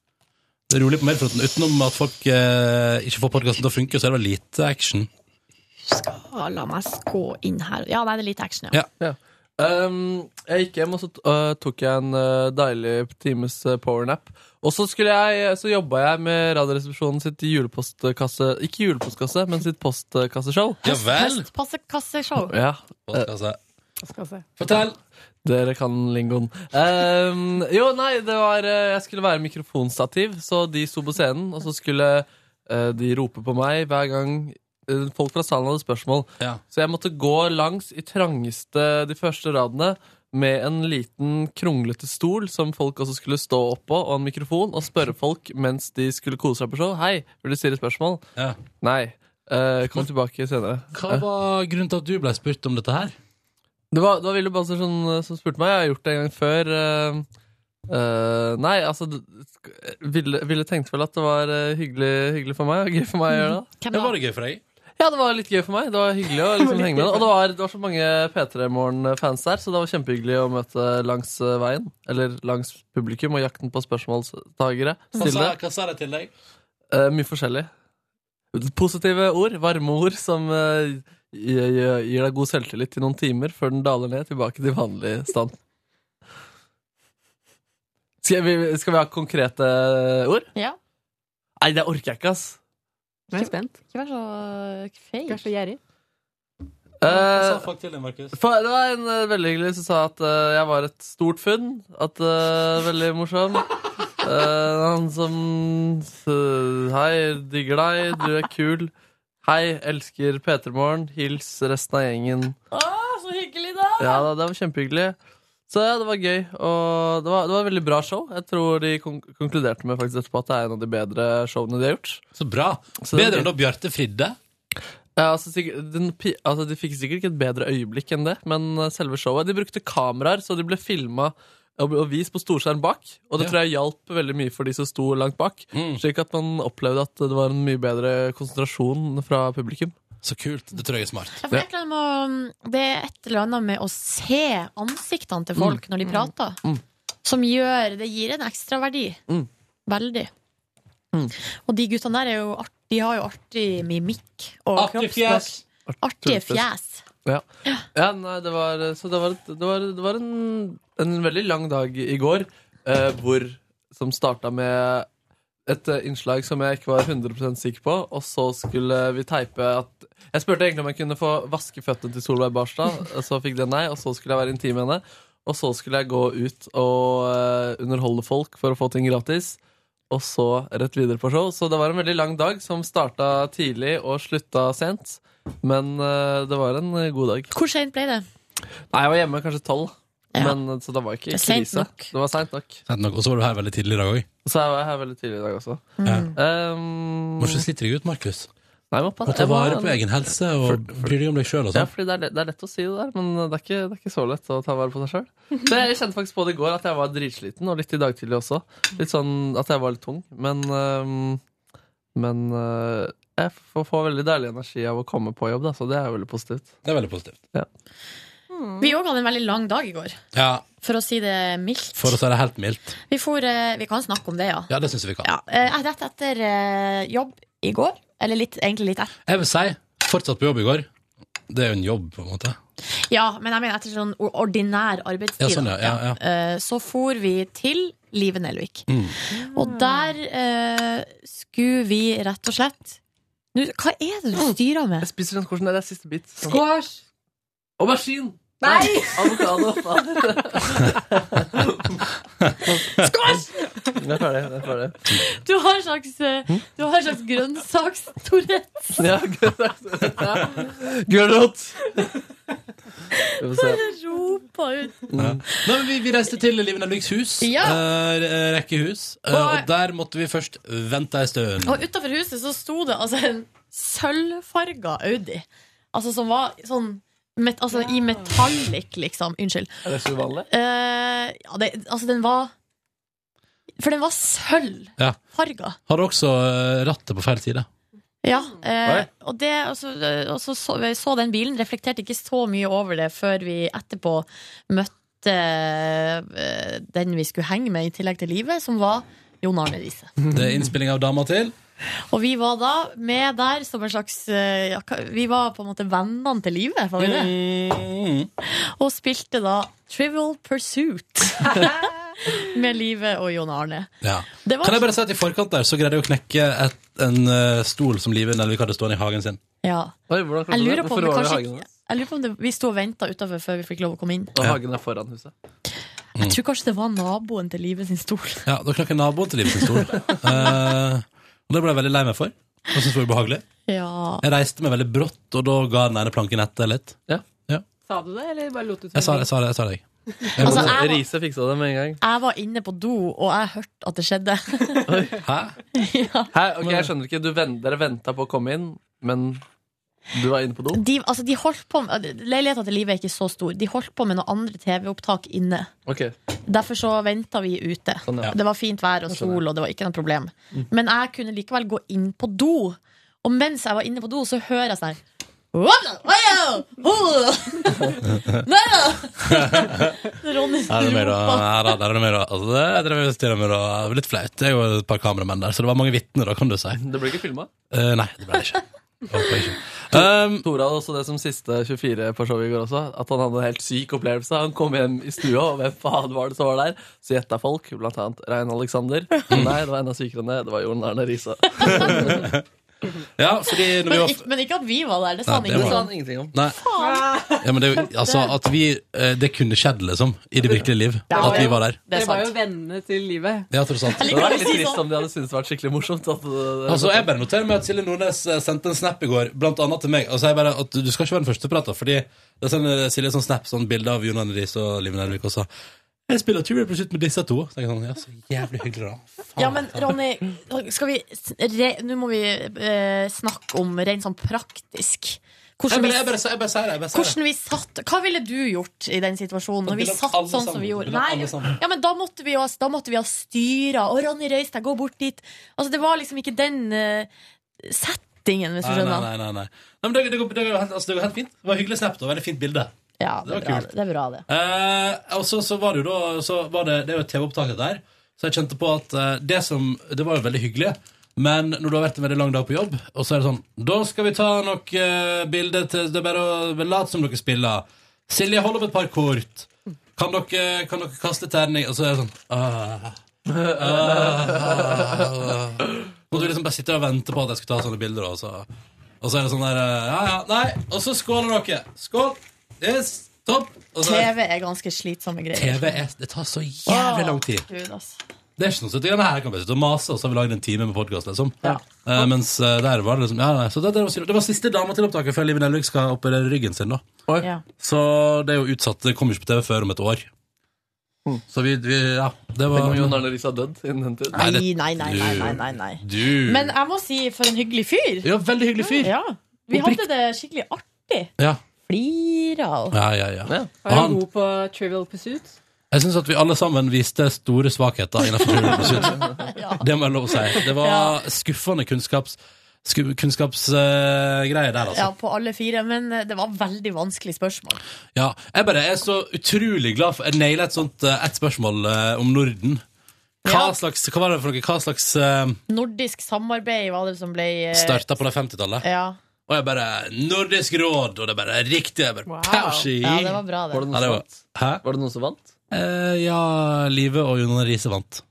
[SPEAKER 4] Det er rolig på mailfronten. Utenom at folk eh, ikke får podkasten til å funke, så er det lite action.
[SPEAKER 2] Ja, la meg gå inn her. Ja, nei, det er litt action,
[SPEAKER 4] Ja.
[SPEAKER 2] ja.
[SPEAKER 7] Um, jeg gikk hjem, og så t- øh, tok jeg en øh, deilig times øh, powernap. Og så, skulle jeg, øh, så jobba jeg med Radioresepsjonen sitt julepostkasse Ikke julepostkasse, men sitt postkasseshow.
[SPEAKER 4] Ja vel!
[SPEAKER 2] Postkasseshow.
[SPEAKER 7] Ja,
[SPEAKER 4] Postkasse.
[SPEAKER 11] Skal se.
[SPEAKER 4] Fortell!
[SPEAKER 7] dere kan lingoen. Um, jo, nei, det var øh, Jeg skulle være mikrofonstativ, så de sto på scenen, og så skulle øh, de rope på meg hver gang øh, folk fra salen hadde spørsmål.
[SPEAKER 4] Ja.
[SPEAKER 7] Så jeg måtte gå langs i trangeste de første radene med en liten kronglete stol som folk også skulle stå oppå, og en mikrofon, og spørre folk mens de skulle kose seg på show. Hei, vil du stille spørsmål?
[SPEAKER 4] Ja.
[SPEAKER 7] Nei. Eh, kom tilbake senere.
[SPEAKER 4] Hva var grunnen til at du ble spurt om dette her?
[SPEAKER 7] Det var, det var Ville Balser som, eh, som spurte meg. Jeg har gjort det en gang før. eh, eh, nei, altså d- sk- Ville, ville tenkte vel at det var eh, hyggelig, hyggelig for meg. og Gøy for meg å gjøre det.
[SPEAKER 4] Det
[SPEAKER 2] Hvem da?
[SPEAKER 4] var det gøy for deg.
[SPEAKER 7] Ja, det var litt gøy for meg. Det var hyggelig å liksom henge med det. Og det var, det var så mange P3 Morgen-fans der, så det var kjempehyggelig å møte langs eh, veien. Eller langs publikum og jakten på spørsmålstagere.
[SPEAKER 4] Hva sa,
[SPEAKER 7] Stille.
[SPEAKER 4] hva sa de til deg?
[SPEAKER 7] Eh, mye forskjellig. Positive ord, varme ord, som eh, gir, gir- gir deg god selvtillit i noen timer før den daler ned tilbake til vanlig stand. Skal vi, skal vi ha konkrete ord?
[SPEAKER 2] Ja.
[SPEAKER 7] Nei, det orker jeg ikke, ass.
[SPEAKER 2] Nå er jeg spent. Ikke vær så feig. Ikke vær så gjerrig.
[SPEAKER 4] Hva sa folk til deg, Markus?
[SPEAKER 7] Eh, Fa- Det var en eh, veldig hyggelig som sa at eh, jeg var et stort funn. At eh, Veldig morsom. Eh, han som eh, Hei, digger deg. Du er kul. Hei, elsker P3 Morgen. Hils resten av gjengen.
[SPEAKER 2] så hyggelig, da!
[SPEAKER 7] Ja, da, det var kjempehyggelig. Så ja, det var gøy. Og det var, det var et veldig bra show. Jeg tror de kon konkluderte med faktisk etterpå at det er en av de bedre showene de har gjort.
[SPEAKER 4] Så bra. Bedre enn da Bjarte fridde?
[SPEAKER 7] Ja, altså, sikkert, den, pi- altså, de fikk sikkert ikke et bedre øyeblikk enn det, men eh, selve showet De brukte kameraer, så de ble filma og og vist på storskjerm bak. Og det
[SPEAKER 4] Ja. Mm.
[SPEAKER 7] tror jeg hjalp veldig mye for de som sto langt bak. Slik at man opplevde at det var en mye bedre konsentrasjon fra publikum.
[SPEAKER 4] Så kult. Det tror jeg er smart.
[SPEAKER 2] Ja, for det, er et eller annet med å- det er et eller annet med å se ansiktene til folk
[SPEAKER 7] Mm.
[SPEAKER 2] når de prater, som gjør Det gir en ekstra verdi.
[SPEAKER 7] Mm.
[SPEAKER 2] Veldig.
[SPEAKER 4] Mm.
[SPEAKER 2] Og de guttene der er jo art, de har jo artig mimikk og
[SPEAKER 4] Artig
[SPEAKER 2] kroppsspråk.
[SPEAKER 4] fjes.
[SPEAKER 2] Artige fjes.
[SPEAKER 7] Ja. ja, nei, det var Så det var, et- det var, det var en, en veldig lang dag i går, eh, hvor Som starta med et eh, innslag som jeg ikke var 100 sikker på, og så skulle vi teipe at Jeg spurte egentlig om jeg kunne få vaske føttene til Solveig Barstad, og så fikk det nei, og så skulle jeg være intim med henne. Og så skulle jeg gå ut og eh, underholde folk for å få ting gratis. Og så rett videre på show. Så det var en veldig lang dag som starta tidlig og slutta sent. Men eh, det var en eh, god dag.
[SPEAKER 2] Hvor seint ble det?
[SPEAKER 7] Nei, jeg var hjemme kanskje tolv. Men, eh, så det var ikke
[SPEAKER 2] Det er
[SPEAKER 7] krise.
[SPEAKER 2] sent nok.
[SPEAKER 7] Det var seint nok.
[SPEAKER 4] Sent nok. Og så var du her veldig tidlig i dag òg.
[SPEAKER 7] Så jeg var her veldig tidlig i dag også.
[SPEAKER 2] Mm.
[SPEAKER 7] Um,
[SPEAKER 4] Må ikke slite deg ut, Markus.
[SPEAKER 7] Nei, må, passe-
[SPEAKER 4] Må ta
[SPEAKER 7] jeg må-
[SPEAKER 4] vare på egen helse og bry deg om deg sjøl og
[SPEAKER 7] Ja,
[SPEAKER 4] sånn.
[SPEAKER 7] fordi det er, lett- det er lett å si det der, men det er ikke, det er ikke så lett å ta vare på seg sjøl. Jeg kjente faktisk på det i går at jeg var dritsliten, og litt i dag tidlig også. Litt sånn at jeg var litt tung. Men, øhm, men øh, jeg får, får veldig deilig energi av å komme på jobb, da, så det er veldig positivt.
[SPEAKER 4] Det er veldig positivt.
[SPEAKER 7] Ja.
[SPEAKER 2] Vi òg hadde en veldig lang dag i går,
[SPEAKER 4] Ja,
[SPEAKER 2] for å si det mildt.
[SPEAKER 4] for å si det helt mildt.
[SPEAKER 2] Vi, for, eh, vi kan snakke om det, ja.
[SPEAKER 4] Ja, det syns jeg vi kan.
[SPEAKER 2] Ja, eh, Rett etter eh, jobb i går, eller litt, egentlig litt etter.
[SPEAKER 4] Jeg vil si fortsatt på jobb i går. Det er jo en jobb, på en måte.
[SPEAKER 2] Ja, men jeg mener etter sånn o- ordinær arbeidstid.
[SPEAKER 4] Ja, sånn, ja,
[SPEAKER 2] da.
[SPEAKER 4] ja, Mm. ja.
[SPEAKER 2] Eh, Så for vi til Live Nelvik. Og der eh, skulle vi rett og slett Nå, Hva er det du styrer med? Mm. Jeg
[SPEAKER 7] spiser den korsen der, det er siste bit.
[SPEAKER 2] Squash!
[SPEAKER 7] Aubergine!
[SPEAKER 2] Nei!
[SPEAKER 7] Avokado! Skål! Jeg er ferdig. Jeg er ferdig.
[SPEAKER 2] Du har en slags, eh,
[SPEAKER 4] Mm.
[SPEAKER 2] du har en slags grønnsaks-Tourettes.
[SPEAKER 7] Ja, Gulrot! Vi får se.
[SPEAKER 2] Bare roper ut.
[SPEAKER 4] Ja. Nei, men vi, vi reiste til Livina Lyks hus,
[SPEAKER 2] Mm. Ja.
[SPEAKER 4] eh, re- rekkehus, eh, og der måtte vi først vente ei stund.
[SPEAKER 2] Og utafor huset så sto det altså en sølvfarga Audi. Altså som var sånn met, Altså i metallic, liksom. Unnskyld.
[SPEAKER 7] Er det så uvanlig?
[SPEAKER 2] Eh, ja, det, altså den var For den var sølvfarga.
[SPEAKER 4] Ja. Hadde også eh, rattet på feil side.
[SPEAKER 2] Ja, eh,
[SPEAKER 4] Oi.
[SPEAKER 2] og, det, og, så, og så, så vi så den bilen, reflekterte ikke så mye over det før vi etterpå møtte eh, den vi skulle henge med i tillegg til livet, som var Jon Arne Riise.
[SPEAKER 4] Det er innspilling av Dama til.
[SPEAKER 2] Og vi var da med der som en slags eh, ja, hva- Vi var på en måte vennene til livet, var vi det?
[SPEAKER 7] Mm.
[SPEAKER 2] Og spilte da Trivial Pursuit med livet og Jon Arne.
[SPEAKER 4] Ja.
[SPEAKER 2] Det var-
[SPEAKER 4] Kan jeg bare si at i forkant der så greide jeg å knekke et, en eh, stol som Live Nelvik hadde stående i hagen sin.
[SPEAKER 2] Ja.
[SPEAKER 7] Oi, hvordan klarte
[SPEAKER 2] Jeg
[SPEAKER 7] du det?
[SPEAKER 2] lurer på om
[SPEAKER 7] Hvorfor
[SPEAKER 2] det
[SPEAKER 7] var det
[SPEAKER 2] kanskje
[SPEAKER 7] hagen
[SPEAKER 2] ikke-
[SPEAKER 7] hans?
[SPEAKER 2] jeg lurer på om det, vi sto og venta utafor før vi fikk lov å komme inn.
[SPEAKER 7] Og hagen er foran huset. Mm.
[SPEAKER 2] Jeg tror kanskje det var naboen til livet sin stol.
[SPEAKER 4] Ja, Da knakk jeg naboen til Live sin stol. Eh, og det ble jeg veldig lei meg for. Og syntes det var ubehagelig.
[SPEAKER 2] Ja.
[SPEAKER 4] Jeg reiste meg veldig brått, og da ga den ene planken etter litt.
[SPEAKER 11] Sa du det, eller bare lot du
[SPEAKER 4] Jeg sa det, jeg sa det. jeg sa det. Jeg
[SPEAKER 2] Altså,
[SPEAKER 4] måtte-
[SPEAKER 2] jeg var-
[SPEAKER 7] Riise fiksa det med en gang.
[SPEAKER 2] Jeg var inne på do, og jeg hørte at det skjedde.
[SPEAKER 4] Hæ?
[SPEAKER 7] Hæ? Ok, jeg skjønner ikke. Du ven- dere venta på å komme inn, men du var inne på do?
[SPEAKER 2] De, altså, de holdt på med, leiligheten til livet er ikke så stor. De holdt på med noen andre TV-opptak inne.
[SPEAKER 7] Ok.
[SPEAKER 2] Derfor så venta vi ute.
[SPEAKER 7] Sånn, ja.
[SPEAKER 2] Det var fint vær og
[SPEAKER 7] Da skjønner jeg.
[SPEAKER 2] sol, og det var ikke noe problem. Men jeg kunne likevel gå inn på do. Og mens jeg var inne på do, så hører jeg sånn her «Wop, wow, wow, nei da!» Ronny
[SPEAKER 4] Her er det mer å
[SPEAKER 2] roper.
[SPEAKER 4] her er det- her er det mer å- altså, det drev jeg og styrer med, og det var litt flaut. Det er jo et par kameramenn der, så det var mange vitner, da, kan du si.
[SPEAKER 7] Det ble ikke filma?
[SPEAKER 4] Eh, nei, det ble det ikke. Um,
[SPEAKER 7] Tora hadde også det som siste 24 på showet i går også. At han hadde en helt syk opplevelse. Han kom hjem i stua, og hvem faen var det som var der? Så gjetta folk, blant annet Rein Alexander. Men Nei, det var enda sykere enn det. Det var Jon Arne Riise.
[SPEAKER 4] ja, fordi når vi
[SPEAKER 2] Men
[SPEAKER 4] var
[SPEAKER 2] ikke, men ikke at vi var der. Det sa
[SPEAKER 4] Nei,
[SPEAKER 2] han
[SPEAKER 4] det
[SPEAKER 2] ingenting
[SPEAKER 4] var-
[SPEAKER 2] om.
[SPEAKER 4] Nei.
[SPEAKER 2] Faen.
[SPEAKER 4] Ja, men det, er jo- altså, at vi, eh, det kunne skjedd, liksom, i det virkelige liv. At vi var der.
[SPEAKER 7] Det er
[SPEAKER 11] Dere var jo
[SPEAKER 7] sant.
[SPEAKER 11] vennene til livet.
[SPEAKER 4] Ja, tross alt.
[SPEAKER 7] Det var litt
[SPEAKER 11] sånn.
[SPEAKER 7] trist om de hadde syntes det var skikkelig morsomt. At det,
[SPEAKER 4] Altså, jeg bare noterer meg at Silje Nordnes eh, sendte en snap i går, blant annet til meg. Altså, jeg bare, at du skal ikke være den første til å prate, fordi da sender Silje sånn snap, sånn bilde av Jon Arne Riise og Liv Nervik også. Jeg spiller Tuber plutselig med disse to. Så jeg sånn, ja, så jævlig hyggelig da.
[SPEAKER 2] Ja, men Ronny, skal vi s- re, Nå må vi eh, snakke om rent sånn praktisk.
[SPEAKER 4] Jeg bare-
[SPEAKER 2] Hvordan vi-
[SPEAKER 4] jeg bare sa- jeg bare sier det, jeg bare sier det.
[SPEAKER 2] hvordan vi satt Hva ville du gjort i den situasjonen? Når
[SPEAKER 4] Vi
[SPEAKER 2] vi
[SPEAKER 4] lagt
[SPEAKER 2] satt
[SPEAKER 4] alle
[SPEAKER 2] sånn som
[SPEAKER 4] sammen.
[SPEAKER 2] vi gjorde
[SPEAKER 4] Vi lagt
[SPEAKER 2] Nei,
[SPEAKER 4] alle sammen.
[SPEAKER 2] ja, men da måtte vi jo ha- da måtte vi ha styra Og Ronny reis deg, gå bort dit Altså det var liksom ikke den eh, settingen Hvis du
[SPEAKER 4] Nei, nei,
[SPEAKER 2] skjønner
[SPEAKER 4] nei, nei, nei. nei men det, det, går, det, går, helt- altså, det går helt fint. Det var en hyggelig snap og veldig fint bilde.
[SPEAKER 2] Ja,
[SPEAKER 4] det var
[SPEAKER 2] bra,
[SPEAKER 4] kult.
[SPEAKER 2] det er bra det
[SPEAKER 4] Eh, og så, så var det jo da så var det, det er jo et TV-opptak der. Så jeg kjente på at eh, det som Det var jo veldig hyggelig. Men når du har vært en veldig lang dag på jobb, og så er det sånn Da skal vi ta nok eh, bilder til Det er bare å late som dere spiller. Silje, hold opp et par kort. Kan dere, kan dere kaste terning? Og så er det sånn ah, ah, ah. Måtte vi liksom bare sitte der og vente på at jeg skulle ta sånne bilder. Og så, og så er det sånn der eh, Ja, ja, nei. Og så skåler dere. Skål. Yes, topp. Og så,
[SPEAKER 2] TV er ganske slitsomme greier
[SPEAKER 4] TV er, det tar så jævlig lang tid.
[SPEAKER 2] Gud, altså.
[SPEAKER 4] Det er ikke noe sånt. Det her kan vi sitte og mase, og så har vi lagd en time med podkast. Liksom. Eh, mens eh, der var det liksom ja, nei, så det, det, var, synd. det var siste dama til opptaket før Liven Elvik skal operere ryggen sin. da
[SPEAKER 2] Ja.
[SPEAKER 4] Så det er jo utsatt. Det kommer ikke på TV før om et år.
[SPEAKER 2] Mm.
[SPEAKER 4] Så vi, vi Ja, det var
[SPEAKER 7] Tenk om Jon Arne Riise har dødd innen den tid.
[SPEAKER 4] Nei, det-
[SPEAKER 2] Nei, nei, nei, nei, nei, nei, nei.
[SPEAKER 4] Du
[SPEAKER 2] Men jeg må si for en hyggelig fyr
[SPEAKER 4] Ja, veldig hyggelig fyr
[SPEAKER 2] Ja, vi
[SPEAKER 4] Oppriktig.
[SPEAKER 2] hadde det skikkelig artig
[SPEAKER 4] ja.
[SPEAKER 2] Flira og
[SPEAKER 4] Ja, ja, ja. Og
[SPEAKER 11] Var han
[SPEAKER 4] han,
[SPEAKER 11] god på Trivial Pursuit?
[SPEAKER 4] jeg syns at vi alle sammen viste store svakheter innenfor Turen på Syd. Det må jeg lov å si. Det var skuffende kunnskaps, kunnskapsgreier der, altså.
[SPEAKER 2] Ja, på alle fire, men eh, det var veldig vanskelig spørsmål
[SPEAKER 4] Ja, jeg bare er så utrolig glad for Jeg nailet et sånt eh, et spørsmål eh, om Norden. Hva, slags, hva var det for noe? Hva slags uh,
[SPEAKER 2] Nordisk samarbeid var det som ble eh,
[SPEAKER 4] starta på det 50-tallet?
[SPEAKER 2] Ja
[SPEAKER 4] Og jeg bare Nordisk råd! Og det bare er riktig. Jeg bare, Pausi!
[SPEAKER 2] Ja, det var bra det.
[SPEAKER 4] Var det noen som vant? Hæ?
[SPEAKER 7] Var det noen som vant?
[SPEAKER 4] Eh, ja, Live og Jonan Riise vant.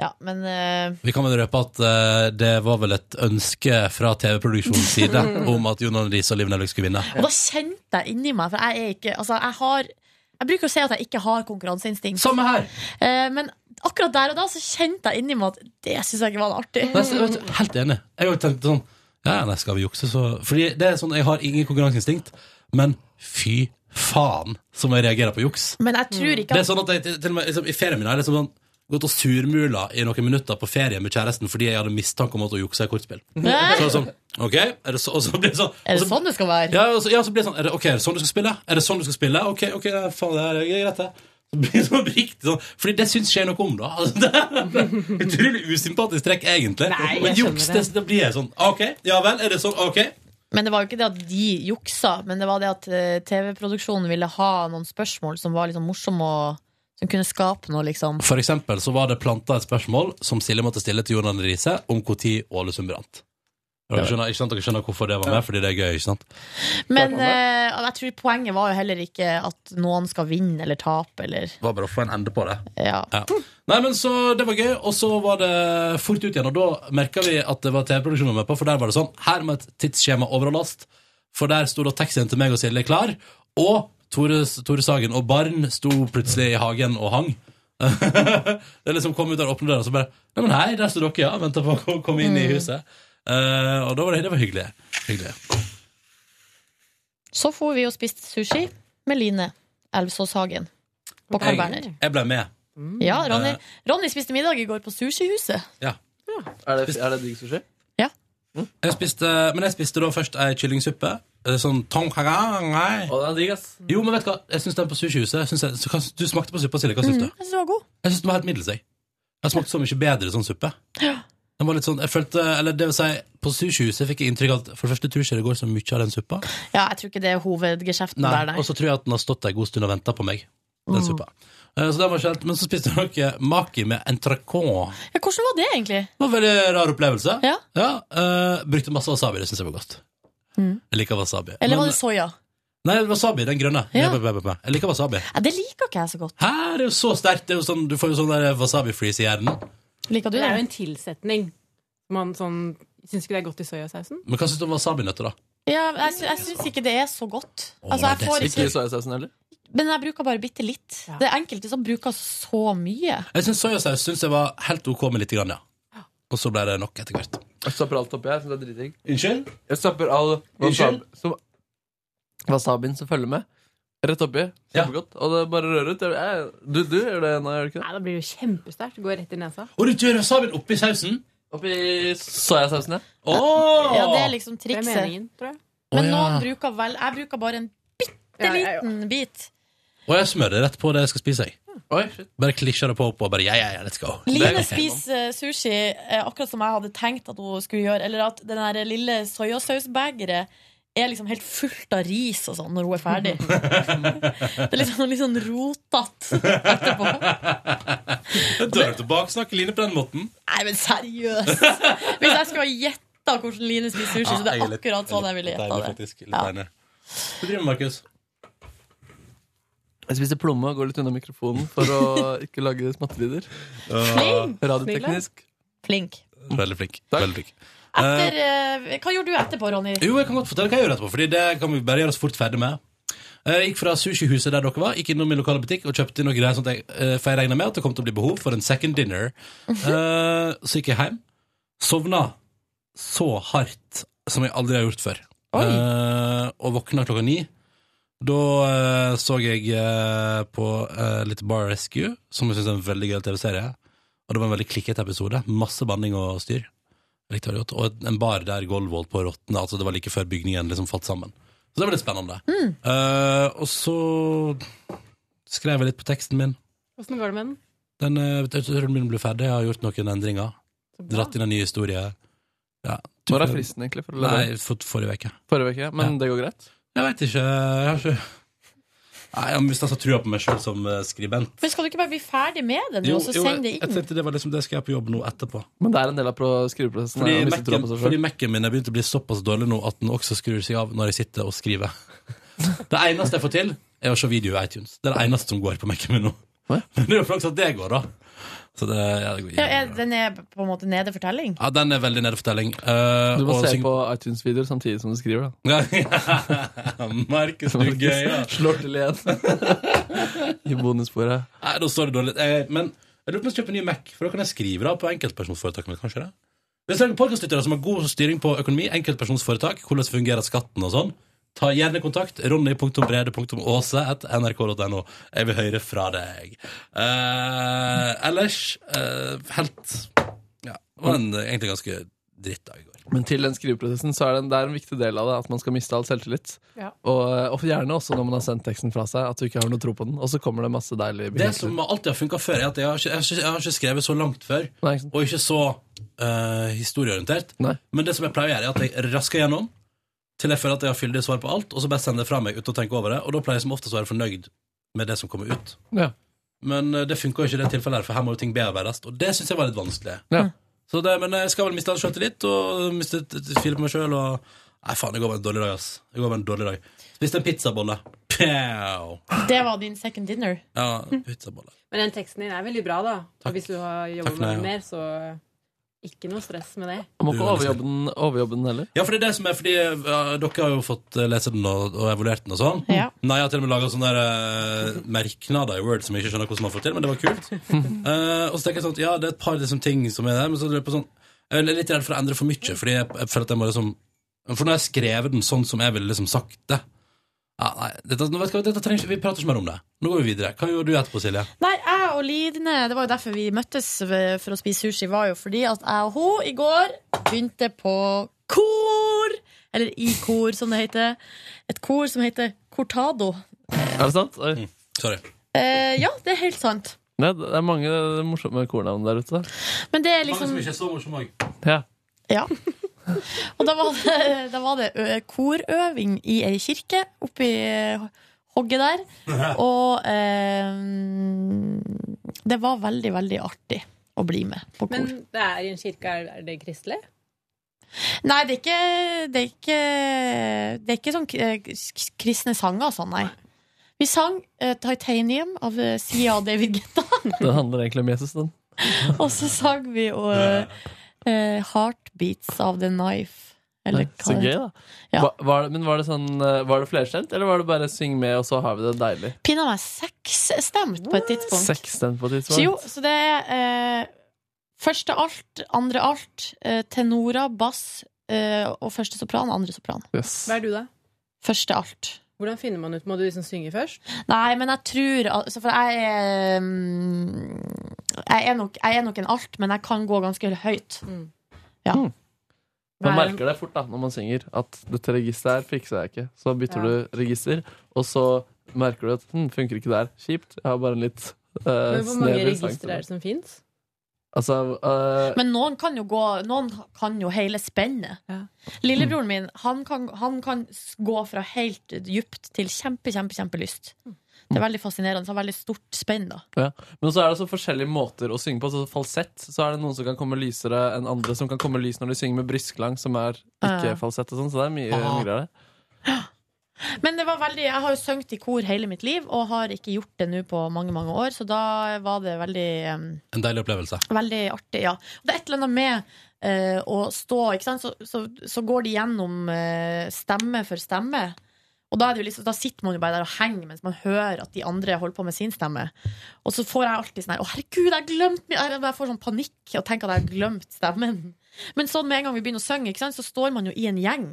[SPEAKER 2] Ja, men eh,
[SPEAKER 4] Vi kan vel røpe at eh, det var vel et ønske fra TV-produksjonens side om at Jonan Riise og Liv Nelvik skulle vinne.
[SPEAKER 2] Og da kjente jeg inni meg, for jeg er ikke Altså, jeg har jeg bruker å si at jeg ikke har konkurranseinstinkt.
[SPEAKER 4] Samme her
[SPEAKER 2] eh, Men akkurat der og da så kjente jeg inni meg at det syns jeg ikke var noe artig.
[SPEAKER 4] Nei, så- vet
[SPEAKER 2] altså-
[SPEAKER 4] du, Helt enig. Jeg har jo tenkt sånn Ja, nei, skal vi jukse, så Fordi det er sånn, jeg har ingen konkurranseinstinkt, men fy faen som jeg reagerer på juks.
[SPEAKER 2] Men Mm. jeg tror ikke
[SPEAKER 4] Det er
[SPEAKER 2] at
[SPEAKER 4] sånn at jeg til- til og med liksom, i ferien min har jeg liksom sånn gått og surmula i noen minutter på ferie med kjæresten fordi jeg hadde mistanke om at hun juksa i kortspill. Så
[SPEAKER 2] Nei.
[SPEAKER 4] jeg sånn, ok, er det så, og så blir det sånn
[SPEAKER 2] Er
[SPEAKER 4] og så-
[SPEAKER 2] det sånn det skal være?
[SPEAKER 4] ja, og så, ja, så blir det sånn Er det, ok, er det sånn du skal spille? Er det sånn du skal spille? Ok, ok, ja, faen, det er greit, det. Så blir det sånn riktig sånn Fordi det syns jeg noe om, da. Altså, det er Utrolig usympatisk trekk, egentlig.
[SPEAKER 11] Nei, jeg
[SPEAKER 4] Men juks,
[SPEAKER 11] skjønner
[SPEAKER 4] det,
[SPEAKER 11] det.
[SPEAKER 4] da blir jeg sånn Ok, ja vel, er det sånn? Ok.
[SPEAKER 2] Men det var jo ikke det at de juksa, men det var det at eh, TV-produksjonen ville ha noen spørsmål som var liksom morsomme og som kunne skape noe, liksom.
[SPEAKER 4] For eksempel så var det planta et spørsmål som Silje måtte stille til Jonan Riise om når Ålesund brant. Dere skjønner, ikke sant? Dere skjønner hvorfor det var med, fordi det er gøy, ikke sant?
[SPEAKER 2] Men eh, jeg tror poenget var jo heller ikke at noen skal vinne eller tape eller
[SPEAKER 4] Det var bare å få en ende på det.
[SPEAKER 2] Ja.
[SPEAKER 4] Ja. Nei, men så Det var gøy, og så var det fort ut igjen. Og da merka vi at det var TV-produksjonen med på, for der var det sånn Her må et tidsskjema overholdes. For der sto da taxien til meg og Silje klar, og Tore, Tore Sagen og Barn sto plutselig i hagen og hang. det liksom kom ut der, åpne døra, og så bare Nei, men hei, der står dere, ja. Venta på å ko- komme inn i
[SPEAKER 2] Mm.
[SPEAKER 4] huset. Eh, og da var det, det var hyggelig. hyggelig.
[SPEAKER 2] Så for vi og spiste sushi med Line Elvsåshagen på Carl Berner.
[SPEAKER 4] Jeg, jeg ble med.
[SPEAKER 2] Ja, Ronny,
[SPEAKER 4] Eh.
[SPEAKER 2] Ronny spiste middag i går på sushihuset.
[SPEAKER 4] Ja.
[SPEAKER 7] Er det, er det digg sushi? Mm.
[SPEAKER 4] Jeg spiste, men jeg spiste da først ei kyllingsuppe. eh, Sånn tonkarangai.
[SPEAKER 7] Å, det er digg, ass.
[SPEAKER 4] Jo, men vet du hva? Jeg syns den på sushihuset jeg synes jeg, så hva- Du smakte på suppa, Silje. Hva syns du?
[SPEAKER 2] Mm, Jeg synes det var god.
[SPEAKER 4] Jeg syns den var helt middels. Jeg Jeg har smakt så mye bedre sånn suppe. Den var litt sånn, jeg følte, eller det vil si, På sushihuset fikk jeg inntrykk av at for det første tror jeg ikke det går så mye av den suppa.
[SPEAKER 2] Ja, jeg tror ikke det er hovedgeskjeften
[SPEAKER 4] Nei,
[SPEAKER 2] der, nei. Mm.
[SPEAKER 4] Og så tror jeg at den har stått der en god stund og venta på meg. Den suppa. Eh, Så den var ikke helt, Men så spiste dere maki med entrecôte.
[SPEAKER 2] Ja, hvordan var det egentlig?
[SPEAKER 4] Det var en veldig rar opplevelse.
[SPEAKER 2] Ja.
[SPEAKER 4] eh, brukte masse wasabi. Det syns jeg var godt.
[SPEAKER 2] Mm.
[SPEAKER 4] Jeg liker wasabi.
[SPEAKER 2] Eller var
[SPEAKER 4] Men-
[SPEAKER 2] det soya?
[SPEAKER 4] Nei, wasabi, den grønne.
[SPEAKER 2] Ja.
[SPEAKER 4] Jeg liker wasabi.
[SPEAKER 2] Ja, det liker ikke jeg så godt.
[SPEAKER 4] Hæ, det er jo så sterkt! Det er jo sånn, du får jo sånn der wasabi-freeze i hjernen.
[SPEAKER 2] Liker du
[SPEAKER 11] det?
[SPEAKER 2] det?
[SPEAKER 11] er jo en tilsetning. Man sånn Syns ikke det er godt i soyasausen?
[SPEAKER 4] Men hva syns du om wasabinøtter, da?
[SPEAKER 2] Ja, jeg, sy- jeg syns ikke det er så godt. Altså, jeg får
[SPEAKER 3] Ikke i
[SPEAKER 2] ikke,
[SPEAKER 3] soyasausen heller?
[SPEAKER 2] men jeg bruker bare bitte litt. Det er enkelte som bruker så mye.
[SPEAKER 4] Jeg syns soyasaus synes jeg var helt OK med litt, grann, ja. Og så ble det nok etter hvert.
[SPEAKER 3] Jeg stapper alt oppi her. Så det er dritdigg.
[SPEAKER 4] Unnskyld?
[SPEAKER 3] Jeg stapper all
[SPEAKER 4] Unnskyld?
[SPEAKER 3] wasabi, som, wasabien som følger med, rett oppi. Kjempegodt. Og det bare rører ut. Jeg, jeg, du, du gjør det nå, gjør du ikke
[SPEAKER 11] Nei, da blir det jo kjempesterkt. Det Går rett i nesa.
[SPEAKER 4] Og du gjør wasabien oppi sausen?
[SPEAKER 3] Oppi soyasausen, ja.
[SPEAKER 4] Åh!
[SPEAKER 2] Ja, det er liksom trikset.
[SPEAKER 11] Det er meningen, tror jeg.
[SPEAKER 2] Men
[SPEAKER 4] Å, ja.
[SPEAKER 2] noen bruker vel Jeg bruker bare en bitte liten bit.
[SPEAKER 4] Og jeg smører det rett på det jeg skal spise. Jeg.
[SPEAKER 3] Oi, shit.
[SPEAKER 4] Bare klisjer det på opp og bare ja, ja, ja, let's go.
[SPEAKER 2] Line spiser sushi eh, akkurat som jeg hadde tenkt at hun skulle gjøre. Eller at den der lille soyasausbegeret er liksom helt fullt av ris og sånn når hun er ferdig. Det er liksom litt sånn rotete.
[SPEAKER 4] Dør tilbake, snakker Line på den måten.
[SPEAKER 2] Nei, men seriøst! Hvis jeg skulle ha gjetta hvordan Line spiser sushi, så det
[SPEAKER 4] Ja, jeg
[SPEAKER 2] er
[SPEAKER 4] litt-
[SPEAKER 2] akkurat sånn jeg ville
[SPEAKER 4] litt
[SPEAKER 2] gjetta
[SPEAKER 4] deilig,
[SPEAKER 2] det.
[SPEAKER 4] faktisk. Litt deilig. Hva driver du med, Markus?
[SPEAKER 3] Jeg spiser plomme og går litt unna mikrofonen for å ikke lage smattelyder.
[SPEAKER 2] Flink!
[SPEAKER 3] Radioteknisk.
[SPEAKER 2] Flink.
[SPEAKER 4] Mm. Veldig flink. Veldig flink. Eh,
[SPEAKER 2] Etter, eh, hva gjorde du etterpå, Ronny?
[SPEAKER 4] Jo, jeg kan godt fortelle hva jeg gjør etterpå, Fordi det kan vi bare gjøre oss fort ferdig med. Eh, Jeg gikk fra sushihuset der dere var, gikk innom min lokale butikk og kjøpte inn noen greier, sånn at jeg, eh, for jeg regna med at det kom til å bli behov for en second dinner. Eh, Så gikk jeg hjem. Sovna så hardt som jeg aldri har gjort før. Eh, og våkna klokka ni. Da eh, så jeg eh, på eh, litt Bar Rescue, som jeg syns er en veldig gøy TV-serie. Og det var en veldig klikkete episode. Masse banning og styr. Jeg likte veldig godt. Og en bar der Goldvold på råtne, altså det var like før bygningen liksom falt sammen. Så det var litt spennende. Eh, og så skrev jeg litt på teksten min.
[SPEAKER 11] Åssen går det med den?
[SPEAKER 4] Den eh, jeg tror den begynner å bli ferdig. Jeg har gjort noen endringer. Dratt inn en ny historie. Ja.
[SPEAKER 3] Når er fristen egentlig for å levere?
[SPEAKER 4] Nei, for, forrige uke.
[SPEAKER 3] Forrige uke, men
[SPEAKER 4] Ja.
[SPEAKER 3] det går greit?
[SPEAKER 4] Jeg veit ikke. Jeg har ikke Nei, Jeg har mista så trua på meg sjøl som eh, skribent.
[SPEAKER 2] Men Skal du ikke bare bli ferdig med det nå, og så
[SPEAKER 4] Jo, jo,
[SPEAKER 2] send det
[SPEAKER 4] jeg, jeg
[SPEAKER 2] inn?
[SPEAKER 4] tenkte det var liksom det skal jeg på jobb nå etterpå.
[SPEAKER 3] Men det er en del av pro- skriveprosessen.
[SPEAKER 4] Fordi
[SPEAKER 3] å miste troa
[SPEAKER 4] Mac-en
[SPEAKER 3] på seg selv.
[SPEAKER 4] fordi Mac-en min er begynt å bli såpass dårlig nå at den også skrur seg av når jeg sitter og skriver. Det eneste jeg får til, er å se video i iTunes. Det er det eneste som går på Mac-en min nå. Men det er jo flaks at det går, da. Så det, ja, det går,
[SPEAKER 2] Ja, er, den er på en måte nede for telling?
[SPEAKER 4] ja, den er veldig Eh, nedefortelling.
[SPEAKER 3] Du må se på iTunes-videoer samtidig som du skriver.
[SPEAKER 4] Markus, du gøyer.
[SPEAKER 3] Slår til igjen. I bonussporet.
[SPEAKER 4] Nei, da står det dårlig. Eh, men jeg lurer på om jeg skal kjøpe en ny Mac, for da kan jeg skrive da på enkeltpersonforetakene. Kanskje det? Hvis det er noen podcastlyttere som har god styring på økonomi, enkeltpersonsforetak, hvordan fungerer skatten og sånn, ta gjerne kontakt. Ronny.brede.aase nrk.no. Jeg vil høre fra deg. Eh, ellers eh, helt Ja, det var en, eh, egentlig ganske drittdag i går.
[SPEAKER 3] Men til den skriveprosessen så er det en, det er en viktig del av det at man skal miste all selvtillit.
[SPEAKER 11] Ja.
[SPEAKER 3] Og, eh, og gjerne også når man har sendt teksten fra seg, at du ikke har noe tro på den. Og så kommer det masse deilige
[SPEAKER 4] Det som alltid har funka før, er at jeg har, ikke, jeg, har ikke, jeg har ikke skrevet så langt før, og ikke så eh, historieorientert. Men det som jeg pleier å gjøre, er at jeg rasker gjennom til jeg føler at jeg har fyldige svar på alt, og så bare sender jeg fra meg uten å tenke over det, og da pleier jeg som oftest å være fornøyd med det som kommer ut.
[SPEAKER 3] Ja.
[SPEAKER 4] Men eh, det funka jo ikke i det tilfellet her, for her må jo ting bearbeides, og det syns jeg var litt vanskelig.
[SPEAKER 3] Ja.
[SPEAKER 4] Så det, men eh, jeg skal vel miste all sjøltillit, og miste et- et fil på meg sjøl, og Nei, faen, det går bare en dårlig dag, ass. Det går bare en dårlig dag. Spiste en pizzabolle. Pow!
[SPEAKER 2] Det var din second dinner.
[SPEAKER 4] Ja, pizzabolle.
[SPEAKER 11] Men den teksten din er veldig bra, da. Og hvis du har
[SPEAKER 4] Takk
[SPEAKER 11] jobba
[SPEAKER 4] for
[SPEAKER 11] med
[SPEAKER 4] det,
[SPEAKER 11] det mer, så ikke noe stress med det.
[SPEAKER 3] Man må ikke overjobbe den, overjobbe den heller.
[SPEAKER 4] Ja, for det er det som er fordi ja, Dere har jo fått eh, lese den og, og evaluert den og sånn.
[SPEAKER 11] Ja.
[SPEAKER 4] Nei, jeg har til og med laga sånne der, eh, merknader i Word som jeg ikke skjønner hvordan man får til, men det var kult. Eh, og så tenker jeg sånn at ja, det er et par liksom, ting som er der, men så lurer jeg på sånn Jeg er litt redd for å endre for mye, fordi jeg, jeg føler at jeg må liksom For nå har jeg skrevet den sånn som jeg ville liksom sagt det. Ja, nei, dette, nå vet du hva, dette trenger ikke, Vi prater ikke mer om det. Nå går vi videre. Hva gjorde du etterpå, Silje?
[SPEAKER 2] Nei, jeg og Line, det var jo derfor vi møttes eh, for å spise sushi, var jo fordi at jeg og hun i går begynte på kor! Eller i kor, som det heter. Et kor som heter Cortado.
[SPEAKER 3] Er det sant? Oi.
[SPEAKER 4] Mm. Sorry.
[SPEAKER 2] Eh, ja, det er helt sant.
[SPEAKER 3] Nei, det er mange morsomme kornavn der ute.
[SPEAKER 2] Men det er liksom
[SPEAKER 4] ikke er så morsom òg.
[SPEAKER 3] Ja.
[SPEAKER 2] Ja. Og da var det, da var det ø, korøving i ei kirke oppi ø, hogget der. Og eh, det var veldig, veldig artig å bli med på kor.
[SPEAKER 11] Men det er i en kirke. Er, er det kristelig?
[SPEAKER 2] Nei, det er ikke Det er ikke, det er ikke sånn eh, k- kristne sanger og sånn, nei. Vi sang eh, 'Titanium' av eh, Sia og David Guetta.
[SPEAKER 7] Den handler egentlig om Jesus, den.
[SPEAKER 2] Og så sang vi jo eh, eh, 'Heartbeats of the Knife'. Eller hva
[SPEAKER 7] Så
[SPEAKER 2] det
[SPEAKER 7] gøy,
[SPEAKER 2] heter.
[SPEAKER 7] da. Hva- Var, det- men var det, sånn, eh, var det flerstemt, eller var det bare 'syng med, og så har vi det deilig'?
[SPEAKER 2] Pinadø meg seksstemt på et tidspunkt.
[SPEAKER 7] Seks stemt på et
[SPEAKER 2] Så jo,
[SPEAKER 7] tidspunkt.
[SPEAKER 2] så det er eh, første alt, andre alt, eh, tenora, bass eh, og første sopran, andre sopran.
[SPEAKER 11] Hva er du, da?
[SPEAKER 2] Første alt.
[SPEAKER 11] Hvordan finner man ut? Må du liksom synge først?
[SPEAKER 2] Nei, men jeg tror altså, For jeg er mm, jeg er, nok, jeg er nok en alt, men jeg kan gå ganske høyt.
[SPEAKER 11] Mm.
[SPEAKER 2] Ja.
[SPEAKER 7] Man merker det fort da, når man synger, at dette registeret her fikser jeg ikke. Så bytter
[SPEAKER 2] Ja.
[SPEAKER 7] du register, og så merker du at hm, funker ikke der. Kjipt. Jeg har bare en litt uh,
[SPEAKER 11] Men hvor mange registre er det som fins?
[SPEAKER 7] Altså, eh,
[SPEAKER 2] Men noen kan jo gå Noen kan jo hele spennet. Lillebroren min han kan, han kan s- gå fra helt dypt til kjempe, kjempe, kjempelyst. Det er veldig fascinerende. Så har veldig stort spenn, da.
[SPEAKER 7] Ja. Men så er det så forskjellige måter å synge på. Så falsett så er det noen som kan komme lysere enn andre, som kan komme lys når de synger med brystklang, som er ikke
[SPEAKER 2] Ja.
[SPEAKER 7] falsett og sånn. Så det er mye mye
[SPEAKER 2] Ah.
[SPEAKER 7] greier der.
[SPEAKER 2] Men det var veldig, jeg har jo sunget i kor hele mitt liv, og har ikke gjort det nå på mange mange år, så da var det veldig, em,
[SPEAKER 4] En deilig opplevelse.
[SPEAKER 2] veldig artig. ja. Og det er et eller annet med eh, å stå, ikke sant? Så, så, så går de gjennom eh, stemme for stemme. Og da, er det jo liksom, da sitter man jo bare der og henger mens man hører at de andre holder på med sin stemme. Og så får jeg alltid sånn her Å, herregud, jeg har glemt min Jeg jeg får sånn panikk og tenker at jeg har glemt stemmen. Men sånn med en gang vi begynner å synge, ikke sant, så står man jo i en gjeng.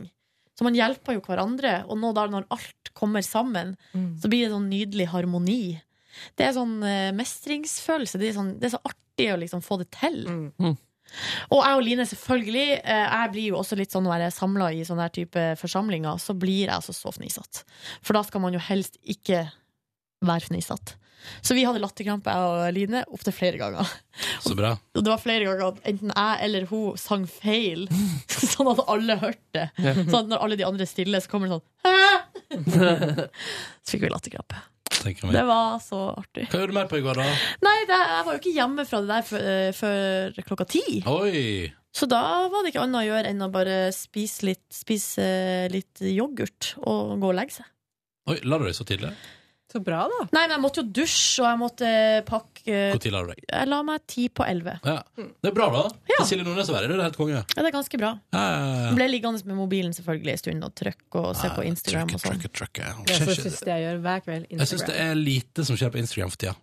[SPEAKER 2] Så man hjelper jo hverandre. Og nå da, når alt kommer sammen, så blir det sånn nydelig harmoni. Det er sånn eh, mestringsfølelse. Det er, sånn, det er så artig å liksom få det til. Og jeg og Line, selvfølgelig. eh, Jeg blir jo også litt sånn når jeg er samla i sånne her type forsamlinger, så blir jeg altså så fnisete. For da skal man jo helst ikke være fnisete. Så vi hadde latterkrampe, jeg og Line, opptil flere ganger.
[SPEAKER 4] Så bra.
[SPEAKER 2] Og det var flere ganger at enten jeg eller hun sang feil, sånn at alle hørte det.
[SPEAKER 4] Ja.
[SPEAKER 2] Sånn at når alle de andre er stille, så kommer det sånn Hæ? Så fikk vi latterkrampe.
[SPEAKER 4] Tenker
[SPEAKER 2] Det var så artig.
[SPEAKER 4] Hva gjorde du mer på i går, da?
[SPEAKER 2] Nei, det, jeg var jo ikke hjemme fra det der før, eh, før klokka ti.
[SPEAKER 4] Oi!
[SPEAKER 2] Så da var det ikke annet å gjøre enn å bare spise litt, spise eh, litt yoghurt og gå og legge seg.
[SPEAKER 4] Oi, La du deg så tidlig?
[SPEAKER 2] Så bra, da. Nei, men jeg måtte jo dusje, og jeg måtte eh, pakke eh,
[SPEAKER 4] Når la du deg?
[SPEAKER 2] Jeg la meg ti på elleve.
[SPEAKER 4] Ja. Det er bra, da. Til Silje Nordnes å være det er helt konge.
[SPEAKER 2] Ja, det er ganske bra.
[SPEAKER 4] Ja, ja, ja.
[SPEAKER 2] Jeg Ble liggende med mobilen selvfølgelig en stund og trykke og se på Instagram og sånn.
[SPEAKER 11] Det er så siste jeg gjør hver kveld.
[SPEAKER 4] Jeg syns det
[SPEAKER 11] Instagram.
[SPEAKER 4] er lite som skjer på Instagram for tida.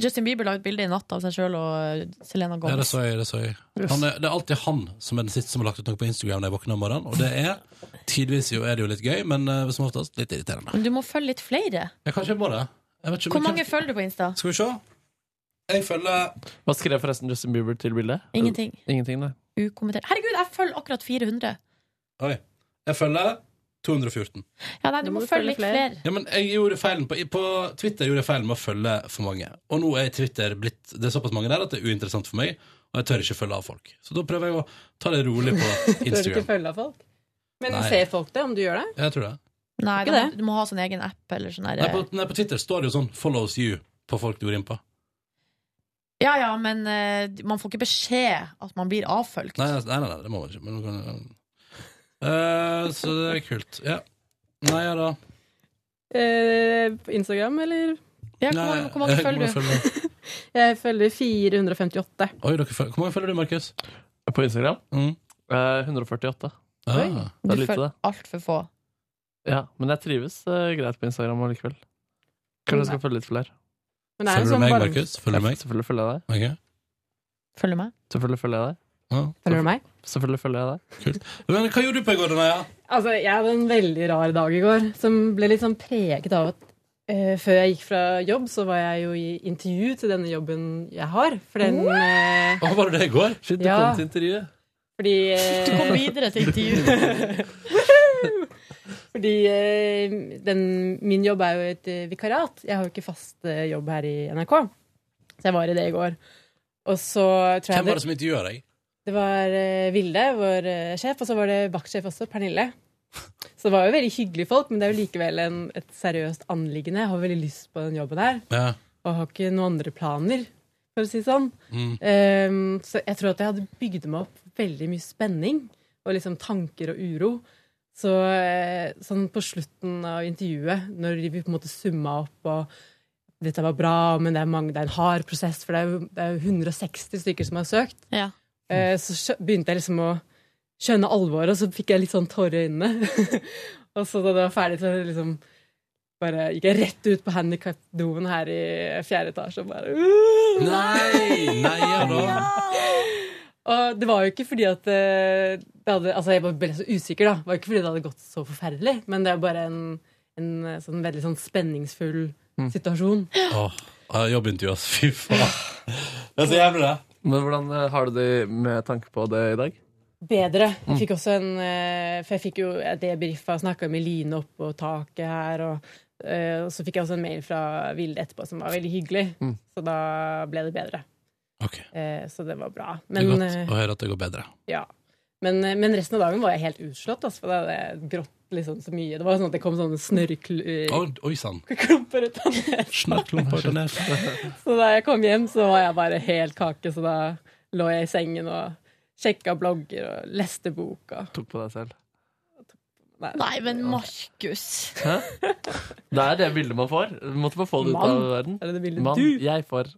[SPEAKER 2] Justin Bieber la ut bilde i natt av seg sjøl og eh, Selena
[SPEAKER 4] Ja, det
[SPEAKER 2] Gomez.
[SPEAKER 4] så jeg, det så jeg. Han er, det er alltid han som er den siste som har lagt ut noe på Instagram når jeg våkner om morgenen. Og det er tidvis jo, er det jo litt gøy, men eh, som oftest litt irriterende.
[SPEAKER 2] Men du må følge litt flere.
[SPEAKER 4] Jeg kan ikke på det. Jeg vet ikke,
[SPEAKER 2] Hvor
[SPEAKER 4] men
[SPEAKER 2] mange følger du på Insta?
[SPEAKER 4] Skal vi se. Jeg følger
[SPEAKER 7] Hva skrev forresten Justin Bieber til bildet?
[SPEAKER 2] Ingenting.
[SPEAKER 7] Ingenting, nei.
[SPEAKER 2] Ukommentert. Herregud, jeg følger akkurat 400.
[SPEAKER 4] hvem- Oi. Jeg følger 214.
[SPEAKER 2] Ja, nei, du må, følge litt flere.
[SPEAKER 4] Ja, men jeg gjorde feilen på, på Twitter gjorde jeg feilen med å følge for mange. Og nå er Twitter blitt Det er såpass mange der at det er uinteressant for meg, og jeg tør ikke følge av folk. Så da prøver jeg å ta det rolig på
[SPEAKER 11] Tør du ikke
[SPEAKER 4] Instagram.
[SPEAKER 11] følge av folk? Men
[SPEAKER 4] Nei.
[SPEAKER 11] ser folk det om du gjør det?
[SPEAKER 4] Jeg tror det.
[SPEAKER 2] Nei,
[SPEAKER 11] Ikke
[SPEAKER 2] da,
[SPEAKER 11] det.
[SPEAKER 2] du må ha sånn egen app eller sånn
[SPEAKER 4] Nei, på,
[SPEAKER 2] der.
[SPEAKER 4] nei, på Twitter står det jo sånn 'follows you' på folk du går inn på.
[SPEAKER 2] Ja ja, men eh, man får ikke beskjed at man blir avfølgt.
[SPEAKER 4] Nei, nei, nei, nei det må man ikke. Men, man kan- Eh, så det er kult. Ja. Nei, ja da.
[SPEAKER 11] Eh, på Instagram,
[SPEAKER 4] Nei,
[SPEAKER 11] eller?
[SPEAKER 4] jeg- hvor mange følger du?
[SPEAKER 11] Jeg følger 458.
[SPEAKER 4] Oi, dere følger, hvor mange følger du, Markus?
[SPEAKER 7] På Instagram?
[SPEAKER 4] Mm. Ah.
[SPEAKER 7] Eh, 148.
[SPEAKER 4] Oi.
[SPEAKER 7] Det er
[SPEAKER 2] Du
[SPEAKER 7] lite,
[SPEAKER 2] følger
[SPEAKER 7] det.
[SPEAKER 2] altfor få.
[SPEAKER 7] Ja, men jeg trives eh, greit på Instagram allikevel. Kanskje jeg skal følge litt flere.
[SPEAKER 11] Men det er Følger en du sånn meg, varm-
[SPEAKER 4] Markus? Følger du meg?
[SPEAKER 7] Selvfølgelig følger jeg deg.
[SPEAKER 2] Følger du meg?
[SPEAKER 7] Selvfølgelig følger jeg deg.
[SPEAKER 11] Følger du meg?
[SPEAKER 7] Selvfølgelig følger jeg deg.
[SPEAKER 4] Kult. Men hva gjorde du på i går, Naya?
[SPEAKER 11] Altså, jeg hadde en veldig rar dag i går, som ble litt sånn preget av at eh, før jeg gikk fra jobb, så var jeg jo i intervju til denne jobben jeg har. For den eh,
[SPEAKER 4] Hva var det det i går?
[SPEAKER 7] Shit, du
[SPEAKER 11] Ja.
[SPEAKER 7] kom til intervjuet.
[SPEAKER 11] Fordi eh,
[SPEAKER 2] Du kom videre til intervju.
[SPEAKER 11] Fordi eh, den, min jobb er jo et eh, vikariat. Jeg har jo ikke fast eh, jobb her i NRK. Så jeg var i det i går. Og så tror jeg
[SPEAKER 4] Hvem var det som intervjua deg?
[SPEAKER 11] Det var eh, Vilde, vår eh, sjef, og så var det vaktsjef også, Pernille. Så det var jo veldig hyggelige folk, men det er jo likevel en, et seriøst anliggende. Jeg har veldig lyst på den jobben her,
[SPEAKER 4] Ja.
[SPEAKER 11] og har ikke noen andre planer. for å si det sånn.
[SPEAKER 4] Mm.
[SPEAKER 11] Ehm, så jeg tror at jeg hadde bygd meg opp veldig mye spenning og liksom tanker og uro. Så eh, sånn på slutten av intervjuet, når vi på en måte summa opp og dette var bra, men det er, mange, det er en hard prosess, for det er, jo- det er jo 160 stykker som har søkt. Eh, Så skjø- begynte jeg liksom å skjønne alvoret, og så fikk jeg litt sånn tårer i øynene. og så da det var ferdig, så liksom bare gikk jeg rett ut på handikapdoen her i fjerde etasje og bare «Uh,
[SPEAKER 4] Nei! Neier da.
[SPEAKER 11] og det var jo ikke fordi at eh, det hadde, Altså, jeg bare ble så usikker, da. Det var jo ikke fordi det hadde gått så forferdelig, men det er bare en, en eh, sånn veldig sånn spenningsfull situasjon.
[SPEAKER 4] Åh, ah, jobbintervju, ass. Fy faen. Det er så jævlig, det.
[SPEAKER 3] Men hvordan eh, har du det med tanke på det i dag?
[SPEAKER 11] Bedre.
[SPEAKER 3] Mm.
[SPEAKER 11] Jeg fikk også en eh, For jeg fikk jo debrifa og snakka med Line oppå taket her, og, eh, og så fikk jeg også en mail fra Vilde etterpå som var veldig hyggelig,
[SPEAKER 4] Mm.
[SPEAKER 11] så da ble det bedre. Eh, så det var bra. Men,
[SPEAKER 4] det er
[SPEAKER 11] eh,
[SPEAKER 4] godt å høre at det går bedre.
[SPEAKER 11] Ja. Men, eh, men resten av dagen var jeg helt utslått. Altså, for da hadde jeg grått liksom så mye. Det var sånn at det kom sånne
[SPEAKER 4] Oi,
[SPEAKER 11] snørrklumper
[SPEAKER 4] oi sann.
[SPEAKER 11] ut av nesa.
[SPEAKER 4] Klumper til nesen.
[SPEAKER 11] Så da jeg kom hjem, så var jeg bare helt kake. Så da lå jeg i sengen og sjekka blogger og leste boka.
[SPEAKER 3] Tok på deg selv.
[SPEAKER 11] Nei,
[SPEAKER 2] men Markus.
[SPEAKER 3] Hæ? Det er det bildet man får. Du måtte bare få det ut av
[SPEAKER 11] Mann,
[SPEAKER 3] verden.
[SPEAKER 11] er det det bildet
[SPEAKER 3] Mann,
[SPEAKER 11] du-
[SPEAKER 3] jeg får.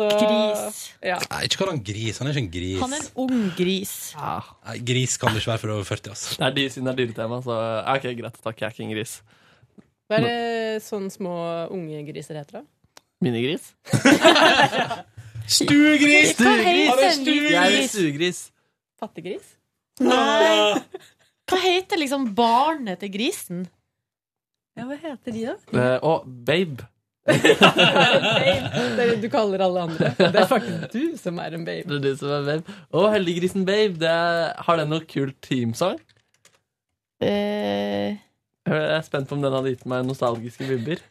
[SPEAKER 11] Så,
[SPEAKER 2] Gris.
[SPEAKER 11] Ja.
[SPEAKER 4] Nei, ikke kall han gris. Han er ikke en gris.
[SPEAKER 2] Han er en ung gris.
[SPEAKER 4] Nei, gris kan du ikke være for over 40, ass.
[SPEAKER 3] Det er de siden det er dyretema, så ja, ok, greit. Takk, jeg er ikke en gris.
[SPEAKER 11] Hva er det sånne små unge griser heter, da?
[SPEAKER 3] Minigris?
[SPEAKER 4] Stuegris!
[SPEAKER 11] Hva heter
[SPEAKER 4] Han er
[SPEAKER 11] en
[SPEAKER 4] stuegris!
[SPEAKER 3] Jeg er en stuegris.
[SPEAKER 11] Pattegris?
[SPEAKER 2] Nei. Hva heter liksom barnet til grisen?
[SPEAKER 11] Ja, hva heter de, da?
[SPEAKER 3] Eh, og babe.
[SPEAKER 11] Det er det du kaller alle andre. Det er faktisk du som er en baby.
[SPEAKER 3] Det er du som er babe. Og Helliggrisen Babe. Det er, har den noe kul teamsang?
[SPEAKER 2] Eh,
[SPEAKER 3] Jeg er spent på om den hadde gitt meg nostalgiske vibber.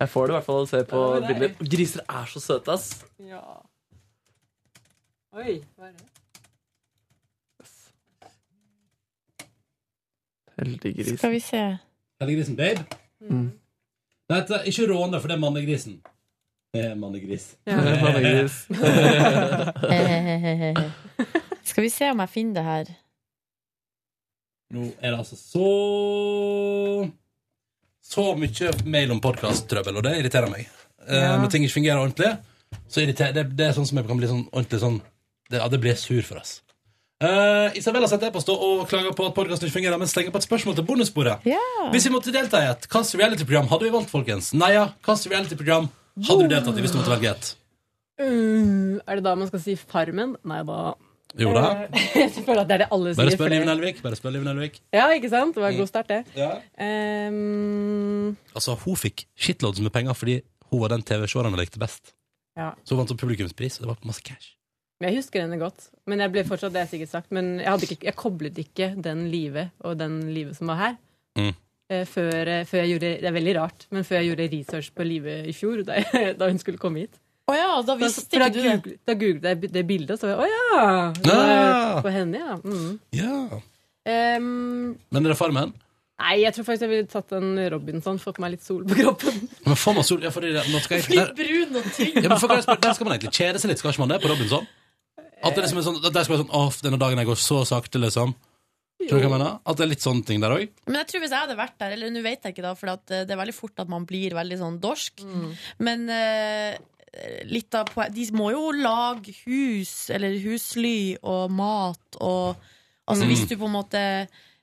[SPEAKER 3] Jeg får det i hvert fall å se på
[SPEAKER 11] Ja, det er
[SPEAKER 3] bilder. Griser er så søte, ass.
[SPEAKER 11] Ja. Oi, hva er det?
[SPEAKER 3] Heldiggrisen.
[SPEAKER 2] Skal vi se.
[SPEAKER 4] Helliggrisen Babe.
[SPEAKER 3] Mm.
[SPEAKER 4] Nei, dette er ikke råne, for det er mannegrisen. Det er mannegris.
[SPEAKER 2] Ja.
[SPEAKER 3] Det er mannegris.
[SPEAKER 2] Eh, Skal vi se om jeg finner det her.
[SPEAKER 4] Nå er det altså så Så mye mail om podkast-trøbbel, og det irriterer meg. Eh,
[SPEAKER 11] Ja.
[SPEAKER 4] Når ting ikke fungerer ordentlig, så irriterer det, det er sånn som jeg kan bli sånn ordentlig sånn det, Ja, det blir jeg sur for, ass. Eh, Isabel har sendt e-post og klager på at podkasten ikke fungerer, men slenger på et spørsmål til bonusbordet. Hvis vi måtte delta i et, hvilket reality-program hadde vi valgt, folkens? Naja, hvilket reality-program hadde du deltatt i hvis du måtte velge et?
[SPEAKER 11] Uh, er det da man skal si Farmen? Nei da. Eh,
[SPEAKER 4] Jo da.
[SPEAKER 11] Jeg føler at det er det alle sier.
[SPEAKER 4] Bare spør
[SPEAKER 11] for det-
[SPEAKER 4] Liv Nelvik. Bare spør Liv Nelvik.
[SPEAKER 11] Ja, ikke sant? Det var en god start, det.
[SPEAKER 4] Ja.
[SPEAKER 11] Ehm,
[SPEAKER 4] Altså, hun fikk shitloads med penger fordi hun var den TV-seeren hun likte best.
[SPEAKER 11] ja.
[SPEAKER 4] Så hun vant opp publikumspris, og det var masse cash.
[SPEAKER 11] Jeg husker henne godt. Men jeg ble fortsatt, det er sikkert sagt, men jeg, hadde ikke, jeg koblet ikke den livet og den livet som var her.
[SPEAKER 4] Mm.
[SPEAKER 11] eh, Før, eh, før jeg gjorde, Det er veldig rart, men før jeg gjorde research på livet i fjor, da, jeg, da hun skulle komme hit.
[SPEAKER 2] Å ja, da
[SPEAKER 11] Da,
[SPEAKER 2] visste
[SPEAKER 11] for da,
[SPEAKER 2] ikke du det.
[SPEAKER 11] googlet, da googlet jeg det bildet, og så var jeg Å ja! det
[SPEAKER 4] Ah.
[SPEAKER 11] var På henne, ja. Mm.
[SPEAKER 4] Ja.
[SPEAKER 11] Ehm,
[SPEAKER 4] Men er det Farmen?
[SPEAKER 11] nei, jeg tror faktisk jeg ville tatt en Robinson, fått meg litt sol på kroppen.
[SPEAKER 4] Men faen meg sol... Ja, fordi det, nå skal jeg... Der,
[SPEAKER 2] Brun og tynn.
[SPEAKER 4] ja, men for, hva jeg spør, der skal man egentlig kjede seg litt, skal ikke man det, på Robinson? At det liksom er sånn, at der skal være sånn, åh, denne dagen jeg går så sakte, liksom. Tror du hva jeg mener? At det er litt sånne ting der også?
[SPEAKER 2] Men jeg tror hvis jeg hadde vært der, eller nå vet jeg ikke da, for at eh, det er veldig fort at man blir veldig sånn dorsk,
[SPEAKER 4] Mm.
[SPEAKER 2] men eh, litt av poe- de må jo lage hus, eller husly og mat, og altså
[SPEAKER 4] Mm.
[SPEAKER 2] hvis du på en måte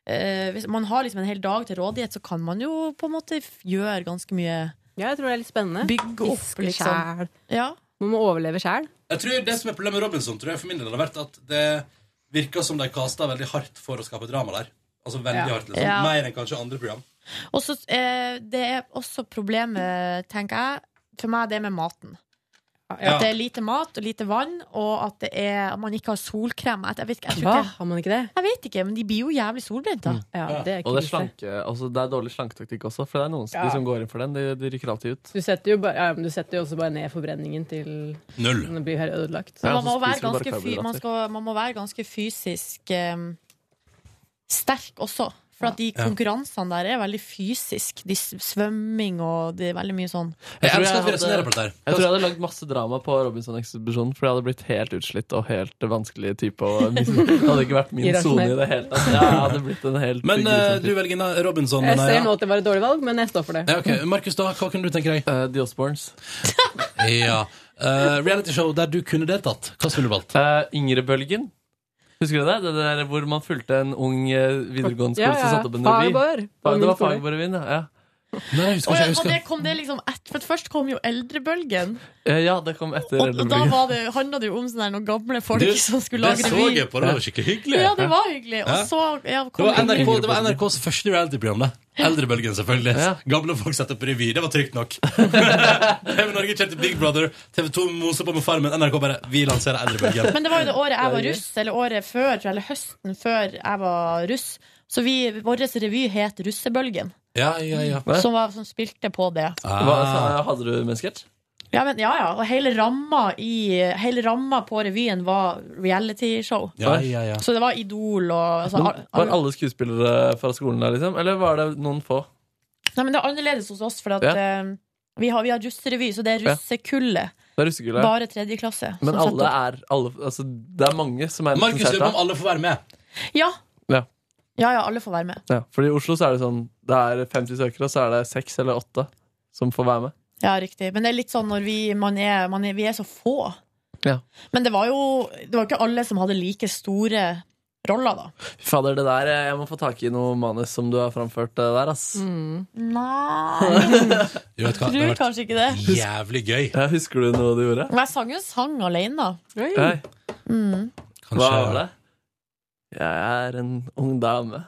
[SPEAKER 2] eh, hvis man har liksom en hel dag til rådighet, så kan man jo på en måte f- gjøre ganske mye.
[SPEAKER 11] Ja, jeg tror det er litt spennende.
[SPEAKER 2] Bygge opp,
[SPEAKER 11] Fiske
[SPEAKER 2] liksom.
[SPEAKER 11] sjæl.
[SPEAKER 2] Ja.
[SPEAKER 11] Man må overleve sjæl.
[SPEAKER 4] Jeg tror det som er problemet med Robinson, tror jeg for min del har vært at det virker som de kastet veldig hardt for å skape drama der. Altså veldig
[SPEAKER 2] Ja.
[SPEAKER 4] hardt, liksom.
[SPEAKER 2] Ja.
[SPEAKER 4] Mer enn kanskje andre program.
[SPEAKER 2] Og så eh, det er også problemet, tenker jeg, for meg det med maten.
[SPEAKER 4] Ja.
[SPEAKER 2] At det er lite mat og lite vann, og at, det er, at man ikke har solkrem. Jeg, jeg, vet, ikke- jeg, tror
[SPEAKER 11] Hva?
[SPEAKER 2] ikke,
[SPEAKER 11] Har man ikke det?
[SPEAKER 2] jeg vet ikke, men de blir jo jævlig solbrente.
[SPEAKER 4] Mm.
[SPEAKER 11] Ja, det er
[SPEAKER 3] Og det er,
[SPEAKER 11] krise.
[SPEAKER 3] slanke, altså det er dårlig slanketaktikk også, for det er noen som-
[SPEAKER 11] Ja.
[SPEAKER 3] de som går inn for den. De, de rykker alltid ut.
[SPEAKER 11] Du setter, jo bare, ja, men du setter jo også bare ned forbrenningen til
[SPEAKER 4] Null.
[SPEAKER 11] den blir helt ødelagt.
[SPEAKER 2] Men
[SPEAKER 3] Ja,
[SPEAKER 2] man,
[SPEAKER 3] så
[SPEAKER 2] må være
[SPEAKER 3] spiser du bare
[SPEAKER 2] ganske fy, man,
[SPEAKER 3] karbohydrater.
[SPEAKER 2] skal, man må være ganske fysisk eh, sterk også For at de
[SPEAKER 4] Ja.
[SPEAKER 2] konkurransene der er veldig fysisk. De s- svømming og det er veldig mye sånn.
[SPEAKER 4] Jeg elsker at vi resonerer på dette her.
[SPEAKER 7] jeg tror jeg hadde lagd masse drama på Robinson-ekspedisjonen, for jeg hadde blitt helt utslitt og helt vanskelig type. Og mis- det hadde ikke vært min
[SPEAKER 11] Irrasjonell.
[SPEAKER 7] sone i det hele tatt. Ja, jeg hadde blitt en helt
[SPEAKER 4] Men
[SPEAKER 7] grusom
[SPEAKER 4] eh,
[SPEAKER 7] fyr.
[SPEAKER 4] du velger na-
[SPEAKER 7] Sånn,
[SPEAKER 4] Robinson.
[SPEAKER 11] Jeg
[SPEAKER 4] Naja.
[SPEAKER 11] ser nå at det var et dårlig valg, men jeg står for det.
[SPEAKER 4] Ja, ok. Markus, da, hva kunne du tenke deg?
[SPEAKER 7] Eh, The Osbournes.
[SPEAKER 4] ja. Eh, reality show der du kunne deltatt. Hva skulle du valgt?
[SPEAKER 7] Eh, Yngrebølgen. Husker du det? Det der hvor man fulgte en ung eh, videregående skole
[SPEAKER 11] Ja,
[SPEAKER 7] som
[SPEAKER 11] ja.
[SPEAKER 7] satte opp en revy.
[SPEAKER 11] Fagbår.
[SPEAKER 7] Fa- Det
[SPEAKER 11] Min
[SPEAKER 7] var
[SPEAKER 11] skole.
[SPEAKER 7] Fagerborg-revyen, ja.
[SPEAKER 4] Nei,
[SPEAKER 2] Og, og det kom det liksom et, For først kom jo eldrebølgen.
[SPEAKER 7] Eh, Ja, det kom etter
[SPEAKER 2] Og da var det, handla det jo om sånne her noen gamle folk
[SPEAKER 4] Du,
[SPEAKER 2] som skulle
[SPEAKER 4] det
[SPEAKER 2] lage
[SPEAKER 4] så
[SPEAKER 2] revy.
[SPEAKER 4] jeg på, det var skikkelig hyggelig.
[SPEAKER 2] Ja, det var hyggelig.
[SPEAKER 4] Ja.
[SPEAKER 2] Og så ja,
[SPEAKER 4] Det
[SPEAKER 2] kom
[SPEAKER 4] var, NRK, det var NRKs første reality-program. det Eldrebølgen, selvfølgelig. Gamle folk setter opp revy. Det var trygt nok. TV Norge kjørte Big Brother. TV 2 mosa på med Farmen. NRK bare Vi lanserer Eldrebølgen.
[SPEAKER 2] Men det var jo det året jeg var russ, eller året før, tror jeg, eller høsten før jeg var russ. Så vi, vår revy het Russebølgen,
[SPEAKER 4] Ja, ja, ja.
[SPEAKER 2] som, var, som spilte på det.
[SPEAKER 7] Hva, sa- hadde du med en sketsj?
[SPEAKER 2] Ja, men, ja, ja. Og hele ramma, i, hele ramma på revyen var realityshow.
[SPEAKER 7] Ja, ja, ja.
[SPEAKER 2] Så det var Idol og altså,
[SPEAKER 7] Men
[SPEAKER 2] al-
[SPEAKER 7] Var alle skuespillere fra skolen der, liksom? Eller var det noen få?
[SPEAKER 2] Nei, men det er annerledes hos oss, for at,
[SPEAKER 7] Ja.
[SPEAKER 2] eh, vi, har, vi har russerevy, så det er
[SPEAKER 7] Ja.
[SPEAKER 2] russekullet.
[SPEAKER 7] Det er russekullet.
[SPEAKER 2] Bare tredje klasse. som
[SPEAKER 7] Men alle
[SPEAKER 2] setter opp.
[SPEAKER 7] er alle, altså, Det er mange som er
[SPEAKER 4] Markus
[SPEAKER 7] representert
[SPEAKER 4] lurer på
[SPEAKER 7] da.
[SPEAKER 4] om alle får være med.
[SPEAKER 2] Ja.
[SPEAKER 7] Ja.
[SPEAKER 2] ja, ja, alle får være med.
[SPEAKER 7] Ja, fordi i Oslo så er det sånn Det er 50 søkere, og så er det 6 eller 8 som får være med.
[SPEAKER 2] Ja, riktig. Men det er litt sånn når vi, man er, man er, vi er så få.
[SPEAKER 7] Ja.
[SPEAKER 2] Men det var jo det var ikke alle som hadde like store roller, da.
[SPEAKER 7] Fy Fader, det der eh, Jeg må få tak i noe manus som du har framført eh, der, ass.
[SPEAKER 2] Mm. Nei
[SPEAKER 4] Du vet hva, det
[SPEAKER 2] Tror
[SPEAKER 4] har vært
[SPEAKER 2] kanskje ikke det.
[SPEAKER 4] jævlig gøy.
[SPEAKER 7] Ja, husker du noe du gjorde?
[SPEAKER 2] Men jeg sang jo en sang alene, da.
[SPEAKER 7] Hei.
[SPEAKER 2] Mm.
[SPEAKER 7] Hva var det? Jeg er en ung dame.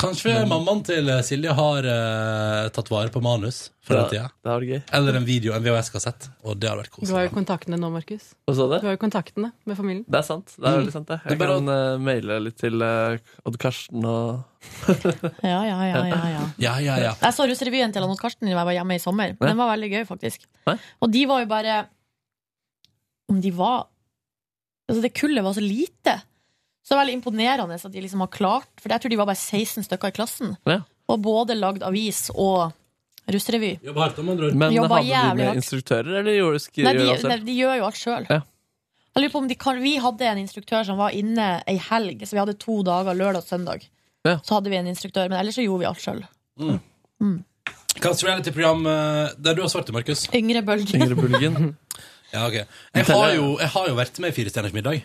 [SPEAKER 4] Kanskje mammaen til Silje har eh, tatt vare på manus
[SPEAKER 7] Ja,
[SPEAKER 4] fra den tida.
[SPEAKER 7] Det var gøy.
[SPEAKER 4] Eller en video, en VHS-kassett. Og det har vært
[SPEAKER 11] Du
[SPEAKER 4] koselig.
[SPEAKER 11] har jo kontaktene nå, Markus.
[SPEAKER 7] Hva sa du?
[SPEAKER 11] Du har jo kontaktene med familien. Mm.
[SPEAKER 7] Det er sant. Det er veldig sant, det. Jeg
[SPEAKER 4] Det er bare
[SPEAKER 7] kan eh, maile litt til eh, Odd Karsten og
[SPEAKER 2] Ja, ja, ja, ja, ja.
[SPEAKER 4] Ja, ja, ja.
[SPEAKER 2] Jeg så russerevyen til Anne Karsten da jeg var hjemme i sommer. Den var veldig gøy, faktisk.
[SPEAKER 7] Hæ?
[SPEAKER 2] Og de var jo bare Om de var Altså, det kullet var så lite. Så det er veldig imponerende at de liksom har klart For jeg tror de var bare 16 stykker i klassen.
[SPEAKER 7] Ja.
[SPEAKER 2] Og både lagd avis og russerevy.
[SPEAKER 4] Jobba hardt om andre ord.
[SPEAKER 7] Men
[SPEAKER 2] Jobba
[SPEAKER 7] hadde de
[SPEAKER 2] jævlig
[SPEAKER 7] med
[SPEAKER 2] hardt.
[SPEAKER 7] instruktører, eller gjorde skriver
[SPEAKER 2] Nei, de,
[SPEAKER 7] du det
[SPEAKER 2] nei,
[SPEAKER 7] selv?
[SPEAKER 2] de gjør jo alt sjøl.
[SPEAKER 7] Ja.
[SPEAKER 2] Jeg lurer på om de kan, Vi hadde en instruktør som var inne ei helg, så vi hadde to dager, lørdag og søndag.
[SPEAKER 7] Ja.
[SPEAKER 2] Så hadde vi en instruktør, men ellers så gjorde vi alt sjøl.
[SPEAKER 4] Hvilket reality-program eh, der du har svart til, Markus?
[SPEAKER 2] Yngre bølgen.
[SPEAKER 7] Yngre Bulgen.
[SPEAKER 4] Ja, ok. Jeg har jo, jeg har jo vært med i Fire stjerners middag,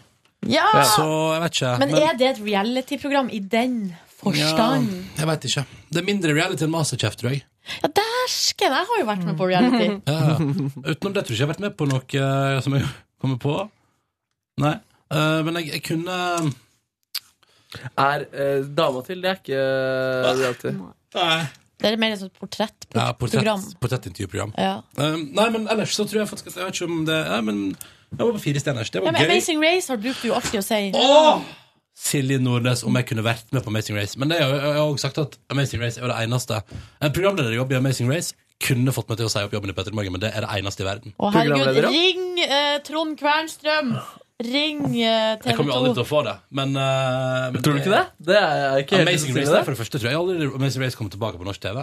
[SPEAKER 2] Ja!
[SPEAKER 4] så jeg vet ikke.
[SPEAKER 2] Men er det et reality-program i den forstand?
[SPEAKER 4] Ja, jeg vet ikke. Det er mindre reality enn Masterchef, tror jeg.
[SPEAKER 2] Ja, dæsken! Jeg har jo vært med på reality.
[SPEAKER 4] Ja, ja. Utenom det tror jeg ikke jeg har vært med på noe eh, som jeg kommer på. Nei. Eh, men jeg, jeg kunne um,
[SPEAKER 7] Er eh, dama til Det er ikke
[SPEAKER 4] Ah.
[SPEAKER 7] eh, reality.
[SPEAKER 2] Det er mer et sånt
[SPEAKER 4] Ja,
[SPEAKER 2] portrettprogram.
[SPEAKER 4] portrett, portrettintervjuprogram.
[SPEAKER 2] Ja.
[SPEAKER 4] Eh, nei, men ellers så tror jeg faktisk at Jeg vet ikke om det Nei, men jeg var på Fire stjerners. Det var
[SPEAKER 2] Ja, men
[SPEAKER 4] gøy.
[SPEAKER 2] Amazing Race har brukt du jo alltid å si.
[SPEAKER 4] Åh! Silje Nordnes om jeg kunne vært med på Amazing Race. Men det er jo, jeg har også sagt at Amazing Race er jo det eneste. En programlederjobb i Amazing Race kunne fått meg til å si opp jobben i Petter Morgen, men det er det eneste i verden.
[SPEAKER 2] Å, herregud,
[SPEAKER 7] Programleder, ja.
[SPEAKER 2] ring eh, Trond Kvernstrøm! Ring eh,
[SPEAKER 4] Jeg kommer jo aldri
[SPEAKER 2] TV2.
[SPEAKER 4] til å få det, men eh, men
[SPEAKER 7] Tror du ikke det? Det er jeg ikke helt
[SPEAKER 4] Amazing
[SPEAKER 7] sikker
[SPEAKER 4] Race
[SPEAKER 7] i
[SPEAKER 4] der, for det første tror jeg aldri Amazing Race kommer tilbake på norsk TV.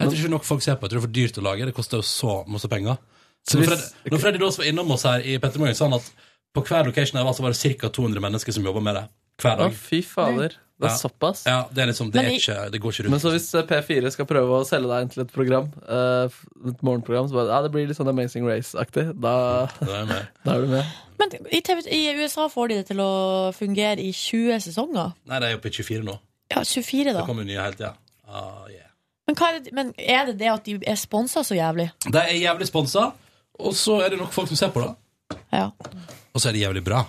[SPEAKER 4] Jeg tror ikke nok folk ser på. Jeg tror det er for dyrt å lage. Det koster jo så masse penger. Så når, Fred,
[SPEAKER 7] hvis-
[SPEAKER 4] når Freddy Daas var innom oss her i Petter Morgen, sa han at på hver location her var det ca. 200 mennesker som jobber med det. Hver
[SPEAKER 7] Å,
[SPEAKER 4] dag.
[SPEAKER 7] fy fader. Det er
[SPEAKER 4] Ja.
[SPEAKER 7] såpass.
[SPEAKER 4] Ja, det er liksom, det,
[SPEAKER 2] Men
[SPEAKER 4] er
[SPEAKER 2] i-
[SPEAKER 4] ikke, det går ikke rundt.
[SPEAKER 7] Men så hvis eh, P4 skal prøve å selge deg inn til et program, eh, f- et morgenprogram, så bare, ja, det blir litt sånn Amazing Race-aktig, da,
[SPEAKER 4] Det er med.
[SPEAKER 7] da er du med.
[SPEAKER 2] Men i, TV, i USA får de det til å fungere i 20 sesonger.
[SPEAKER 4] Nei, det er jo på 24 nå.
[SPEAKER 2] Ja, 24,
[SPEAKER 4] Det
[SPEAKER 2] da.
[SPEAKER 4] kommer jo nye hele tida. Ah, yeah.
[SPEAKER 2] Men, hva er det, men er det det at de er sponsa så jævlig?
[SPEAKER 4] De er jævlig sponsa, og så er det nok folk som ser på det.
[SPEAKER 2] Ja.
[SPEAKER 4] Og så er det jævlig bra.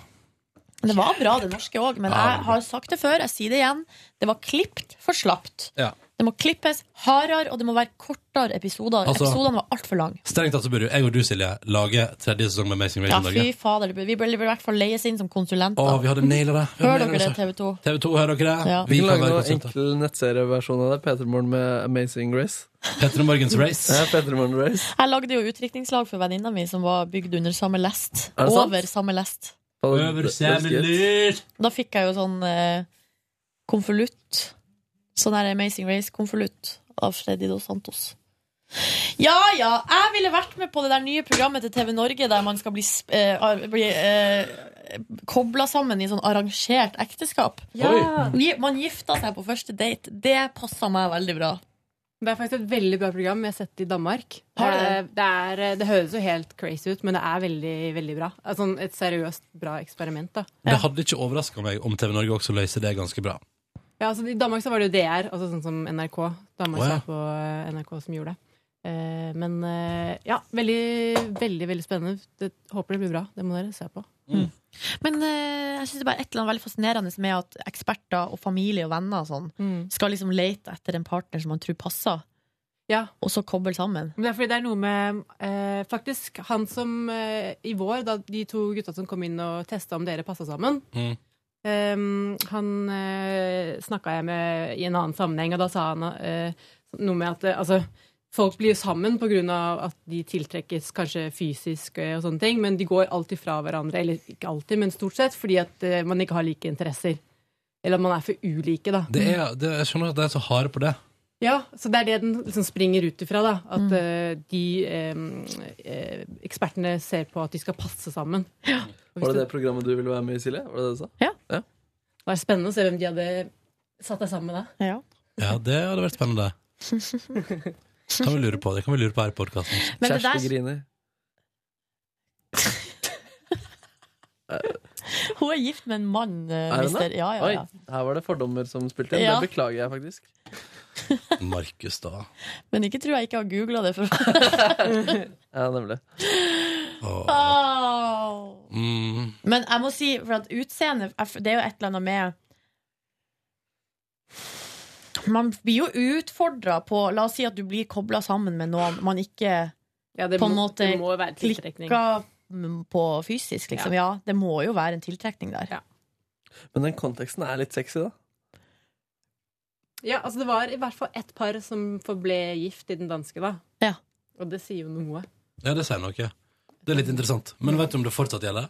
[SPEAKER 2] Men Det var bra, det norske òg, men jeg har sagt det før, jeg sier det igjen. Det var klipt for slapt.
[SPEAKER 4] Ja.
[SPEAKER 2] Det må klippes hardere, og det må være kortere episoder.
[SPEAKER 4] Altså-
[SPEAKER 2] Episodene var altfor lange.
[SPEAKER 4] Strengt tatt så burde jo jeg og du, Silje, lage tredje sesong med Amazing Race
[SPEAKER 2] Ja,
[SPEAKER 4] i Norge.
[SPEAKER 2] fy fader. det burde- Vi burde i hvert fall leies inn som konsulenter.
[SPEAKER 4] Å, vi hadde naila det. Vi
[SPEAKER 2] Hører
[SPEAKER 4] hadde
[SPEAKER 2] dere
[SPEAKER 4] nailet
[SPEAKER 2] det, TV 2?
[SPEAKER 4] TV 2, hører dere det?
[SPEAKER 2] Ja.
[SPEAKER 7] Vi
[SPEAKER 4] Vi
[SPEAKER 7] kan
[SPEAKER 4] kan
[SPEAKER 7] lage
[SPEAKER 4] være
[SPEAKER 7] noen
[SPEAKER 4] konsulter.
[SPEAKER 7] enkel nettserieversjon av det. P3morgen med Amazing Race.
[SPEAKER 4] Petter og Morgens Race.
[SPEAKER 7] Ja, P3morgen Race.
[SPEAKER 2] Jeg lagde jo utdrikningslag for venninna mi som var bygd under samme lest.
[SPEAKER 7] Er det sant?
[SPEAKER 2] Over samme lest.
[SPEAKER 7] Fader, det-
[SPEAKER 4] Øver
[SPEAKER 7] det er skøyt.
[SPEAKER 4] semler.
[SPEAKER 2] Da fikk jeg jo sånn eh, konvolutt Sånn her Amazing Race-konvolutt av Freddy Dos Santos. Ja ja, jeg ville vært med på det der nye programmet til TV Norge der man skal bli, sp- eh, ar- bli eh, kobla sammen i sånn arrangert ekteskap.
[SPEAKER 11] Ja.
[SPEAKER 2] Gi- Man gifta seg på første date. Det passa meg veldig bra.
[SPEAKER 11] Det er faktisk et veldig bra program jeg har sett i Danmark.
[SPEAKER 2] Har du
[SPEAKER 11] Eh,
[SPEAKER 2] det?
[SPEAKER 11] Det, er, det høres jo helt crazy ut, men det er veldig, veldig bra. Altså, et seriøst bra eksperiment. da.
[SPEAKER 4] Det hadde ikke overraska meg om TV Norge også løser det ganske bra.
[SPEAKER 11] Ja, altså, I Danmark så var det jo DR, altså sånn som NRK. Danmark
[SPEAKER 4] Å, ja.
[SPEAKER 11] var på eh, NRK som gjorde det. Eh, men eh, ja, veldig, veldig veldig spennende. Det, håper det blir bra. Det må dere se på.
[SPEAKER 2] Men eh, jeg synes det er bare et eller annet veldig fascinerende med at eksperter og familie og venner og sånn skal liksom lete etter en partner som man tror passer, og så koble sammen.
[SPEAKER 11] Men det er fordi det er noe med eh, Faktisk, han som eh, i vår, da de to gutta som kom inn og testa om dere passa sammen eh, Han eh, snakka jeg med i en annen sammenheng, og da sa han eh, noe med at eh, altså, folk blir jo sammen på grunn av at de tiltrekkes kanskje fysisk eh, og sånne ting, men de går alltid fra hverandre, eller ikke alltid, men stort sett, fordi at eh, man ikke har like interesser. Eller at man er for ulike, da.
[SPEAKER 4] Det
[SPEAKER 2] Mm.
[SPEAKER 4] er, det, jeg skjønner at de er så harde på det.
[SPEAKER 11] Ja, så det er det den liksom springer ut ifra. da At eh, de eh, eh, ekspertene ser på at de skal passe sammen. Og hvis
[SPEAKER 7] Var det det programmet du ville være med i, Silje? Var det det du sa?
[SPEAKER 2] Ja.
[SPEAKER 11] Det var spennende å se hvem de hadde satt deg sammen med
[SPEAKER 2] da.
[SPEAKER 4] Ja, det hadde vært spennende. Det kan vi lure på, det kan vi lure på her i podkasten.
[SPEAKER 2] Men det Kjersti der-
[SPEAKER 7] griner.
[SPEAKER 2] Hun er gift med en mann, eh,
[SPEAKER 7] Eh, Er hun
[SPEAKER 2] mister.
[SPEAKER 7] det?
[SPEAKER 2] Ja, ja, ja.
[SPEAKER 7] Oi, her var det fordommer som spilte inn.
[SPEAKER 2] Ja.
[SPEAKER 7] Det beklager jeg faktisk.
[SPEAKER 4] Markus, da.
[SPEAKER 2] Men ikke tror jeg ikke har googla det før.
[SPEAKER 7] Ja, nemlig.
[SPEAKER 2] Au. Ah.
[SPEAKER 4] Mm.
[SPEAKER 2] Men jeg må si, for at utseende jeg f- Det er jo et eller annet med Man blir jo utfordra på La oss si at du blir kobla sammen med noen man ikke
[SPEAKER 11] det
[SPEAKER 2] på en
[SPEAKER 11] må-
[SPEAKER 2] måte
[SPEAKER 11] det må være tiltrekning.
[SPEAKER 2] klikker m- på fysisk, liksom. Ja. det må jo være en tiltrekning der.
[SPEAKER 7] Men den konteksten er litt sexy, da.
[SPEAKER 11] Ja, altså Det var i hvert fall ett par som forble gift i den danske, da.
[SPEAKER 2] Ja.
[SPEAKER 11] Og det sier jo noe.
[SPEAKER 4] Ja, det sier noe. Det er litt interessant. Men vet du om det fortsatt gjelder?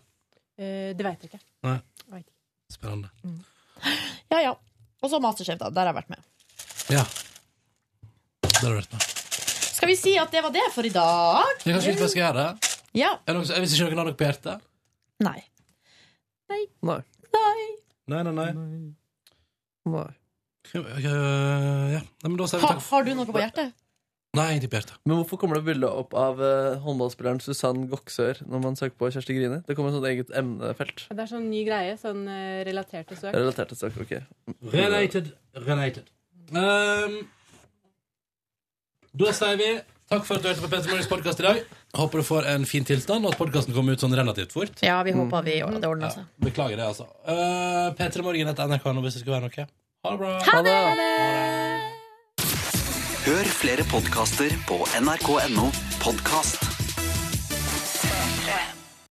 [SPEAKER 11] Eh, det veit jeg ikke.
[SPEAKER 4] Nei.
[SPEAKER 11] Vet ikke.
[SPEAKER 4] Spennende.
[SPEAKER 2] Ja, ja. Og så Masterchef, da. Der har jeg vært med.
[SPEAKER 4] Ja. Det har du vært med.
[SPEAKER 2] Skal vi si at det var det for i dag?
[SPEAKER 4] Jeg kanskje ikke bare skal gjøre det?
[SPEAKER 2] Ja.
[SPEAKER 4] Er det noen, som- hvis ikke noen har noe på hjertet?
[SPEAKER 2] Nei.
[SPEAKER 7] Nei.
[SPEAKER 4] Nei, nei, nei.
[SPEAKER 7] Nei.
[SPEAKER 4] Ja. Nei, men da sier vi
[SPEAKER 2] Ha,
[SPEAKER 4] takk.
[SPEAKER 2] har du noe på hjertet?
[SPEAKER 4] Nei, ingenting på hjertet.
[SPEAKER 7] Men hvorfor kommer det bilde opp av eh, håndballspilleren Susann Goksør når man søker på Kjersti Grini? Det kommer et sånt eget emnefelt.
[SPEAKER 11] Det er sånn ny greie. Sånn eh, relatert til søk.
[SPEAKER 7] Relatert til søk, ok.
[SPEAKER 4] Related. Related. Ehm, da sier vi takk for at du hørte på Petter Morgens podkast i dag. Håper du får en fin tilstand, og at podkasten kommer ut sånn relativt fort.
[SPEAKER 2] Ja, vi håper vi det ordner seg.
[SPEAKER 4] Beklager det, altså. Uh, P3 Morgen heter NRK nå hvis det skulle være noe. Ha det bra.
[SPEAKER 2] Ha det!
[SPEAKER 12] Hør flere podkaster på nrk.no podkast.